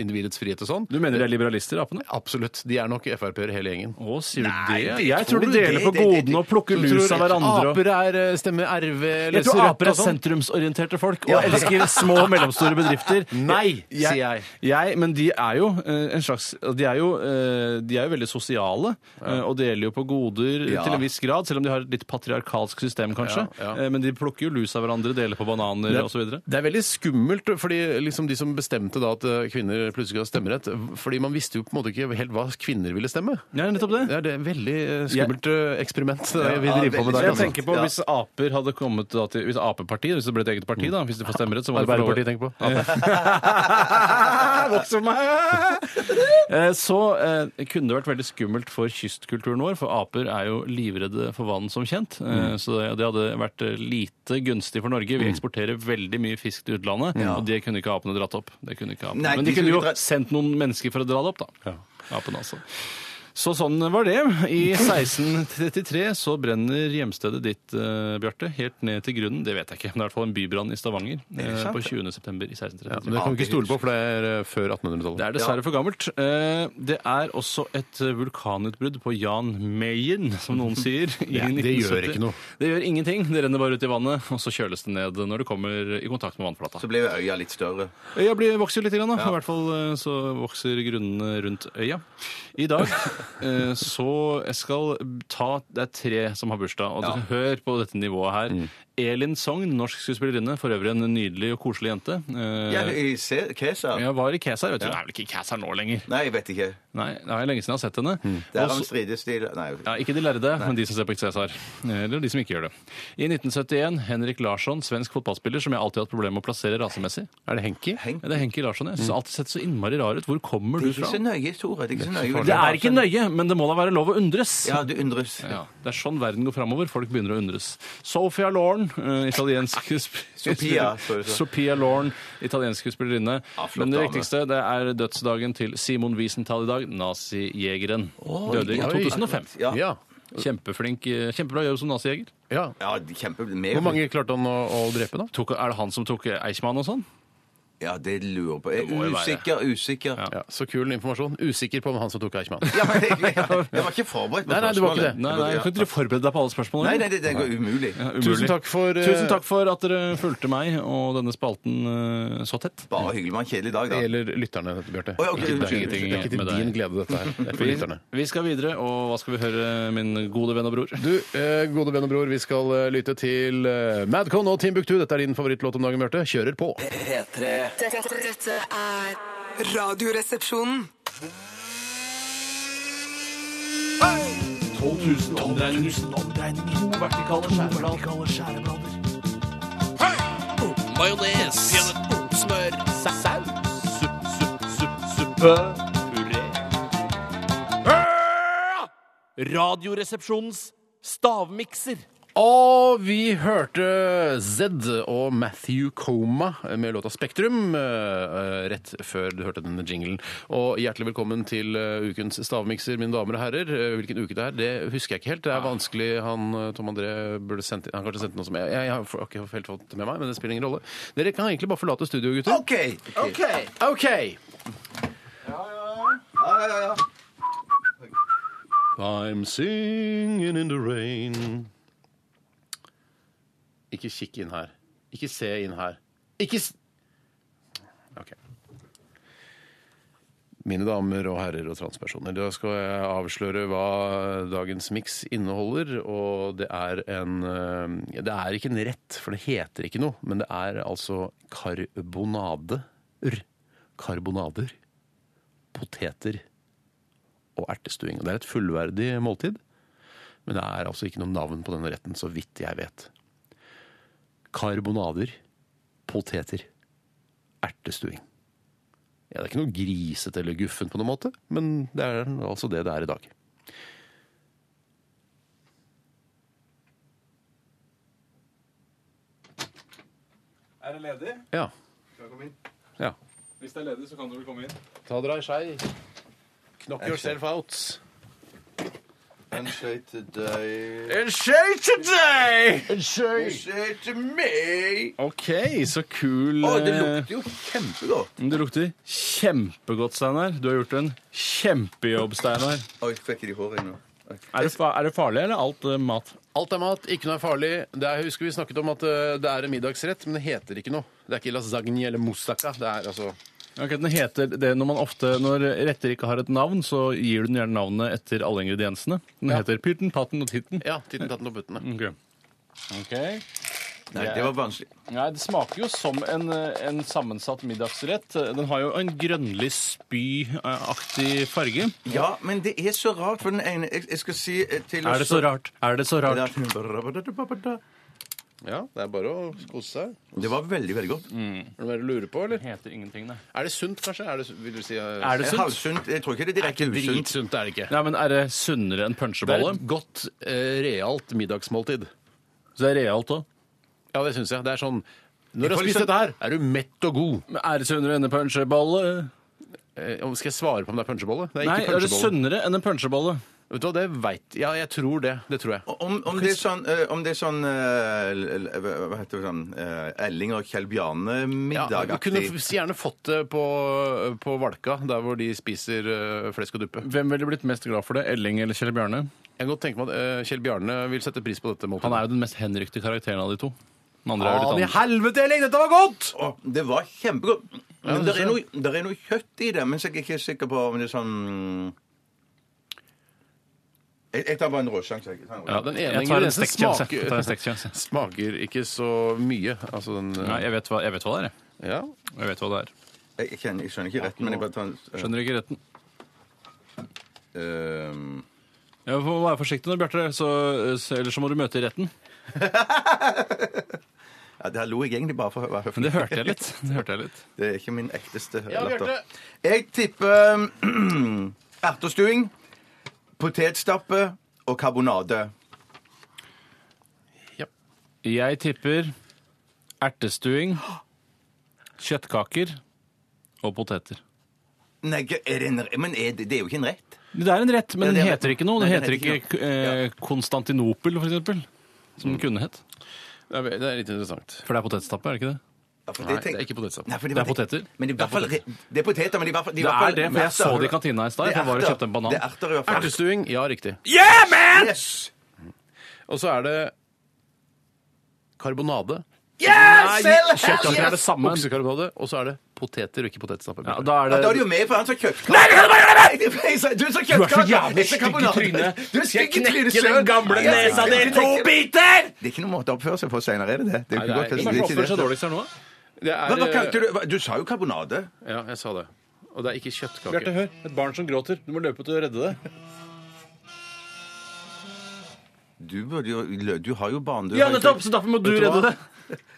Speaker 3: individets frihet og sånn
Speaker 4: Du mener de er liberalister, apene?
Speaker 3: Absolutt. De er nok Frp-ere, hele gjengen.
Speaker 4: Å, sier du
Speaker 2: Nei,
Speaker 4: det?
Speaker 2: det
Speaker 4: Jeg tror de
Speaker 2: tror
Speaker 4: deler
Speaker 2: det-
Speaker 4: på
Speaker 2: det- det-
Speaker 4: godene og plukker
Speaker 3: Du
Speaker 4: lus av
Speaker 3: tror
Speaker 4: hverandre. og-
Speaker 3: Aper er, eh, ø, stemmer RV,
Speaker 4: Jeg
Speaker 3: leser
Speaker 4: tror aper
Speaker 3: Rødt
Speaker 4: er
Speaker 3: og sånn.
Speaker 4: sentrumsorienterte folk og elsker små og mellomstore bedrifter.
Speaker 3: Nei, sier jeg.
Speaker 4: jeg. Men de er jo eh, en slags De er jo, eh, de er jo veldig sosiale eh, og deler jo på goder
Speaker 2: Ja.
Speaker 4: til en viss grad, selv om de har et litt patriarkalsk system, kanskje.
Speaker 3: Ja, ja.
Speaker 4: Eh, Men de plukker jo lus av hverandre, deler på bananer osv.
Speaker 3: Det er veldig skummelt, fordi liksom de som bestemte da at ø, kvinner plutselig hadde stemmerett Fordi man visste jo på en måte ikke helt hva kvinner ville stemme.
Speaker 4: Ja, nettopp det.
Speaker 3: Det er det veldig ø, skummelt ø, eksperiment ø, vi
Speaker 2: Ja,
Speaker 3: driver på med
Speaker 2: veldig
Speaker 3: der.
Speaker 4: Jeg
Speaker 3: altså.
Speaker 4: tenker på
Speaker 2: Ja.
Speaker 4: Hvis aper hadde kommet da til Hvis Apepartiet, hvis det ble et eget parti, da, hvis de får stemmerett, så må de få lov-
Speaker 3: Arbeiderpartiet tenker på.
Speaker 4: Voks for meg! Eh, Så eh, kunne det vært veldig skummelt for kystkulturen vår, for aper er jo livredde for vann, som kjent. Eh, Så det- det hadde vært eh, lite gunstig for Norge. Vi eksporterer veldig mye fisk til utlandet, og det kunne ikke apene dratt opp. Det kunne ikke apene.
Speaker 2: Nei,
Speaker 4: Men de
Speaker 2: de
Speaker 4: kunne jo
Speaker 2: skulle dra-
Speaker 4: sendt noen mennesker for å dra det opp, da. Apene, altså. Så sånn var det. I 1633 så brenner hjemstedet ditt, eh, Bjarte, helt ned til grunnen. Det vet jeg ikke, men det er i hvert fall en bybrann i Stavanger eh, på 20. september i 1633.
Speaker 3: Ja, men det kan vi ikke stole på, for det er eh, før 1800-tallet.
Speaker 4: Det er dessverre for gammelt. Eh, Det er også et eh, vulkanutbrudd på Jan Mayen, som noen sier. i
Speaker 3: Det- det gjør
Speaker 4: 1970.
Speaker 3: ikke noe.
Speaker 4: Det gjør ingenting. Det renner bare ut i vannet, og så kjøles det ned når det kommer i kontakt med vannflata.
Speaker 2: Så ble jo øya litt større.
Speaker 4: Øya blir, vokser jo litt, grann, da. i hvert fall eh, så vokser grunnene rundt øya. I dag eh, så jeg skal ta Det er tre som har bursdag, og dere hør på dette nivået her.
Speaker 3: Mm.
Speaker 4: Elin Sogn, norsk skuespillerinne, for øvrig en nydelig og koselig jente. Eh,
Speaker 2: Ja, i Se- Caesar?
Speaker 4: Jeg var i Kæsar, vet du. Hun er vel ikke i Kæsar nå lenger?
Speaker 2: Nei, jeg vet ikke.
Speaker 4: Nei, det er lenge siden jeg har sett henne.
Speaker 2: Hmm. Det er
Speaker 4: Og så-
Speaker 2: han strides til Nei.
Speaker 4: ja, ikke de lærde, men de som ser på Cæsar. Eller de som ikke gjør det. I 1971, Henrik Larsson, svensk fotballspiller som jeg alltid har hatt problemer med å plassere rasemessig.
Speaker 3: Er det Henki?
Speaker 2: Henk.
Speaker 4: Ja, Det er Henki Larsson. Jeg synes alltid sett så innmari rar ut. Hvor kommer
Speaker 2: Hmm. Det
Speaker 4: du
Speaker 2: er ikke
Speaker 4: fra?
Speaker 2: så nøye, Tore. Det er ikke så nøye.
Speaker 4: Det er ikke nøye, men det må da være lov å undres.
Speaker 2: Ja, du undres.
Speaker 4: Ja, det er sånn verden går framover. Folk begynner å undres. Sophia Lauren, eh, italiensk sp-
Speaker 2: Sophia, sorry, sorry.
Speaker 4: Sophia Lauren, italiensk skuespillerinne.
Speaker 2: Ja, flott
Speaker 4: Men det
Speaker 2: dame.
Speaker 4: viktigste det er dødsdagen til Simon Wiesenthal i dag, nazijegeren. Døde i
Speaker 2: ja.
Speaker 4: 2005.
Speaker 2: Ja.
Speaker 3: Ja.
Speaker 4: Kjempeflink, eh, kjempebra jobb som nazijeger.
Speaker 3: ja.
Speaker 2: ja kjempe... Mer.
Speaker 3: Hvor mange klarte han å, å drepe, da?
Speaker 4: Tok, er det han som tok Eichmann og sånn?
Speaker 2: Ja, det lurer på. Jeg
Speaker 4: må jo
Speaker 2: er
Speaker 4: være.
Speaker 2: usikker, usikker. Ja.
Speaker 3: Ja, Så kul informasjon. Usikker på om han som tok Eichmann.
Speaker 2: men jeg, jeg, jeg var ikke forberedt på
Speaker 3: Nei, nei, du var
Speaker 2: spørsmålet.
Speaker 3: ikke det.
Speaker 4: Nei, nei, Kan ikke du forberede deg på alle spørsmålene?
Speaker 2: Nei, nei, det, det går umulig.
Speaker 3: Tusen takk for eh,
Speaker 4: Tusen takk for at dere fulgte meg og denne spalten eh, så tett.
Speaker 2: Bare hyggelig med en kjedelig dag,
Speaker 3: Det
Speaker 2: da.
Speaker 3: gjelder lytterne, dette, Bjarte.
Speaker 2: Oi, ok,
Speaker 3: Ikke- det, er
Speaker 2: unnskyld,
Speaker 3: ikke- det er ikke til
Speaker 4: med
Speaker 3: din
Speaker 4: deg.
Speaker 3: glede, dette her. Det er for
Speaker 4: Vi,
Speaker 3: lytterne.
Speaker 4: vi skal videre, og hva skal vi høre, min gode venn og bror?
Speaker 3: Du, eh, gode venn og bror, vi skal eh, lytte til eh, Madcon og Timbuktu. Dette er din favorittlåt om dagen, Bjarte. Kjører på.
Speaker 5: Dette, dette er Radioresepsjonen.
Speaker 6: 12 000 omdreininger. To vertikale skjæreblader. Majones. Smør. Saus. Supp, supp, supp, suppe. Puré. Radioresepsjonens stavmikser.
Speaker 3: Og vi hørte Zed og Matthew Coma med låta Spektrum eh, rett før du hørte denne jinglen. Og hjertelig velkommen til eh, ukens stavmikser, mine damer og herrer. Eh, Hvilken uke det er, det husker jeg ikke helt. Det er vanskelig. Han eh, Tom André burde sendt inn Han har kanskje sendt noe som jeg, jeg har f- ikke helt fått med meg, men det spiller ingen rolle. Dere kan egentlig bare forlate studio, gutter.
Speaker 2: OK! ok.
Speaker 3: OK!
Speaker 2: Ja, ja, ja.
Speaker 3: I'm singing in the rain. Ikke kikk inn her. Ikke se inn her. Ikke s... OK. Mine damer og herrer og transpersoner, da skal jeg avsløre hva dagens miks inneholder. Og det er en eh, Det er ikke en rett, for det heter ikke noe, men det er altså karbonader. Karbonader. Poteter og ertestuing. Og Det er et fullverdig måltid, men det er altså ikke noe navn på denne retten, så vidt jeg vet. Karbonader, poteter, ertestuing. Ja, det er ikke noe grisete eller guffent på noen måte, men det er altså det det er i dag.
Speaker 6: Er det ledig?
Speaker 3: Ja. ja.
Speaker 6: Hvis det er ledig, så kan du vel komme inn.
Speaker 3: Ta dere ei skei. Knock yourself out.
Speaker 2: En skøy til deg
Speaker 3: En skei til deg!
Speaker 2: En skøy til meg!
Speaker 4: OK, så kul
Speaker 2: Å, det
Speaker 4: eh,
Speaker 2: lukter jo kjempegodt.
Speaker 4: Det lukter kjempegodt, Steinar. Du har gjort en kjempejobb, Steinar.
Speaker 2: Oi, fikk jeg det i håret nå? Oi.
Speaker 4: Er det, fa er det farlig, eller er alt eh, mat?
Speaker 3: Alt er mat, ikke noe er farlig. Det er, husker vi snakket om at eh, det er en middagsrett, men det heter ikke noe. Det er ikke lasagne eller moussaka. Det er altså
Speaker 4: Ok, den heter det Når man ofte, når retter ikke har et navn, så gir du den gjerne navnet etter alle ingrediensene. Den heter Pyrten, Patten og Titten.
Speaker 3: Ja, titten, tatten og puttene.
Speaker 4: Mm, Ok.
Speaker 2: Nei, det var vanskelig.
Speaker 4: Nei, Det smaker jo som en, eh, en sammensatt middagsrett. Den har jo en grønnlig spyaktig farge.
Speaker 2: Ja, men det er så rart, for den ene Jeg, jeg skal si eh, til
Speaker 4: Er det så rart? Er det så rart?
Speaker 2: Det
Speaker 3: Ja, det er bare å kose seg.
Speaker 2: var veldig, veldig godt.
Speaker 3: Er det noe du lurer på, eller?
Speaker 4: heter ingenting, det.
Speaker 3: Er det sunt, kanskje? Er det, vil du si eh,
Speaker 4: Er det
Speaker 2: Eh,
Speaker 4: sunt?
Speaker 2: Halvsunt. Jeg tror ikke det er direkte usunt.
Speaker 3: Dritsunt er det ikke.
Speaker 4: Nei, men Er det sunnere enn
Speaker 3: Det er
Speaker 4: punsjebolle?
Speaker 3: et godt, eh, realt middagsmåltid.
Speaker 4: Så det er realt òg.
Speaker 3: Ja, det syns jeg. Det er sånn Når du har
Speaker 2: får litt
Speaker 3: spist
Speaker 2: sånn-
Speaker 3: dette her, liksom- er du mett og god.
Speaker 4: Er det sunnere enn en punsjebolle?
Speaker 3: Eh, om- skal jeg svare på om det er punsjebolle? Det er
Speaker 4: Nei,
Speaker 3: ikke
Speaker 4: er det
Speaker 3: punsjebolle.
Speaker 4: sunnere enn en punsjebolle?
Speaker 3: Vet du hva, det veit Ja, jeg tror det. Det tror jeg.
Speaker 2: Om, om det er sånn, eh, om det er sånn eh, l- l- Hva heter det sånn eh, Elling og Kjell
Speaker 3: Ja, du kunne
Speaker 2: Bjarne-middagaktig.
Speaker 3: f- gjerne fått det på, på Valka, der hvor de spiser eh, flesk og duppe.
Speaker 4: Hvem ville blitt mest glad for det? Elling eller Kjell Bjarne?
Speaker 3: Jeg kan godt tenke meg at eh, Kjell Bjarne vil sette pris på dette måltidet.
Speaker 4: Han er jo den mest henrykte karakteren av de to. Den andre Ah, er jo
Speaker 3: Faen i
Speaker 4: litt annen.
Speaker 3: helvete, Elling! Dette var godt!
Speaker 2: Å, det var kjempegodt. Men
Speaker 3: det
Speaker 2: det er, noe, der er noe kjøtt i det, men så er jeg ikke sikker på om det er sånn Jeg, jeg tar bare en råsjanse. jeg. Jeg tar en
Speaker 3: Ja,
Speaker 2: råsjanse.
Speaker 3: den ene
Speaker 4: Jeg tar en
Speaker 3: ingrediensen
Speaker 4: stekt kjønse. Jeg tar en
Speaker 3: smaker,
Speaker 4: stekt kjønse.
Speaker 3: smaker ikke så mye. Altså den eh,
Speaker 4: Nei, jeg vet, hva, jeg vet hva det er. jeg.
Speaker 3: Ja.
Speaker 4: Jeg vet hva det er.
Speaker 2: Jeg, jeg, kjenner, jeg skjønner ikke retten, men jeg bare tar en
Speaker 4: Skjønner ikke retten.
Speaker 2: eh,
Speaker 4: Jeg må være forsiktig nå, Bjarte, så- så- ellers så må du møte i retten.
Speaker 2: eh, ja, Det her lo jeg egentlig bare for å være høflig.
Speaker 4: Men det hørte jeg litt. Det hørte jeg litt.
Speaker 2: Det er ikke min ekteste
Speaker 3: Ja,
Speaker 2: latter.
Speaker 3: Bjarte.
Speaker 2: Jeg tipper ertestuing, potetstappe og karbonade.
Speaker 4: Jeg tipper ertestuing, kjøttkaker og poteter.
Speaker 2: Nei, er det en, men er det, det er jo ikke en rett.
Speaker 4: Det er en rett,
Speaker 2: Ja,
Speaker 4: men den
Speaker 2: det er-
Speaker 4: heter ikke noe. Den
Speaker 2: Nei,
Speaker 4: heter ikke eh, Konstantinopel, for eksempel. Som den kunne hett.
Speaker 3: Det er, det er litt interessant.
Speaker 4: Mm. For det er potetstappe, er det ikke det?
Speaker 2: Ja, for
Speaker 3: Nei, det
Speaker 2: tenk-
Speaker 3: er ikke potetstappe.
Speaker 2: Nei, for
Speaker 4: Det er
Speaker 2: var-
Speaker 4: poteter.
Speaker 2: Men i
Speaker 4: Det er
Speaker 2: hvert fall,
Speaker 4: poteter.
Speaker 2: det er poteter, men i hvert fall de i
Speaker 4: Det
Speaker 2: hvert
Speaker 4: er
Speaker 2: fall-
Speaker 4: det, for jeg
Speaker 2: erter.
Speaker 4: så det i kantina i
Speaker 2: Det er
Speaker 4: stad. for Jeg var og
Speaker 2: erter.
Speaker 4: kjøpte en banan.
Speaker 2: Det er erter i hvert fall.
Speaker 3: Ertestuing, ja, riktig.
Speaker 2: Yes!
Speaker 3: Og så er det karbonade.
Speaker 2: Yes! Hell, hell,
Speaker 3: Kjøttkaker
Speaker 2: yes!
Speaker 3: er det samme. Oksekarbonade. Og så er det poteter og ikke potetstappe.
Speaker 4: Ja, da er
Speaker 2: Ja,
Speaker 4: det...
Speaker 2: Da er det jo med for han som kjøpte Nei, det kan du bare gjøre! Du er så
Speaker 4: jævlig
Speaker 2: jævlig
Speaker 4: stygg i trynet.
Speaker 2: Du er stygg i trynet
Speaker 3: knekke den gamle nesa di i to
Speaker 2: biter! Det er ikke noe måte å oppføre seg på seinere, er det det? Det er jo
Speaker 3: Nei,
Speaker 2: ikke
Speaker 3: det
Speaker 2: godt.
Speaker 3: er
Speaker 2: det
Speaker 3: ikke-
Speaker 2: er
Speaker 4: Oppfører seg
Speaker 2: ikke det.
Speaker 4: dårligst her nå?
Speaker 3: Det er, eh,
Speaker 2: Hva, hva kalte du hva- Du sa jo karbonade.
Speaker 3: Ja, jeg sa det. Og det er ikke
Speaker 4: Bjarte,
Speaker 3: kjøttkaker.
Speaker 4: hør. Et barn som gråter. Du må løpe ut og redde det.
Speaker 2: Du burde jo Du har jo barn, du.
Speaker 4: Ja, nettopp! Så derfor må du
Speaker 2: Vet du hva?
Speaker 4: redde det.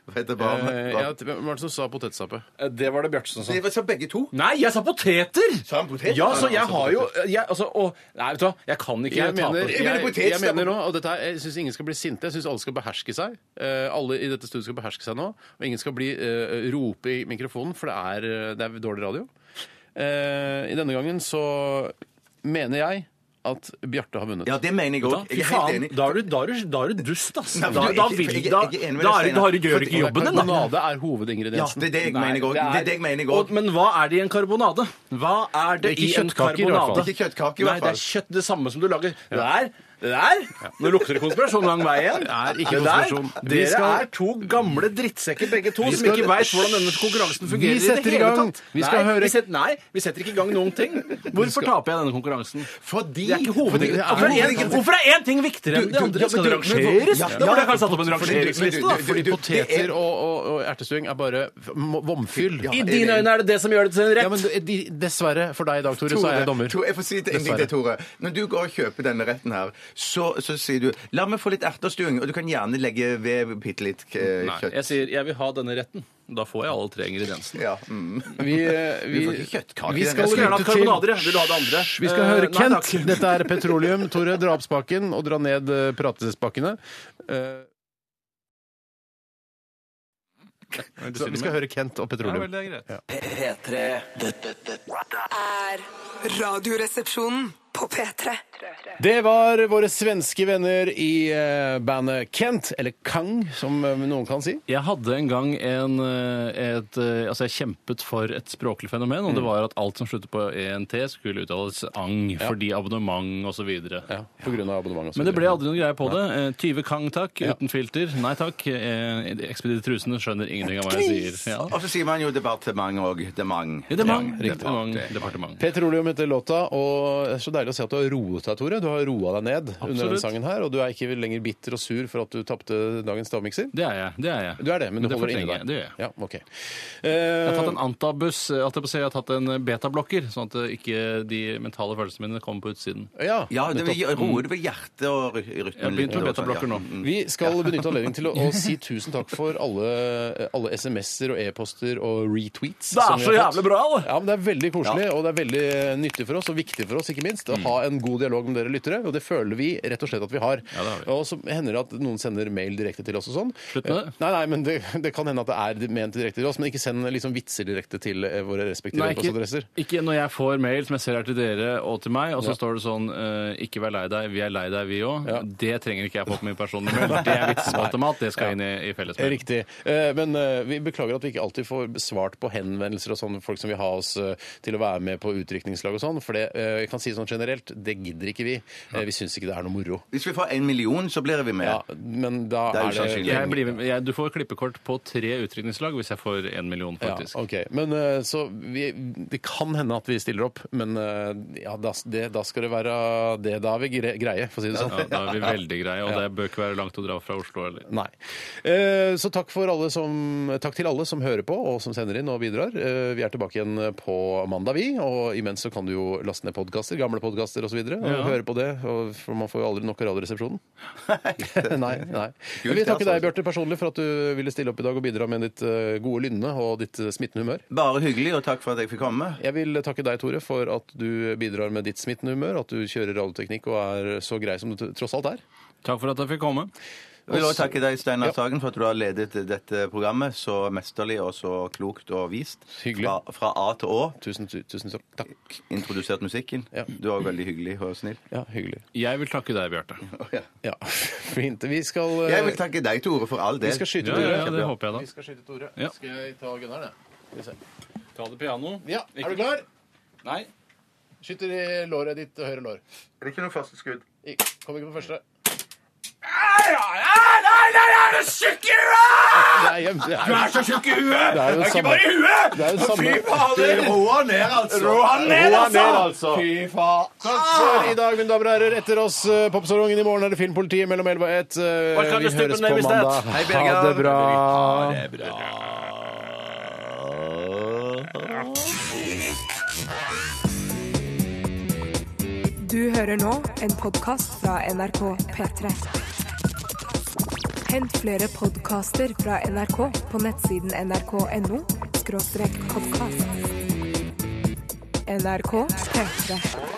Speaker 2: Hva heter barnet?
Speaker 3: Eh, ja, t- Hvem var det som sa potetstappe?
Speaker 4: Eh, Det var det Bjartsen
Speaker 2: Det var så begge to.
Speaker 4: Nei, jeg sa poteter!
Speaker 2: Sa han potet?
Speaker 4: Ja,
Speaker 2: Ja,
Speaker 4: så
Speaker 2: han
Speaker 4: jeg
Speaker 2: sa
Speaker 4: har jo jeg, altså, å, Nei, vet du hva, jeg kan ikke
Speaker 3: Jeg
Speaker 4: tape.
Speaker 3: mener,
Speaker 2: Jeg mener
Speaker 3: jeg, jeg
Speaker 2: potetstappe.
Speaker 3: mener nå, og dette er, jeg syns ingen skal bli sinte. Jeg syns alle skal beherske seg. Eh, alle i dette studioet skal beherske seg nå. Og ingen skal bli eh, rope i mikrofonen, for det er, eh, det er dårlig radio. Eh, I denne gangen så mener jeg at Bjarte har vunnet.
Speaker 2: Ja, det mener jeg òg. Jeg
Speaker 4: Fy
Speaker 2: er helt
Speaker 4: faen,
Speaker 2: enig.
Speaker 4: da er du, da er du, da er du dust, ass.
Speaker 2: Nei, men
Speaker 4: da,
Speaker 2: du er
Speaker 4: da,
Speaker 2: ikke-
Speaker 4: vil,
Speaker 2: jeg- jeg
Speaker 4: da,
Speaker 2: er ikke enig med
Speaker 4: da,
Speaker 2: deg,
Speaker 4: er, du- da er du gjør
Speaker 2: Steinar.
Speaker 4: ikke jobben din, da.
Speaker 3: Karbonade er
Speaker 2: Ja,
Speaker 3: hovedingrediensen.
Speaker 2: det er det jeg mener òg. Det er det jeg mener
Speaker 4: Og,
Speaker 2: òg.
Speaker 4: men hva er det i en karbonade? Hva er det,
Speaker 3: Det er ikke
Speaker 4: i en
Speaker 3: kjøttkaker, i hvert fall.
Speaker 4: karbonade?
Speaker 2: Ikke kjøttkake, i hvert
Speaker 4: Nei, det
Speaker 2: fall.
Speaker 4: er kjøtt, det samme som du lager. Det der, det der. Nå lukter det konspirasjon lang vei igjen.
Speaker 3: Det er ikke
Speaker 4: der,
Speaker 3: konspirasjon. Vi
Speaker 4: Dere
Speaker 3: skal-
Speaker 4: er to gamle drittsekker begge to som
Speaker 3: skal-
Speaker 4: ikke veit hvordan denne konkurransen fungerer. i det
Speaker 3: setter i
Speaker 4: hele
Speaker 3: gang.
Speaker 4: tatt.
Speaker 3: Vi skal
Speaker 4: nei,
Speaker 3: høre-
Speaker 4: vi set, nei, vi setter ikke i gang noen ting. Hvorfor taper jeg denne konkurransen?
Speaker 2: Fordi
Speaker 4: Det er ikke hovedregelen.
Speaker 3: er
Speaker 4: Hvorfor er en-
Speaker 2: hovedregelen.
Speaker 4: Hvorfor er én ting viktigere enn det
Speaker 2: Du- du-
Speaker 4: andre?
Speaker 2: ja,
Speaker 4: skal det
Speaker 2: men du- men hvor-
Speaker 4: rangeres?
Speaker 2: ja,
Speaker 4: Da burde jeg
Speaker 2: ja,
Speaker 4: kanske satt opp en
Speaker 2: fordi-
Speaker 4: rangeringsliste, da.
Speaker 2: men du-
Speaker 3: Fordi
Speaker 2: du- det
Speaker 3: poteter
Speaker 2: er-
Speaker 3: og, og, og ertestuing er bare f- m- vomfyll.
Speaker 2: Ja.
Speaker 4: I dine øyne er det det som gjør det til en rett.
Speaker 3: Ja, men de- de- Dessverre for deg i dag, Tore, så er jeg dommer.
Speaker 2: Tore, jeg får si det en ting til, Tore. Når du går og kjøper denne retten her, så, så sier du 'la meg få litt ertestuing', og du kan gjerne legge ved bitte litt eh,
Speaker 4: Nei,
Speaker 2: kjøtt.
Speaker 4: jeg sier jeg vil ha denne retten. Da får jeg alle tre ingrediensene.
Speaker 2: Ja, mm.
Speaker 3: Vi, eh, vi,
Speaker 2: får ikke kjøttkake.
Speaker 3: vi
Speaker 2: Jeg
Speaker 3: skal
Speaker 4: Jeg skulle gjerne
Speaker 3: lytte
Speaker 4: hatt
Speaker 3: til
Speaker 4: karbonader. jeg. Vil du ha det andre?
Speaker 3: Vi skal høre
Speaker 4: Eh, nei,
Speaker 3: Kent.
Speaker 4: takk.
Speaker 3: Dette er petroleum. Tore, dra opp spaken og dra ned eh, pratespakkene. Eh, Eh, Så vi skal høre Kent og
Speaker 4: Ja,
Speaker 3: petroleum.
Speaker 4: vel, det er greit.
Speaker 5: P3. Dette, dette
Speaker 1: Er
Speaker 5: Radioresepsjonen.
Speaker 1: på P3.
Speaker 3: Det var våre svenske venner i eh, bandet Kent, eller Kang, som eh, noen kan si.
Speaker 4: Jeg hadde en gang en eh, et, eh, Altså, jeg kjempet for et språklig fenomen, og det var at alt som slutter på ENT, skulle uttales ang, fordi abonnement og så videre.
Speaker 3: Ja, på grunn av abonnement. og så
Speaker 4: Men det ble
Speaker 3: videre.
Speaker 4: aldri noen greie på det. Eh, 20 kang takk, uten filter. Nei takk. Eh, Ekspeditte trusene skjønner ingenting av hva jeg sier. Ja.
Speaker 2: Og så sier man jo departement òg. Dement.
Speaker 4: Ja, Departement.
Speaker 2: Ja,
Speaker 4: Departement. Departement.
Speaker 3: Petroleum heter låta, og det er så deilig å se at du har roet deg, Tore. Du har roa deg ned under denne
Speaker 4: Absolutt.
Speaker 3: sangen her, og du er ikke lenger bitter og sur for at du tapte dagens stavmikser.
Speaker 4: Det er jeg. Det er jeg.
Speaker 3: Du er det, men du holder det inni
Speaker 4: fortrenger
Speaker 3: deg.
Speaker 4: jeg. Det gjør jeg.
Speaker 3: Ja, ok.
Speaker 4: Jeg har tatt en
Speaker 3: Eh,
Speaker 4: antabus, eh, at jeg på å si, jeg har tatt en betablokker, sånn at eh, ikke de mentale følelsene mine kommer på utsiden.
Speaker 3: ja,
Speaker 2: Ja, det vil
Speaker 3: nettopp.
Speaker 2: roe det ved hjertet og ry- rytmen.
Speaker 4: Jeg har begynt
Speaker 2: litt
Speaker 4: med
Speaker 2: og sånn, ja.
Speaker 4: betablokker nå.
Speaker 2: Mm.
Speaker 3: Vi skal benytte anledningen til å, å si tusen takk for alle, alle SMS-er og e-poster og retweets. som vi har fått.
Speaker 4: bra,
Speaker 3: Ja, men Det er veldig koselig, og det er veldig nyttig for oss, og viktig for oss, ikke minst, å
Speaker 4: Mm.
Speaker 3: ha en god dialog med dere lyttere. Og det føler vi rett og slett at vi har.
Speaker 4: det har vi.
Speaker 3: Og så hender det at noen sender mail direkte til oss og sånn.
Speaker 4: Slutt med det.
Speaker 3: Nei, nei, men det, det kan hende at det er ment direkte til oss, men ikke send liksom vitser direkte til eh, våre respektive
Speaker 4: Nei, ikke,
Speaker 3: e-postadresser.
Speaker 4: ikke når jeg får mail som jeg ser er til dere og til meg, og så står det sånn eh, 'Ikke vær lei deg, vi er lei deg, vi òg'.
Speaker 3: Ja.
Speaker 4: Det trenger ikke jeg få på min personlige mail. Det er vitsespatemat, det skal inn i, i fellesmailen.
Speaker 3: Riktig. Eh, Men eh, vi beklager at vi ikke alltid får svart på henvendelser og sånn, folk som vil ha oss eh, til å være med på utdrikningslag og sånn. For det, eh, jeg kan si sånn generelt, det gidder ikke vi. Eh, Vi syns ikke det er noe moro.
Speaker 2: Hvis vi får en million, så blir vi med.
Speaker 3: Ja, men da
Speaker 2: Det er
Speaker 3: er, det
Speaker 2: usannsynlig.
Speaker 4: Jeg blir med, jeg, du får klippekort på tre utrykningslag hvis jeg får én million, faktisk.
Speaker 3: Ja, ok. Men eh, så vi, Det kan hende at vi stiller opp, men eh, ja, da, det, da skal det være det. Da er vi gre- greie, for å si det sånn.
Speaker 4: Ja, da er vi veldig greie, og det bør ikke være langt å dra fra Oslo heller.
Speaker 3: Nei. Eh, Så takk, for alle som, takk til alle som hører på og som sender inn og bidrar. Eh, Vi er tilbake igjen på mandag, vi. Og imens så kan du jo laste ned podkaster, gamle podkaster osv. Og, så videre, og
Speaker 4: Ja.
Speaker 3: høre på det. og- For man får jo aldri nok av Radioresepsjonen. nei. nei. Jeg vil
Speaker 2: det,
Speaker 3: takke deg,
Speaker 2: altså.
Speaker 3: Bjarte, personlig for at du ville stille opp i dag og bidra med ditt eh, gode lynne og ditt eh, smittende humør.
Speaker 2: Bare hyggelig, og takk for at jeg fikk komme.
Speaker 3: Jeg vil takke deg, Tore, for at du bidrar med ditt smittende humør, at du kjører radioteknikk og er så grei som du t- tross alt er.
Speaker 4: Takk for at jeg fikk komme.
Speaker 2: Jeg vil også
Speaker 3: Også-
Speaker 2: takke deg, Steinar
Speaker 3: Ja.
Speaker 2: Sagen, for at du har ledet dette programmet så mesterlig og så klokt og vist.
Speaker 3: Hyggelig.
Speaker 2: Fra, fra A til Å.
Speaker 3: Tusen, tu- tusen takk.
Speaker 2: Introdusert musikken.
Speaker 3: Ja.
Speaker 2: Du var veldig hyggelig og snill.
Speaker 3: Ja, hyggelig.
Speaker 4: Jeg vil takke deg, Bjarte.
Speaker 3: Ja, fint. Vi skal eh,
Speaker 2: Jeg vil takke deg, Tore, for all det.
Speaker 3: Vi skal skyte,
Speaker 4: Ja,
Speaker 3: Tore.
Speaker 4: ja, ja, det håper jeg, da.
Speaker 3: skal skyte Tore.
Speaker 4: Ja.
Speaker 3: Skal jeg ta Gunnar, det? Skal vi se.
Speaker 4: Ta det piano.
Speaker 3: Ja, er du klar?
Speaker 4: Nei.
Speaker 3: Skyter i låret ditt, høyre lår. Det er ikke noe første skudd. Kom ikke på første. Nei, nei, nei, er du tjukk i huet?! Du er så tjukk i huet! Det er, ikke bare i huet! Det er jo samme. Fy fader!
Speaker 2: Roa ned, altså!
Speaker 3: Fy faen. Takk for i dag, mine damer og herrer. Etter oss eh, Popsalongen i morgen er det Filmpolitiet mellom 11 og 1. Eh,
Speaker 4: Hva kan
Speaker 3: Vi
Speaker 4: du stupe
Speaker 3: høres
Speaker 4: ned
Speaker 3: på
Speaker 4: hvis det er?
Speaker 3: mandag.
Speaker 2: Hei,
Speaker 3: Ha
Speaker 2: Birger.
Speaker 3: det bra.
Speaker 2: Ha det bra.
Speaker 1: Du hører nå en podkast fra NRK P3. Hent flere podkaster fra NRK på nettsiden nrk.no podkast. NRK P3.